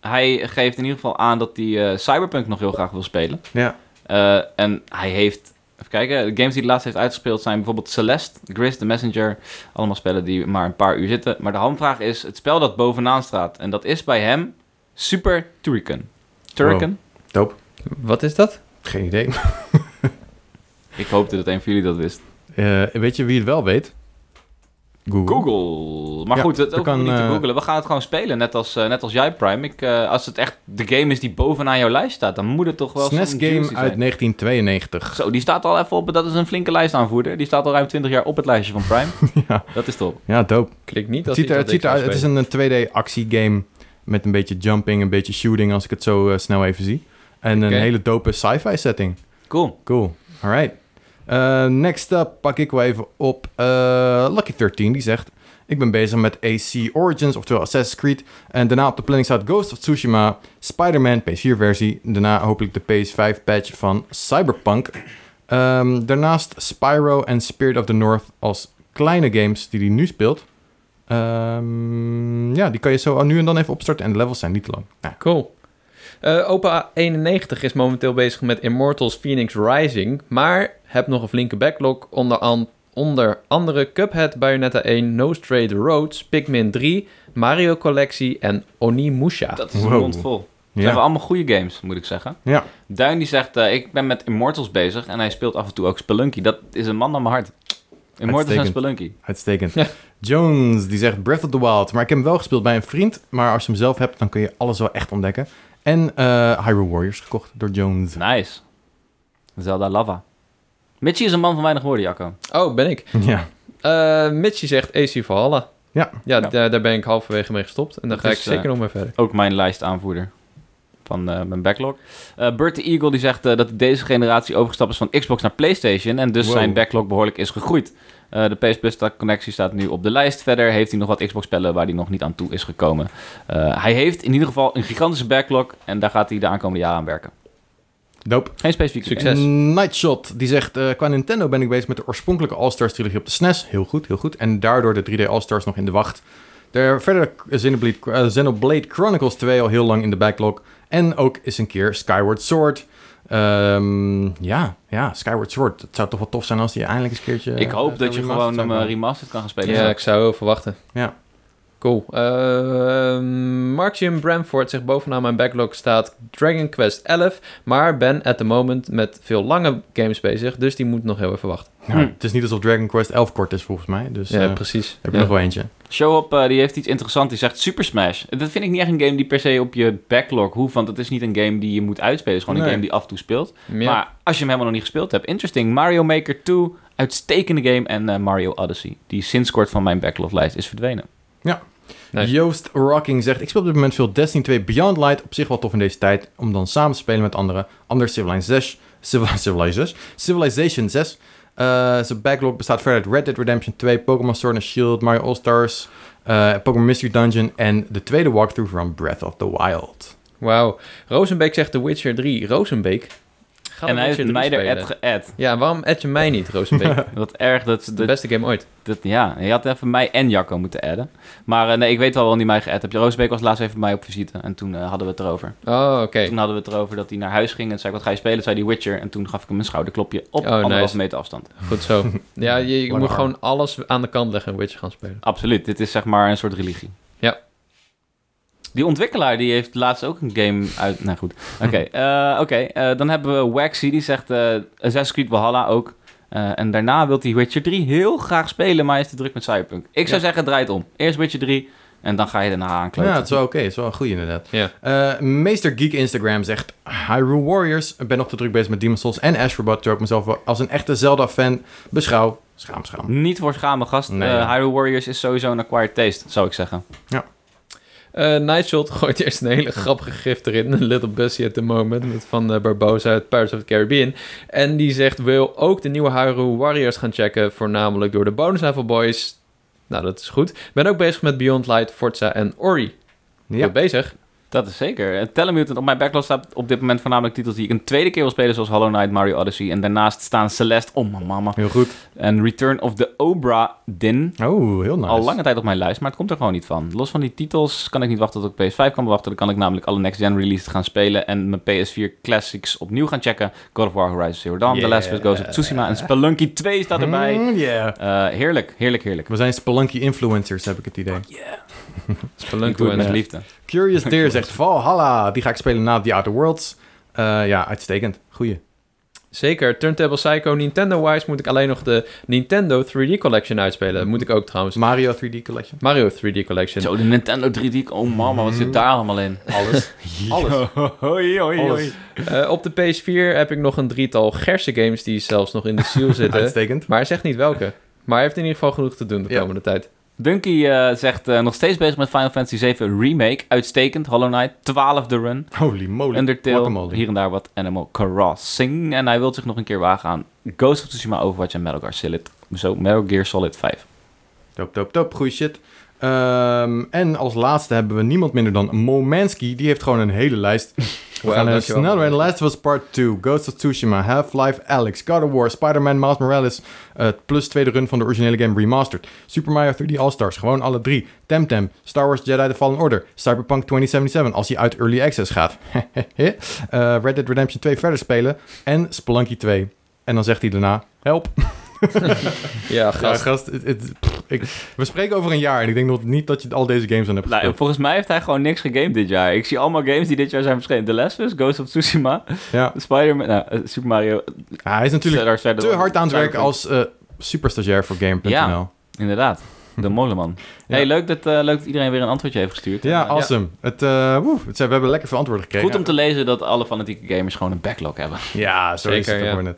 hij geeft in ieder geval aan dat hij eh, Cyberpunk nog heel graag wil spelen. Ja. Eh, en hij heeft, even kijken, de games die hij laatst heeft uitgespeeld zijn bijvoorbeeld Celeste, Gris, The Messenger. Allemaal spellen die maar een paar uur zitten. Maar de hamvraag is het spel dat bovenaan staat. En dat is bij hem Super Turrican. Turrican? Dope. Wat is dat? Geen idee. Ik hoopte dat een van jullie dat wist. Eh, weet je wie het wel weet? Google. Google. Maar Ja, goed, dat we hoeven we kan, niet te eh, googlen. We gaan het gewoon spelen, net als, eh, net als jij, Prime. Ik, eh, als het echt de game is die bovenaan jouw lijst staat, dan moet het toch wel SNES zo'n game juicy uit zijn. 1992. Zo, die staat al even op. Dat is een flinke lijstaanvoerder. Die staat al ruim 20 jaar op het lijstje van Prime. Ja. Dat is top. Ja, dope. Klinkt niet Het, als ziet er, iets het, wat ik ziet zou eruit- het is spelen. een 2D-actiegame met een beetje jumping, een beetje shooting, als ik het zo eh, snel even zie. En Oké. een hele dope sci-fi setting. Cool. Cool. Alright. Eh, next up pak ik wel even op eh, Lucky 13. Die zegt: Ik ben bezig met AC Origins, oftewel Assassin's Creed. En daarna op de planning staat Ghost of Tsushima, Spider-Man PS4-versie. Daarna hopelijk de PS5-patch van Cyberpunk. Ehm, daarnaast Spyro en Spirit of the North als kleine games die hij nu speelt. Ehm, ja, die kan je zo nu en dan even opstarten. En de levels zijn niet te lang. Nou, Cool. Eh, Opa 91 is momenteel bezig met Immortals Phoenix Rising, maar heb nog een flinke backlog onder, an- onder andere Cuphead, Bayonetta 1, No Straight Roads, Pikmin 3, Mario Collectie en Onimusha. Dat is een Ah, Wow. mond vol. ja. We hebben allemaal goede games, moet ik zeggen. Ja. Duin die zegt, eh, ik ben met Immortals bezig. En hij speelt af en toe ook Spelunky. Dat is een man naar mijn hart. Immortals en Uitstekend. Spelunky. Uitstekend. Ja. Jones, die zegt Breath of the Wild. Maar ik heb hem wel gespeeld bij een vriend. Maar als je hem zelf hebt, dan kun je alles wel echt ontdekken. En eh Hyrule Warriors, gekocht door Jones. Nice. Zelda Lava. Mitchie is een man van weinig woorden, Jacco. Oh, ben ik. Ja. Eh Mitchie zegt AC Valhalla. Ja. Ja, Ja. Daar, daar ben ik halverwege mee gestopt en daar Dat ga ik is, zeker eh, nog mee verder. Ook mijn lijst aanvoerder van eh, mijn backlog. Eh Bert de Eagle die zegt eh, dat deze generatie overgestapt is van Xbox naar PlayStation. En dus Wow. zijn backlog behoorlijk is gegroeid. Eh, de PS Plus connectie staat nu op de lijst. Verder heeft hij nog wat Xbox-spellen waar hij nog niet aan toe is gekomen. Eh, hij heeft in ieder geval een gigantische backlog. En daar gaat hij de aankomende jaren aan werken. Dope. Geen specifiek Succes. En Nightshot, die zegt... eh, qua Nintendo ben ik bezig met de oorspronkelijke All-Stars trilogie op de SNES. Heel goed, heel goed. En daardoor de 3D All-Stars nog in de wacht. Er, verder eh, Xenoblade, eh, Xenoblade Chronicles 2 al heel lang in de backlog. En ook eens een keer Skyward Sword. Ehm, ja, ja, Skyward Sword. Het zou toch wel tof zijn als die eindelijk eens een keertje... Ik hoop eh, dat je remastered gewoon zou hem eh, komen. remastered kan gaan spelen. Ja, ik zou heel veel wachten. Ja. Cool. Eh, Mark Jim Bramford zegt bovenaan mijn backlog staat Dragon Quest 11, maar ben at the moment met veel lange games bezig, dus die moet nog heel even wachten. Nou, Hm. Het is niet alsof Dragon Quest 11 kort is volgens mij. Dus ja, eh, precies. heb je Ja. nog wel eentje. Showup eh, die heeft iets interessants. Die zegt Super Smash. Dat vind ik niet echt een game die per se op je backlog hoeft. Want het is niet een game die je moet uitspelen. Het is gewoon Nee. een game die af en toe speelt. Ja. Maar als je hem helemaal nog niet gespeeld hebt. Interesting. Mario Maker 2. Uitstekende game. En eh, Mario Odyssey. Die sinds kort van mijn backloglijst is verdwenen. Nice. Joost Rocking zegt... Ik speel op dit moment veel Destiny 2 Beyond Light. Op zich wel tof in deze tijd. Om dan samen te spelen met anderen. Anders Civilization 6. Civil- Civilization 6. Civilization 6. Eh, zijn backlog bestaat verder uit Red Dead Redemption 2, Pokémon Sword and Shield, Mario All-Stars, eh, Pokémon Mystery Dungeon en de tweede walkthrough van Breath of the Wild. Wauw. Rosenbeek zegt The Witcher 3. Rosenbeek? Ga en The hij Witcher heeft 3 mij spelen. er ad geadd. Ja, waarom add je mij niet, Rosenbeek? Dat Wat erg dat... is de dat- beste game ooit. Dat, ja, je had even mij en Jacco moeten adden. Maar eh, nee, ik weet wel waarom hij mij geadd hebt. Roosbeek was laatst even bij mij op visite en toen eh, hadden we het erover. Oh, oké. Toen hadden we het erover dat hij naar huis ging en toen zei ik, wat ga je spelen? Toen zei hij Witcher en toen gaf ik hem een schouderklopje op Oh, anderhalf nice. meter afstand. Goed zo. Ja, je, je Lange moet arm. gewoon alles aan de kant leggen en Witcher gaan spelen. Absoluut, dit is zeg maar een soort religie. Ja. Die ontwikkelaar die heeft laatst ook een game uit... Nou goed, oké. eh, oké, eh, dan hebben we Waxy, die zegt eh Assassin's Creed Valhalla ook. Eh, en daarna wil hij Witcher 3 heel graag spelen, maar hij is te druk met Cyberpunk. Ik zou Ja. zeggen, draai het om. Eerst Witcher 3 en dan ga je daarna aankloppen. Ja, het is wel oké. Het is wel een goeie inderdaad. Ja. Eh, Meester Geek Instagram zegt... Hyrule Warriors. Ik ben nog te druk bezig met Demon's Souls en Ash Robot. Terwijl ik mezelf wel als een echte Zelda-fan beschouw. Schaam, schaam. Niet voor schamen, gast. Nee. Eh, Hyrule Warriors is sowieso een acquired taste, zou ik zeggen. Eh Nightshot gooit eerst een hele grappige gif erin. Een little busy at the moment. Met van eh, Barbosa uit Pirates of the Caribbean. En die zegt, wil ook de nieuwe Hyrule Warriors gaan checken. Voornamelijk door de bonus level boys. Nou, dat is goed. Ben ook bezig met Beyond Light, Forza en Ori. Ja. Goed bezig. Dat is zeker. Eh, Telemutant op mijn backlog staat op dit moment voornamelijk titels die ik een tweede keer wil spelen, zoals Hollow Knight, Mario Odyssey. En daarnaast staan Celeste, oh mijn mama, Heel goed. en Return of the Obra Dinn. Oh, heel nice. Al lange tijd op mijn lijst, maar het komt er gewoon niet van. Los van die titels kan ik niet wachten tot ik PS5 kan wachten. Dan kan ik namelijk alle next-gen releases gaan spelen en mijn PS4 classics opnieuw gaan checken. God of War Horizon Zero Dawn, The Last of Us Ghost of Tsushima en Spelunky 2 staat erbij. Mm, yeah. Eh, heerlijk, heerlijk, heerlijk. We zijn Spelunky influencers, heb ik het idee. Ik doe Spelunky het met en... liefde. Curious Deer zegt Valhalla. Die ga ik spelen na The Outer Worlds. Eh, ja, uitstekend. Goeie. Zeker, Turntable Psycho, Nintendo-wise moet ik alleen nog de Nintendo 3D Collection uitspelen. Moet ik ook trouwens. Mario 3D Collection. Mario 3D Collection. Zo, de Nintendo 3D. Oh mama, wat zit daar allemaal in? Alles. Alles. Hoi, hoi, Alles. Eh, op de PS4 heb ik nog een drietal Gerse games die zelfs nog in de ziel zitten. Uitstekend. Maar hij zegt niet welke. Maar hij heeft in ieder geval genoeg te doen de Ja. komende tijd. Dunky eh, zegt eh, nog steeds bezig met Final Fantasy 7 Remake. Uitstekend. Hollow Knight, 12 de run. Holy moly. Undertale, Guacamole. hier en daar wat Animal Crossing. En hij wil zich nog een keer wagen aan Ghost of Tsushima Overwatch en Metal Gear Solid, zo, Metal Gear Solid 5. Top, top, top. Goeie shit. Ehm, en als laatste hebben we niemand minder dan Momansky. Die heeft gewoon een hele lijst. We Wauw, gaan er dankjewel. snel doorheen. Last of Us Part 2, Ghost of Tsushima, Half-Life Alex, God of War, Spider-Man, Miles Morales, eh, plus tweede run van de originele game Remastered, Super Mario 3D All-Stars, gewoon alle drie, Temtem, Star Wars Jedi The Fallen Order, Cyberpunk 2077 als hij uit Early Access gaat, Eh, Red Dead Redemption 2 verder spelen en Spelunky 2. En dan zegt hij daarna, help. Ja, Ja, gast. gast, het, het- pff, ik, we spreken over een jaar en ik denk nog niet dat je al deze games aan hebt Nou, gespeeld. volgens mij heeft hij gewoon niks gegamed dit jaar. Ik zie allemaal games die dit jaar zijn verschenen. The Last of Us, Ghost of Tsushima, ja. Spider-Man, nou, eh, Super Mario. Ja, hij is natuurlijk Zelda- Zelda- te hard aan het werken Cyberpunk. als eh superstagiair voor Game.nl. Ja. Inderdaad, de moleman. Hey, leuk dat, eh, leuk dat iedereen weer een antwoordje heeft gestuurd. Ja, En, eh, awesome. Het, eh, woe, het zijn, we hebben lekker veel antwoorden gekregen. Goed om te lezen dat alle fanatieke gamers gewoon een backlog hebben. Ja, zo is Zeker, het ook ja. maar net.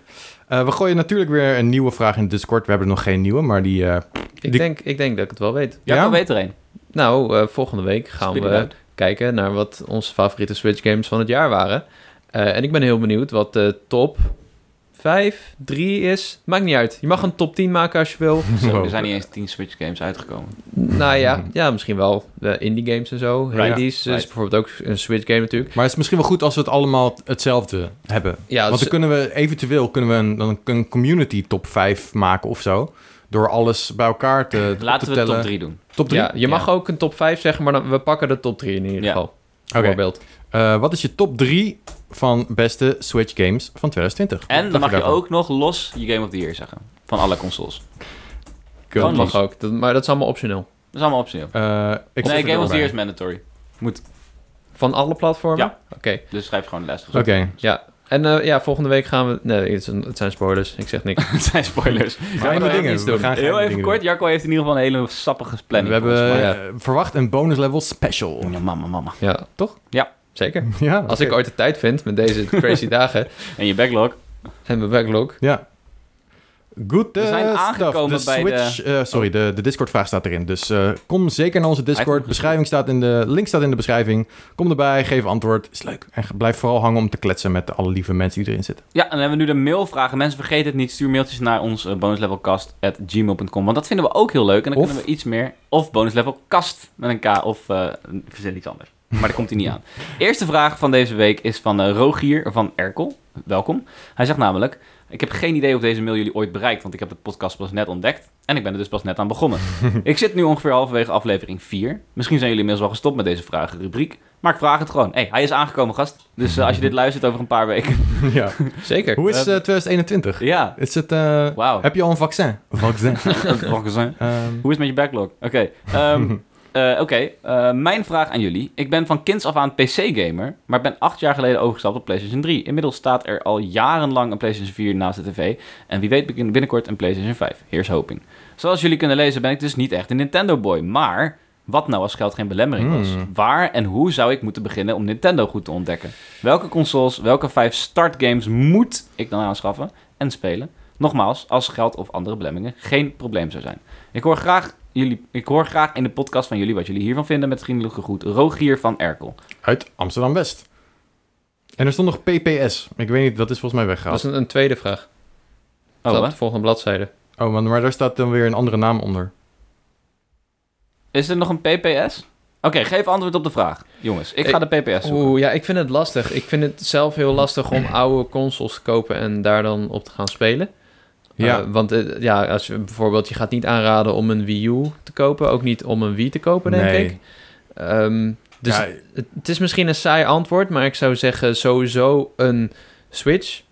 Eh, we gooien natuurlijk weer een nieuwe vraag in Discord. We hebben nog geen nieuwe, maar die... eh, Ik, Die- denk, ik denk dat ik het wel weet. Ja, Ja? kan beter een. Nou, eh, volgende week gaan Spit it we out. kijken naar wat onze favoriete Switch games van het jaar waren. Eh, en ik ben heel benieuwd wat de top vijf, drie is. Maakt niet uit. Je mag een top 10 maken als je wil. Zo, Wow. er zijn niet eens 10 Switch games uitgekomen. nou ja, ja, misschien wel. De indie games en zo. Right. Hades is Right. bijvoorbeeld ook een Switch game natuurlijk. Maar het is misschien wel goed als we het allemaal hetzelfde hebben. Ja, Want dus- dan kunnen we eventueel kunnen we een, dan een community top 5 maken of zo. Door alles bij elkaar te, Laten te we de tellen. top 3 doen. Top drie? Ja, je mag Ja. ook een top 5 zeggen, maar dan, we pakken de top 3 in ieder Ja. geval. Oké. Bijvoorbeeld. Eh, wat is je top 3 van beste Switch games van 2020? En dan Wat mag dacht je daarvan? ook nog los je Game of the Year zeggen. Van alle consoles. Cool. Dat Kan mag ook. Dat, maar dat is allemaal optioneel. Dat is allemaal optioneel. Eh, ik zet het nee, Game of the erbij. Year is mandatory. Van alle platformen? Ja. Oké. Dus schrijf gewoon de lijst. Oké. Ja. En eh, ja, volgende week gaan we... Nee, het, is een- het zijn spoilers. Ik zeg niks. Het zijn spoilers. Geheime we gaan dingen. iets We doen. gaan geheime Heel even dingen kort, doen. Jacco heeft in ieder geval een hele sappige planning. We hebben volgens mij. eh, verwacht een bonus level special. mij. Ja, mama, mama. Ja. Toch? Ja. Zeker. Ja, Als ik oké. ooit de tijd vind met deze crazy dagen En je backlog. en mijn backlog. Ja. Good We zijn eh, aangekomen stuff. bij de- Switch, eh, sorry, de, de Discord-vraag staat erin. Dus eh, kom zeker naar onze Hij heeft Discord. hem Beschrijving staat in de, link staat in de beschrijving. Kom erbij, geef antwoord. Is leuk. En ge- blijf vooral hangen om te kletsen met alle lieve mensen die erin zitten. Ja, en dan hebben we nu de mailvragen. Mensen, vergeet het niet. Stuur mailtjes naar ons eh, bonuslevelcast.gmail.com. Want dat vinden we ook heel leuk. En dan Of- kunnen we iets meer. Of bonuslevelcast met een K. Of eh, ik verzin iets anders. Maar daar komt hij niet aan. Eerste vraag van deze week is van eh, Rogier van Erkel. Welkom. Hij zegt namelijk... Ik heb geen idee of deze mail jullie ooit bereikt, want ik heb de podcast pas net ontdekt. En ik ben er dus pas net aan begonnen. ik zit nu ongeveer halverwege aflevering 4. Misschien zijn jullie inmiddels wel gestopt met deze vragenrubriek. Maar ik vraag het gewoon. hey, hij is aangekomen, gast. Dus eh, als je dit luistert over een paar weken. ja. Zeker. Hoe is eh, hebben- 2021? ja, Is het, eh, Wauw. Heb je al een vaccin? Vaccin. Ehm, Hoe is het met je backlog? Oké. ehm, eh, Oké, eh, mijn vraag aan jullie. Ik ben van kinds af aan PC-gamer, maar ben acht jaar geleden overgestapt op PlayStation 3. Inmiddels staat er al jarenlang een PlayStation 4 naast de tv. En wie weet begin- binnenkort een PlayStation 5. Here's hoping. Zoals jullie kunnen lezen ben ik dus niet echt een Nintendo-boy. Maar wat nou als geld geen belemmering was? Mm. Waar en hoe zou ik moeten beginnen om Nintendo goed te ontdekken? Welke consoles, welke vijf startgames moet ik dan aanschaffen en spelen? Nogmaals, als geld of andere belemmeringen geen probleem zou zijn. Ik hoor graag, jullie, ik hoor graag in de podcast van jullie wat jullie hiervan vinden. Met vriendelijke groet, Rogier van Erkel. uit Amsterdam-West. En er stond nog PPS. Ik weet niet, dat is volgens mij Dat weggehaald. is een, een tweede vraag. Oh, Staat op wat? de volgende bladzijde. Oh, maar, maar daar staat dan weer een andere naam onder. Is er nog een PPS? Oké, geef antwoord op de vraag. Jongens, ik ga de PPS zoeken. Oeh, ja, ik vind het lastig. Ik vind het zelf heel lastig om oude consoles te kopen en daar dan op te gaan spelen. Ja. Eh, want eh, ja, als je bijvoorbeeld, je gaat niet aanraden om een Wii U te kopen. Ook niet om een Wii te kopen, denk Nee. ik. Ehm, dus Ja, het, het is misschien een saai antwoord, maar ik zou zeggen sowieso een Switch.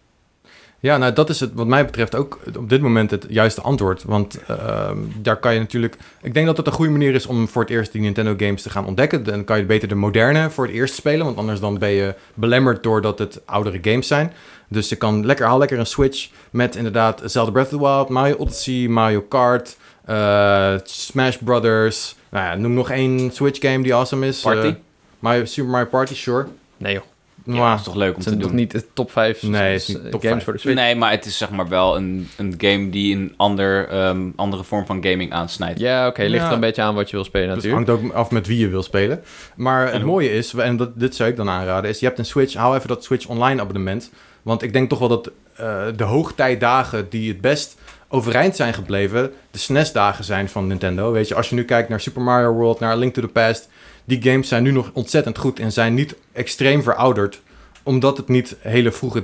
Ja, nou dat is het wat mij betreft ook op dit moment het juiste antwoord. Want ehm, daar kan je natuurlijk... Ik denk dat het een goede manier is om voor het eerst die Nintendo games te gaan ontdekken. Dan kan je beter de moderne voor het eerst spelen. Want anders dan ben je belemmerd doordat het oudere games zijn. Dus je kan lekker, haal lekker een Switch met inderdaad Zelda Breath of the Wild, Mario Odyssey, Mario Kart, eh, Smash Brothers. Nou ja, noem nog één Switch game die awesome is. Party? Eh, Mario, Super Mario Party, sure. Nee joh, ja, Mwah. dat is toch leuk om het te zijn toch doen? niet de top 5 Nee, het is niet top games vijf. voor de Switch? Nee, maar het is zeg maar wel een, een game die een ander, ehm, andere vorm van gaming aansnijdt. Ja, oké, ligt Ja. er een beetje aan wat je wil spelen Dus natuurlijk. het hangt ook af met wie je wil spelen. Maar het hoe. mooie is, en dat, dit zou ik dan aanraden, is je hebt een Switch, hou even dat Switch online abonnement. Want ik denk toch wel dat eh, de hoogtijdagen die het best overeind zijn gebleven, de SNES-dagen zijn van Nintendo. Weet je, als je nu kijkt naar Super Mario World, naar A Link to the Past, die games zijn nu nog ontzettend goed en zijn niet extreem verouderd, omdat het niet hele vroege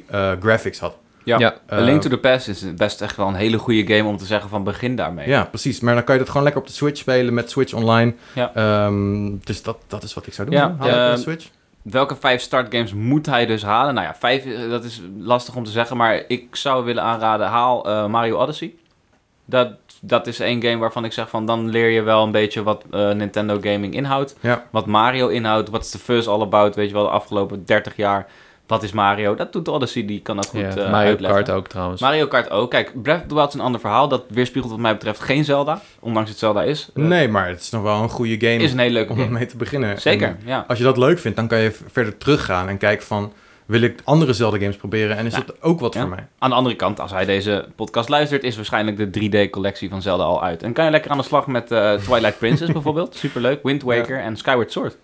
3D-graphics had. Ja. Ja. A Link to the Past is best echt wel een hele goede game om te zeggen van begin daarmee. Ja, precies. Maar dan kan je dat gewoon lekker op de Switch spelen met Switch Online. Ja. Ehm, dus dat, dat is wat ik zou doen. Ja, Haal lekker eh, een Switch. Welke vijf startgames moet hij dus halen? Nou ja, vijf, eh, dat is lastig om te zeggen, maar ik zou willen aanraden, haal eh, Mario Odyssey. Dat, dat is één game waarvan ik zeg van, dan leer je wel een beetje wat eh, Nintendo gaming inhoudt. Ja. Wat Mario inhoudt, wat is de first all about, weet je wel, de afgelopen 30 jaar. Wat is Mario? Dat doet Odyssey, die kan dat goed Ja, eh, Mario uitleggen. Kart ook trouwens. Mario Kart ook. Kijk, Breath of the Wild is een ander verhaal. Dat weerspiegelt wat mij betreft geen Zelda, ondanks het Zelda is. Eh, Nee, maar het is nog wel een goede game Is een hele leuke om game. mee te beginnen. Zeker, En ja. als je dat leuk vindt, dan kan je v- verder teruggaan en kijken van... wil ik andere Zelda games proberen en is Ja. dat ook wat Ja. voor mij? Aan de andere kant, als hij deze podcast luistert, is waarschijnlijk de 3D-collectie van Zelda al uit. En kan je lekker aan de slag met eh, Twilight Princess bijvoorbeeld. Superleuk. Wind Waker en Skyward Sword.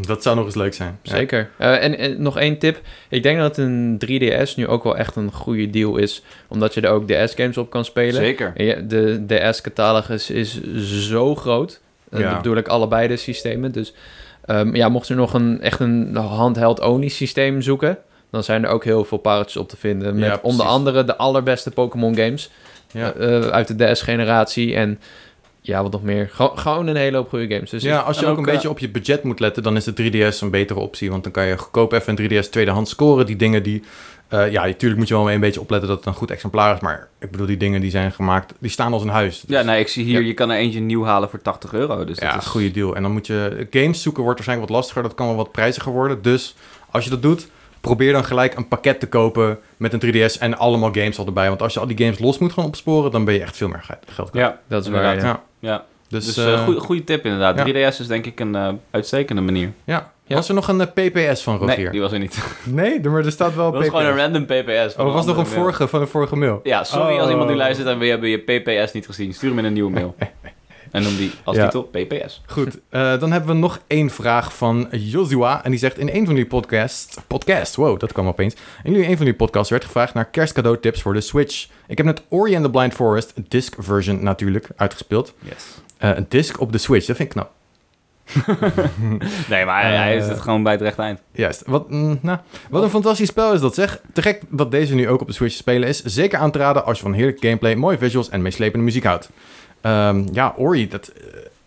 Dat zou nog eens leuk zijn. Ja. Zeker. Eh, en, en nog één tip. Ik denk dat een 3DS nu ook wel echt een goede deal is. Omdat je er ook DS-games op kan spelen. Zeker. En je- De DS-catalogus is zo groot. Eh, Ja. Dat bedoel ik allebei de systemen. Dus ehm, ja, mocht u nog een, echt een handheld-only systeem zoeken... dan zijn er ook heel veel pareltjes op te vinden. Met Ja, precies. onder andere de allerbeste Pokémon-games Ja. eh, uit de DS-generatie. En ja, wat nog meer. Gew- gewoon een hele hoop goede games. Dus ja, als je en ook, ook, een eh, beetje op je budget moet letten, dan is de 3DS een betere optie. Want dan kan je goedkoop even een 3DS tweedehands scoren. Die dingen die... eh, ja, natuurlijk moet je wel een beetje opletten dat het een goed exemplaar is. Maar ik bedoel, die dingen die zijn gemaakt, die staan als een huis. Dus- Ja, nee, ik zie hier, Ja. je kan er eentje nieuw halen voor 80 euro. Dus ja, dat is goede deal. En dan moet je games zoeken, wordt waarschijnlijk wat lastiger. Dat kan wel wat prijziger worden. Dus als je dat doet, probeer dan gelijk een pakket te kopen met een 3DS en allemaal games al erbij. Want als je al die games los moet gaan opsporen, dan ben je echt veel meer ge- geld kwijt. Ja, dat is waar. inderdaad. ja. ja. Dus, Dus, eh, eh, goeie- goede tip inderdaad. ja. 3DS is denk ik een eh, uitstekende manier. ja. Ja. Was er nog een eh, PPS van Nee, Rogier? die was er niet. Dat Nee, maar er staat wel was gewoon een random PPS. van Oh, er was nog andere een mail. vorige van de vorige mail. Ja, sorry Oh. als iemand nu luistert en we hebben je PPS niet gezien. Stuur hem in een nieuwe mail. en noem die als Ja. titel PPS. Goed, eh, dan hebben we nog één vraag van Joshua. En die zegt in een van jullie podcasts... Podcast, wow, dat kwam opeens. In jullie een van jullie podcasts werd gevraagd naar kerstcadeautips voor de Switch. Ik heb net Ori and the Blind Forest, disc version natuurlijk, uitgespeeld. Yes. Eh, een disc op de Switch, dat vind ik knap. Nee, maar hij- Eh, hij is het gewoon bij het rechte eind. Juist. Wat, mm, nou, wat een fantastisch spel is dat, zeg. Te gek dat deze nu ook op de Switch te spelen is. Zeker aan te raden als je van heerlijk gameplay, mooie visuals en meeslepende muziek houdt. Ehm, ja, Ori, dat, eh,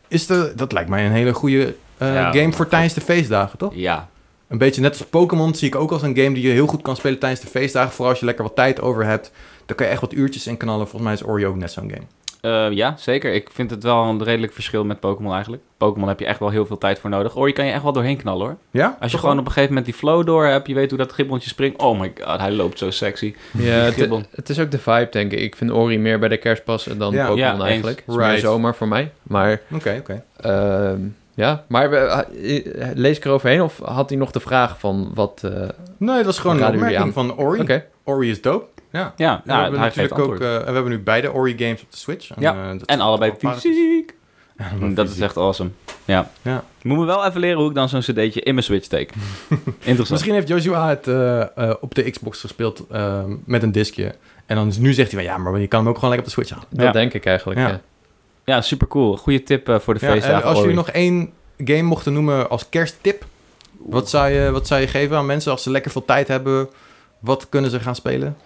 is de, dat lijkt mij een hele goede eh, Ja. game voor tijdens de feestdagen, toch? Ja. Een beetje net als Pokémon zie ik ook als een game die je heel goed kan spelen tijdens de feestdagen. Vooral als je lekker wat tijd over hebt. Dan kan je echt wat uurtjes in knallen. Volgens mij is Ori ook net zo'n game. Eh, ja, zeker. Ik vind het wel een redelijk verschil met Pokémon eigenlijk. Pokémon heb je echt wel heel veel tijd voor nodig. Ori kan je echt wel doorheen knallen hoor. Ja? Als je Toch gewoon op een gegeven moment die flow door hebt, je weet hoe dat gibbeltje springt. Oh my god, hij loopt zo sexy. Ja, het, Gibbel. het is ook de vibe, denk ik. Ik vind Ori meer bij de kerstpas dan Ja. Pokémon Ja, eens. eigenlijk. Het is meer Right. zomer voor mij. Maar, wel? Oké, oké. ehm, ja. Maar eh, eh, lees ik eroverheen of had hij nog de vraag van wat... eh, Nee, dat is gewoon een Dan raden jullie opmerking van Ori. Oké, Ori is dope. Ja. Ja, En we nou, hebben hij geeft natuurlijk ook, antwoord. eh, en we hebben nu beide Ori games op de Switch. Ja, eh, dat en is allebei toch wel apart. fysiek. Mm, Allebei Dat is fysiek. echt awesome. Ja. Ja. Moet me wel even leren hoe ik dan zo'n cd'tje in mijn Switch steek. Interessant. Misschien heeft Joshua het eh, eh, op de Xbox gespeeld eh, met een diskje. En dan is, nu zegt hij, van, ja, maar je kan hem ook gewoon lekker op de Switch halen. dat Ja. denk ik eigenlijk. Ja. Ja. Ja, super cool. Goede tip eh, voor de Ja, en feestdagen. als jullie Ori. nog één game mochten noemen als kersttip, wat zou, je, wat zou je geven aan mensen als ze lekker veel tijd hebben? Wat kunnen ze gaan spelen?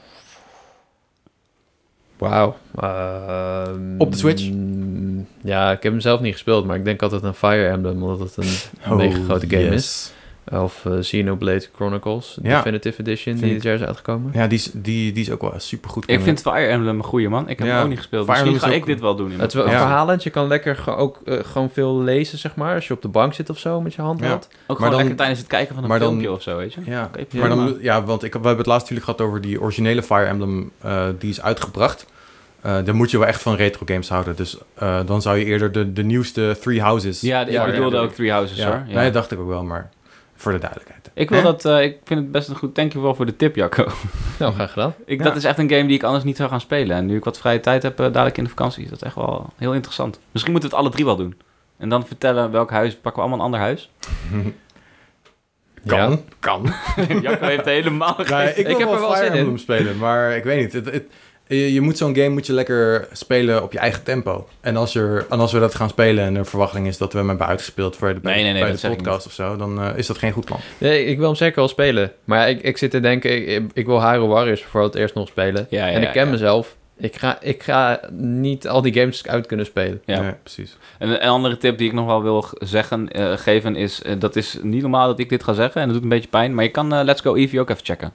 Wauw. Ehm, Op de Switch? mm, Ja, ik heb hem zelf niet gespeeld, maar ik denk altijd aan Fire Emblem, omdat het een mega Oh, grote game is. Of eh, Xenoblade Chronicles, Ja. Definitive Edition, Vind die ik- dit jaar is uitgekomen. Ja, die is, die, die is ook wel super goed. Ik vind Fire Emblem een goeie, man. Ik heb Ja, hem ook niet gespeeld. dus Fire Misschien Emblem ga is ik ook dit wel doen. in Het is wel een Ja. verhalend. Je kan lekker ge- ook eh, gewoon veel lezen, zeg maar. Als je op de bank zit of zo met je hand Ja. houdt. Ook Maar gewoon dan- lekker tijdens het kijken van een maar dan- filmpje of zo, weet je. Ja, Oké, maar prima. dan, ja want ik, we hebben het laatst natuurlijk gehad over die originele Fire Emblem, eh, die is uitgebracht. Eh, daar moet je wel echt van retro games houden. Dus eh, dan zou je eerder de, de nieuwste Three Houses... Ja, de- ik Ja, ja, bedoelde ja. ook Three Houses, Ja. hoor. Ja. Nee, dat dacht ik ook wel, maar voor de duidelijkheid. ik, wil Hè? dat, eh, ik vind het best een goed... Dankjewel voor de tip, Jacco. Nou, graag gedaan. Ik, Ja. Dat is echt een game die ik anders niet zou gaan spelen. En nu ik wat vrije tijd heb, eh, dadelijk in de vakantie, is dat echt wel heel interessant. Misschien moeten we het alle drie wel doen. En dan vertellen welk huis... Pakken we allemaal een ander huis? Kan, Ja. kan. Jacco heeft helemaal geen... Nee, ik, Ik wil heb wel er wel Fire zin in. Emblem spelen, maar ik weet niet. Het, het- je, je moet zo'n game moet je lekker spelen op je eigen tempo. En als, er, en als we dat gaan spelen en de verwachting is dat we hem hebben uitgespeeld voor de, Nee, nee, nee, bij dat de zeg ik podcast of zo, dan eh, is dat geen goed plan. Nee, ik wil hem zeker wel spelen. Maar ja, ik, ik zit te denken, ik- ik, ik wil Hyrule Warriors bijvoorbeeld eerst nog spelen. Ja, ja, en ik ken ja. mezelf. Ik ga, ik ga niet al die games uit kunnen spelen. Ja. Nee, precies. En een andere tip die ik nog wel wil g- zeggen, eh, geven is... eh, dat is niet normaal dat ik dit ga zeggen en dat doet een beetje pijn. Maar je kan eh, Let's Go Eevee ook even checken.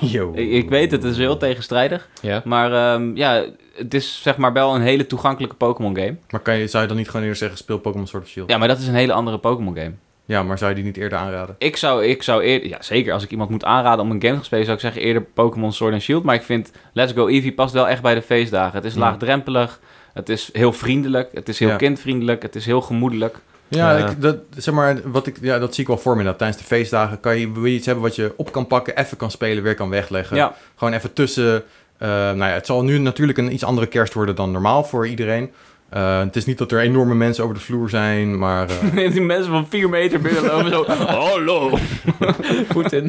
Yo. Ik, ik weet het, het is heel tegenstrijdig. Ja. Maar ehm, ja, het is zeg maar wel een hele toegankelijke Pokémon game. Maar kan je, zou je dan niet gewoon eerder zeggen, speel Pokémon Sword of Shield? Ja. Ja, maar dat is een hele andere Pokémon game. maar zou je die niet eerder aanraden? Ik zou, ik zou eerder... Ja, zeker. Als ik iemand moet aanraden om een game te spelen... zou ik zeggen eerder Pokémon Sword en Shield. Maar ik vind Let's Go Eevee past wel echt bij de feestdagen. Het is Ja. laagdrempelig. Het is heel vriendelijk. Het is heel Ja. kindvriendelijk. Het is heel gemoedelijk. Ja, Ja. Ik, dat, zeg maar, wat ik, ja, dat zie ik wel voor me. Dat tijdens de feestdagen kan je, wil je iets hebben wat je op kan pakken, even kan spelen, weer kan wegleggen. Ja, Gewoon even tussen. eh, nou ja, het zal nu natuurlijk een iets andere kerst worden dan normaal voor iedereen. Eh, het is niet dat er enorme mensen over de vloer zijn, maar... eh, Die mensen van 4 meter binnenlopen zo... Hallo! Poetin.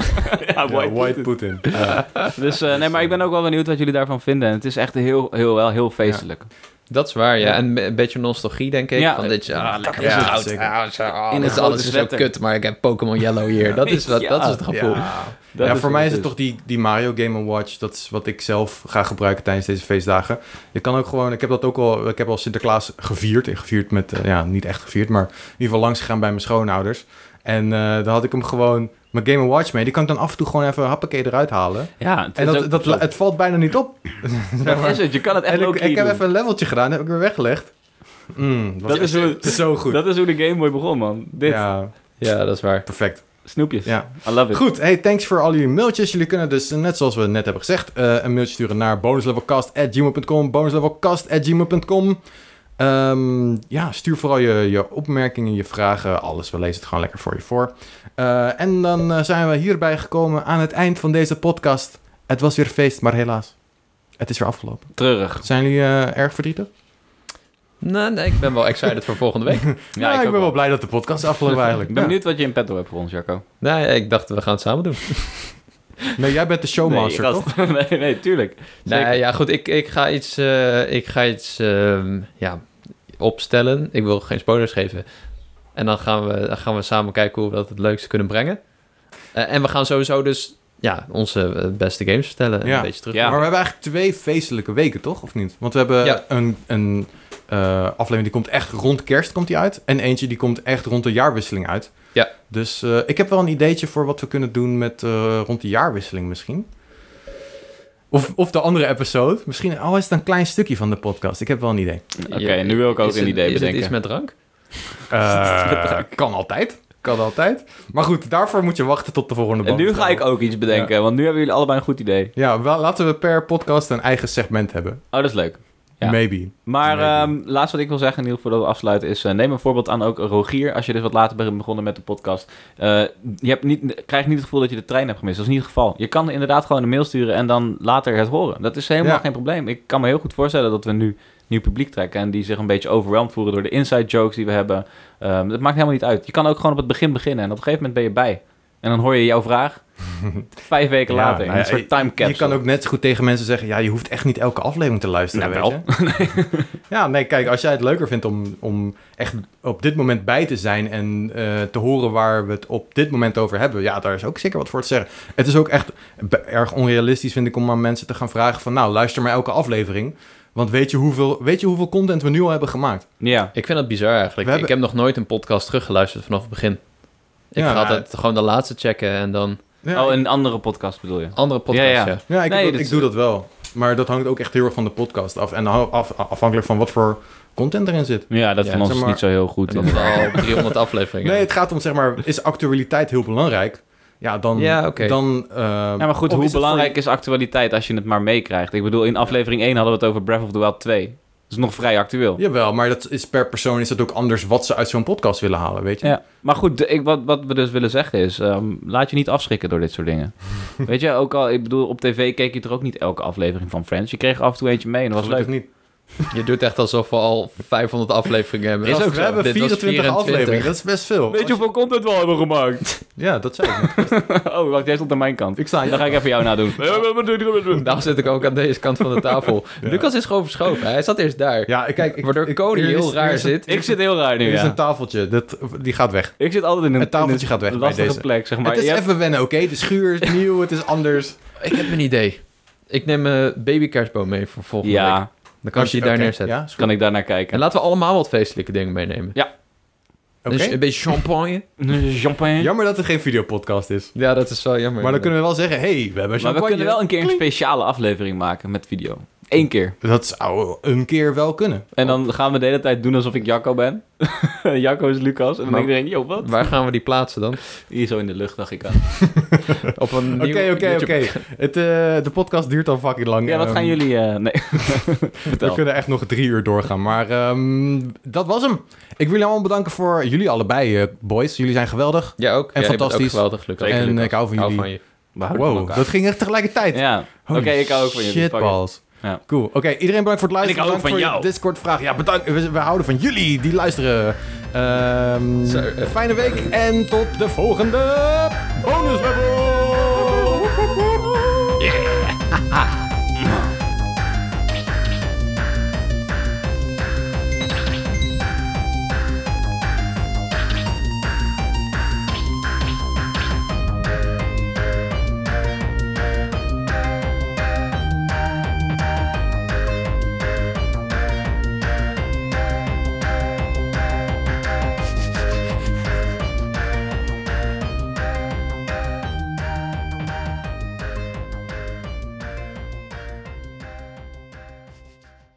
Ja, ja, white White Putin. Ja. Dus eh, nee, maar ik ben ook wel benieuwd wat jullie daarvan vinden. En het is echt heel, heel, wel heel feestelijk. Dat is waar, ja. En een beetje nostalgie, denk ik. Ja. van dit je, ah, lekker is is het, oud. zeker. Ah, zo, ah, In dat een is alles grote is zo sweater. kut, maar ik heb Pokémon Yellow hier. Dat is, wat, Ja. dat is het gevoel. Ja. Dat dus. ja, voor mij is wat het toch die, die Mario Game Watch. Dat is wat ik zelf ga gebruiken tijdens deze feestdagen. Je kan ook gewoon, ik heb dat ook al, ik heb al Sinterklaas gevierd. En gevierd met, eh, ja, niet echt gevierd, maar in ieder geval langs gegaan bij mijn schoonouders. En eh dan had ik hem gewoon, mijn Game Watch mee. Die kan ik dan af en toe gewoon even happakee eruit halen. Ja, het En is dat, ook- dat, het valt bijna niet op. Zeg dat maar. is het. Je kan het echt En ik, low-key ik heb doen. even een leveltje gedaan, heb ik weer weggelegd. Mm, was Dat is hoe- echt zo goed. Dat is hoe de Game Boy begon, man. Dit. Ja, Ja, dat is waar. perfect. Snoepjes. Ja. I love Eh, it. Goed, hey, thanks voor al jullie mailtjes. Jullie kunnen dus, eh, net zoals we net hebben gezegd, eh, een mailtje sturen naar bonuslevelcast.gmail.com, bonuslevelcast.gmail.com. Ehm, ja, stuur vooral je, je opmerkingen, je vragen, alles. We lezen het gewoon lekker voor je voor. Eh, en dan eh, zijn we hierbij gekomen aan het eind van deze podcast. Het was weer feest, maar helaas. Het is weer afgelopen. Treurig. Zijn jullie eh, erg verdrietig? Nee, Nou, nee, ik ben wel excited voor volgende week. Ja, Nou, ik, ik, ook ben wel wel. blij dat de podcast is afgelopen eigenlijk. Ik ben Ja. benieuwd wat je in petto hebt voor ons, Jacco. Nee, ik dacht, we gaan het samen doen. Nee, jij bent de showmaster, nee, toch? gast. nee, nee, tuurlijk. Zeker. Nee, ja, goed. Ik, ik ga iets, eh, ik ga iets ehm, ja, opstellen. Ik wil geen spoilers geven. En dan gaan we, dan gaan we samen kijken hoe we dat het leukste kunnen brengen. Eh, en we gaan sowieso dus ja, onze eh, beste games vertellen. En Ja. een beetje terug. Ja. Maar we hebben eigenlijk twee feestelijke weken, toch? Of niet? Want we hebben Ja. een, een eh, aflevering die komt echt rond kerst komt die uit. En eentje die komt echt rond de jaarwisseling uit. Ja. Dus eh, ik heb wel een ideetje voor wat we kunnen doen met eh, rond de jaarwisseling misschien. Of, of de andere episode. Misschien al is het een klein stukje van de podcast. Ik heb wel een idee. Oké, nu wil ik ook Is een het- idee Is het bedenken. iets met drank? Eh, kan altijd. Kan altijd. Maar goed, daarvoor moet je wachten tot de eh. volgende En nu bonus. ga ik ook iets bedenken, want nu hebben jullie allebei een goed idee. Ja, wel, laten we per podcast een eigen segment hebben. Oh, dat is leuk. Ja. Maybe. Maar Maybe. ehm, laatst wat ik wil zeggen, in ieder geval voordat we afsluiten, is eh, neem een voorbeeld aan ook Rogier. Als je dus wat later bent begonnen met de podcast. Eh, je hebt niet, krijgt niet het gevoel dat je de trein hebt gemist. Dat is niet het geval. Je kan inderdaad gewoon een mail sturen en dan later het horen. Dat is helemaal Ja. geen probleem. Ik kan me heel goed voorstellen dat we nu nieuw publiek trekken. En die zich een beetje overweldigd voelen door de inside jokes die we hebben. Ehm dat maakt helemaal niet uit. Je kan ook gewoon op het begin beginnen. En op een gegeven moment ben je bij. En dan hoor je jouw vraag vijf weken Ja, later. nou in een ja, soort time capsule. Je kan ook net zo goed tegen mensen zeggen... ja, je hoeft echt niet elke aflevering te luisteren, Nou, weet je? ja, nee, kijk, als jij het leuker vindt om, om echt op dit moment bij te zijn... en eh, te horen waar we het op dit moment over hebben... ja, daar is ook zeker wat voor te zeggen. Het is ook echt be- erg onrealistisch, vind ik... om aan mensen te gaan vragen van... nou, luister maar elke aflevering... want weet je hoeveel, weet je hoeveel content we nu al hebben gemaakt? Ja. Ik vind dat bizar eigenlijk. We hebben- Ik heb nog nooit een podcast teruggeluisterd vanaf het begin. Ik Ja, ga nou, altijd gewoon de laatste checken en dan Ja, oh, ik- een andere podcast bedoel je? andere podcasts. Ja, ja. ja. Ja, ik, Nee, heb dat- dat ik is- doe dat wel. Maar dat hangt ook echt heel erg van de podcast af... en af- af- afhankelijk van wat voor content erin zit. Ja, dat Ja, van ons zeg is maar- niet zo heel goed. En dat al 300 afleveringen. Nee, het gaat om, zeg maar, is actualiteit heel belangrijk? Ja, dan... Ja, oké. dan eh, Ja, maar goed, of hoe is het belangrijk voor is actualiteit als je het maar meekrijgt? Ik bedoel, in aflevering 1 hadden we het over Breath of the Wild 2. Dat is nog vrij actueel. je- Jawel, maar dat is per persoon is dat ook anders wat ze uit zo'n podcast willen halen, weet je? Ja. Maar goed, de- ik, wat, wat we dus willen zeggen is, ehm, laat je niet afschrikken door dit soort dingen. Weet je, ook al, ik bedoel, op tv keek je er ook niet elke aflevering van Friends. Je kreeg af en toe eentje mee en dat was Gelukkig leuk. niet. Je doet echt alsof we al 500 afleveringen hebben. Gast, we hebben Dit was 24, afleveringen, dat is best veel. Weet je hoeveel content we al hebben gemaakt? Ja, dat zei ik net. oh, wacht, jij stond aan mijn kant. Ik sta Dan ga ik even jou nadoen. Daarom zit ik ook aan deze kant van de tafel. Ja. Lucas is gewoon verschoven. Hij zat eerst daar. Ja, ik- kijk... Ik, waardoor ik- Cody hier is- heel hier raar is een- zit. Ik zit heel raar nu, Hier is een ja. tafeltje, dat, die gaat weg. Ik zit altijd in een, Het tafeltje in een gaat weg bij lastige deze. plek, zeg maar. het is Je hebt- even wennen, oké? De schuur is nieuw, het is anders. Ik heb een idee. Ik neem mijn babykerstboom mee voor volgende Ja, week. Dan kan ik je die daar Oké, neerzetten. Ja, is goed. kan ik daarnaar En kijken. laten we allemaal wat feestelijke dingen meenemen. Oké. Dus een beetje champagne. Champagne. Jammer dat er geen videopodcast is. Ja, dat is wel jammer. Maar dan kunnen we wel zeggen, hey, we hebben Maar we champagne. kunnen wel een keer een speciale aflevering maken met video. Eén keer. Dat zou een keer wel kunnen. En dan gaan we de hele tijd doen alsof ik Jacco ben. Jacco is Lucas. En dan Maar- denkt iedereen, yo, wat? Waar gaan we die plaatsen dan? Hier zo in de lucht, dacht ik aan. Op een nieuw Oké, oké, YouTube- oké. Het, eh, De podcast duurt al fucking lang. Ja, wat gaan Ehm, jullie... eh, nee, We vertel. kunnen echt nog drie uur doorgaan. Maar ehm, dat was hem. Ik wil jullie allemaal bedanken voor jullie allebei, eh, boys. Jullie zijn geweldig. Ja, ook. En Ja, je bent ook fantastisch. geweldig, Lucas. Zeker, en Lucas. ik hou van Ik hou jullie. van je. We houden van Wow, elkaar. dat ging echt tegelijkertijd. Ja, oké, Holy ik hou ook van jullie. Fuck it. Shitballs. Cool. Oké, iedereen bedankt voor het En luisteren. ik hou bedankt ook van voor jou. je Discord-vraag. Ja, bedankt. We, we houden van jullie die luisteren. Ehm, Zo, eh. fijne week en tot de volgende bonus level.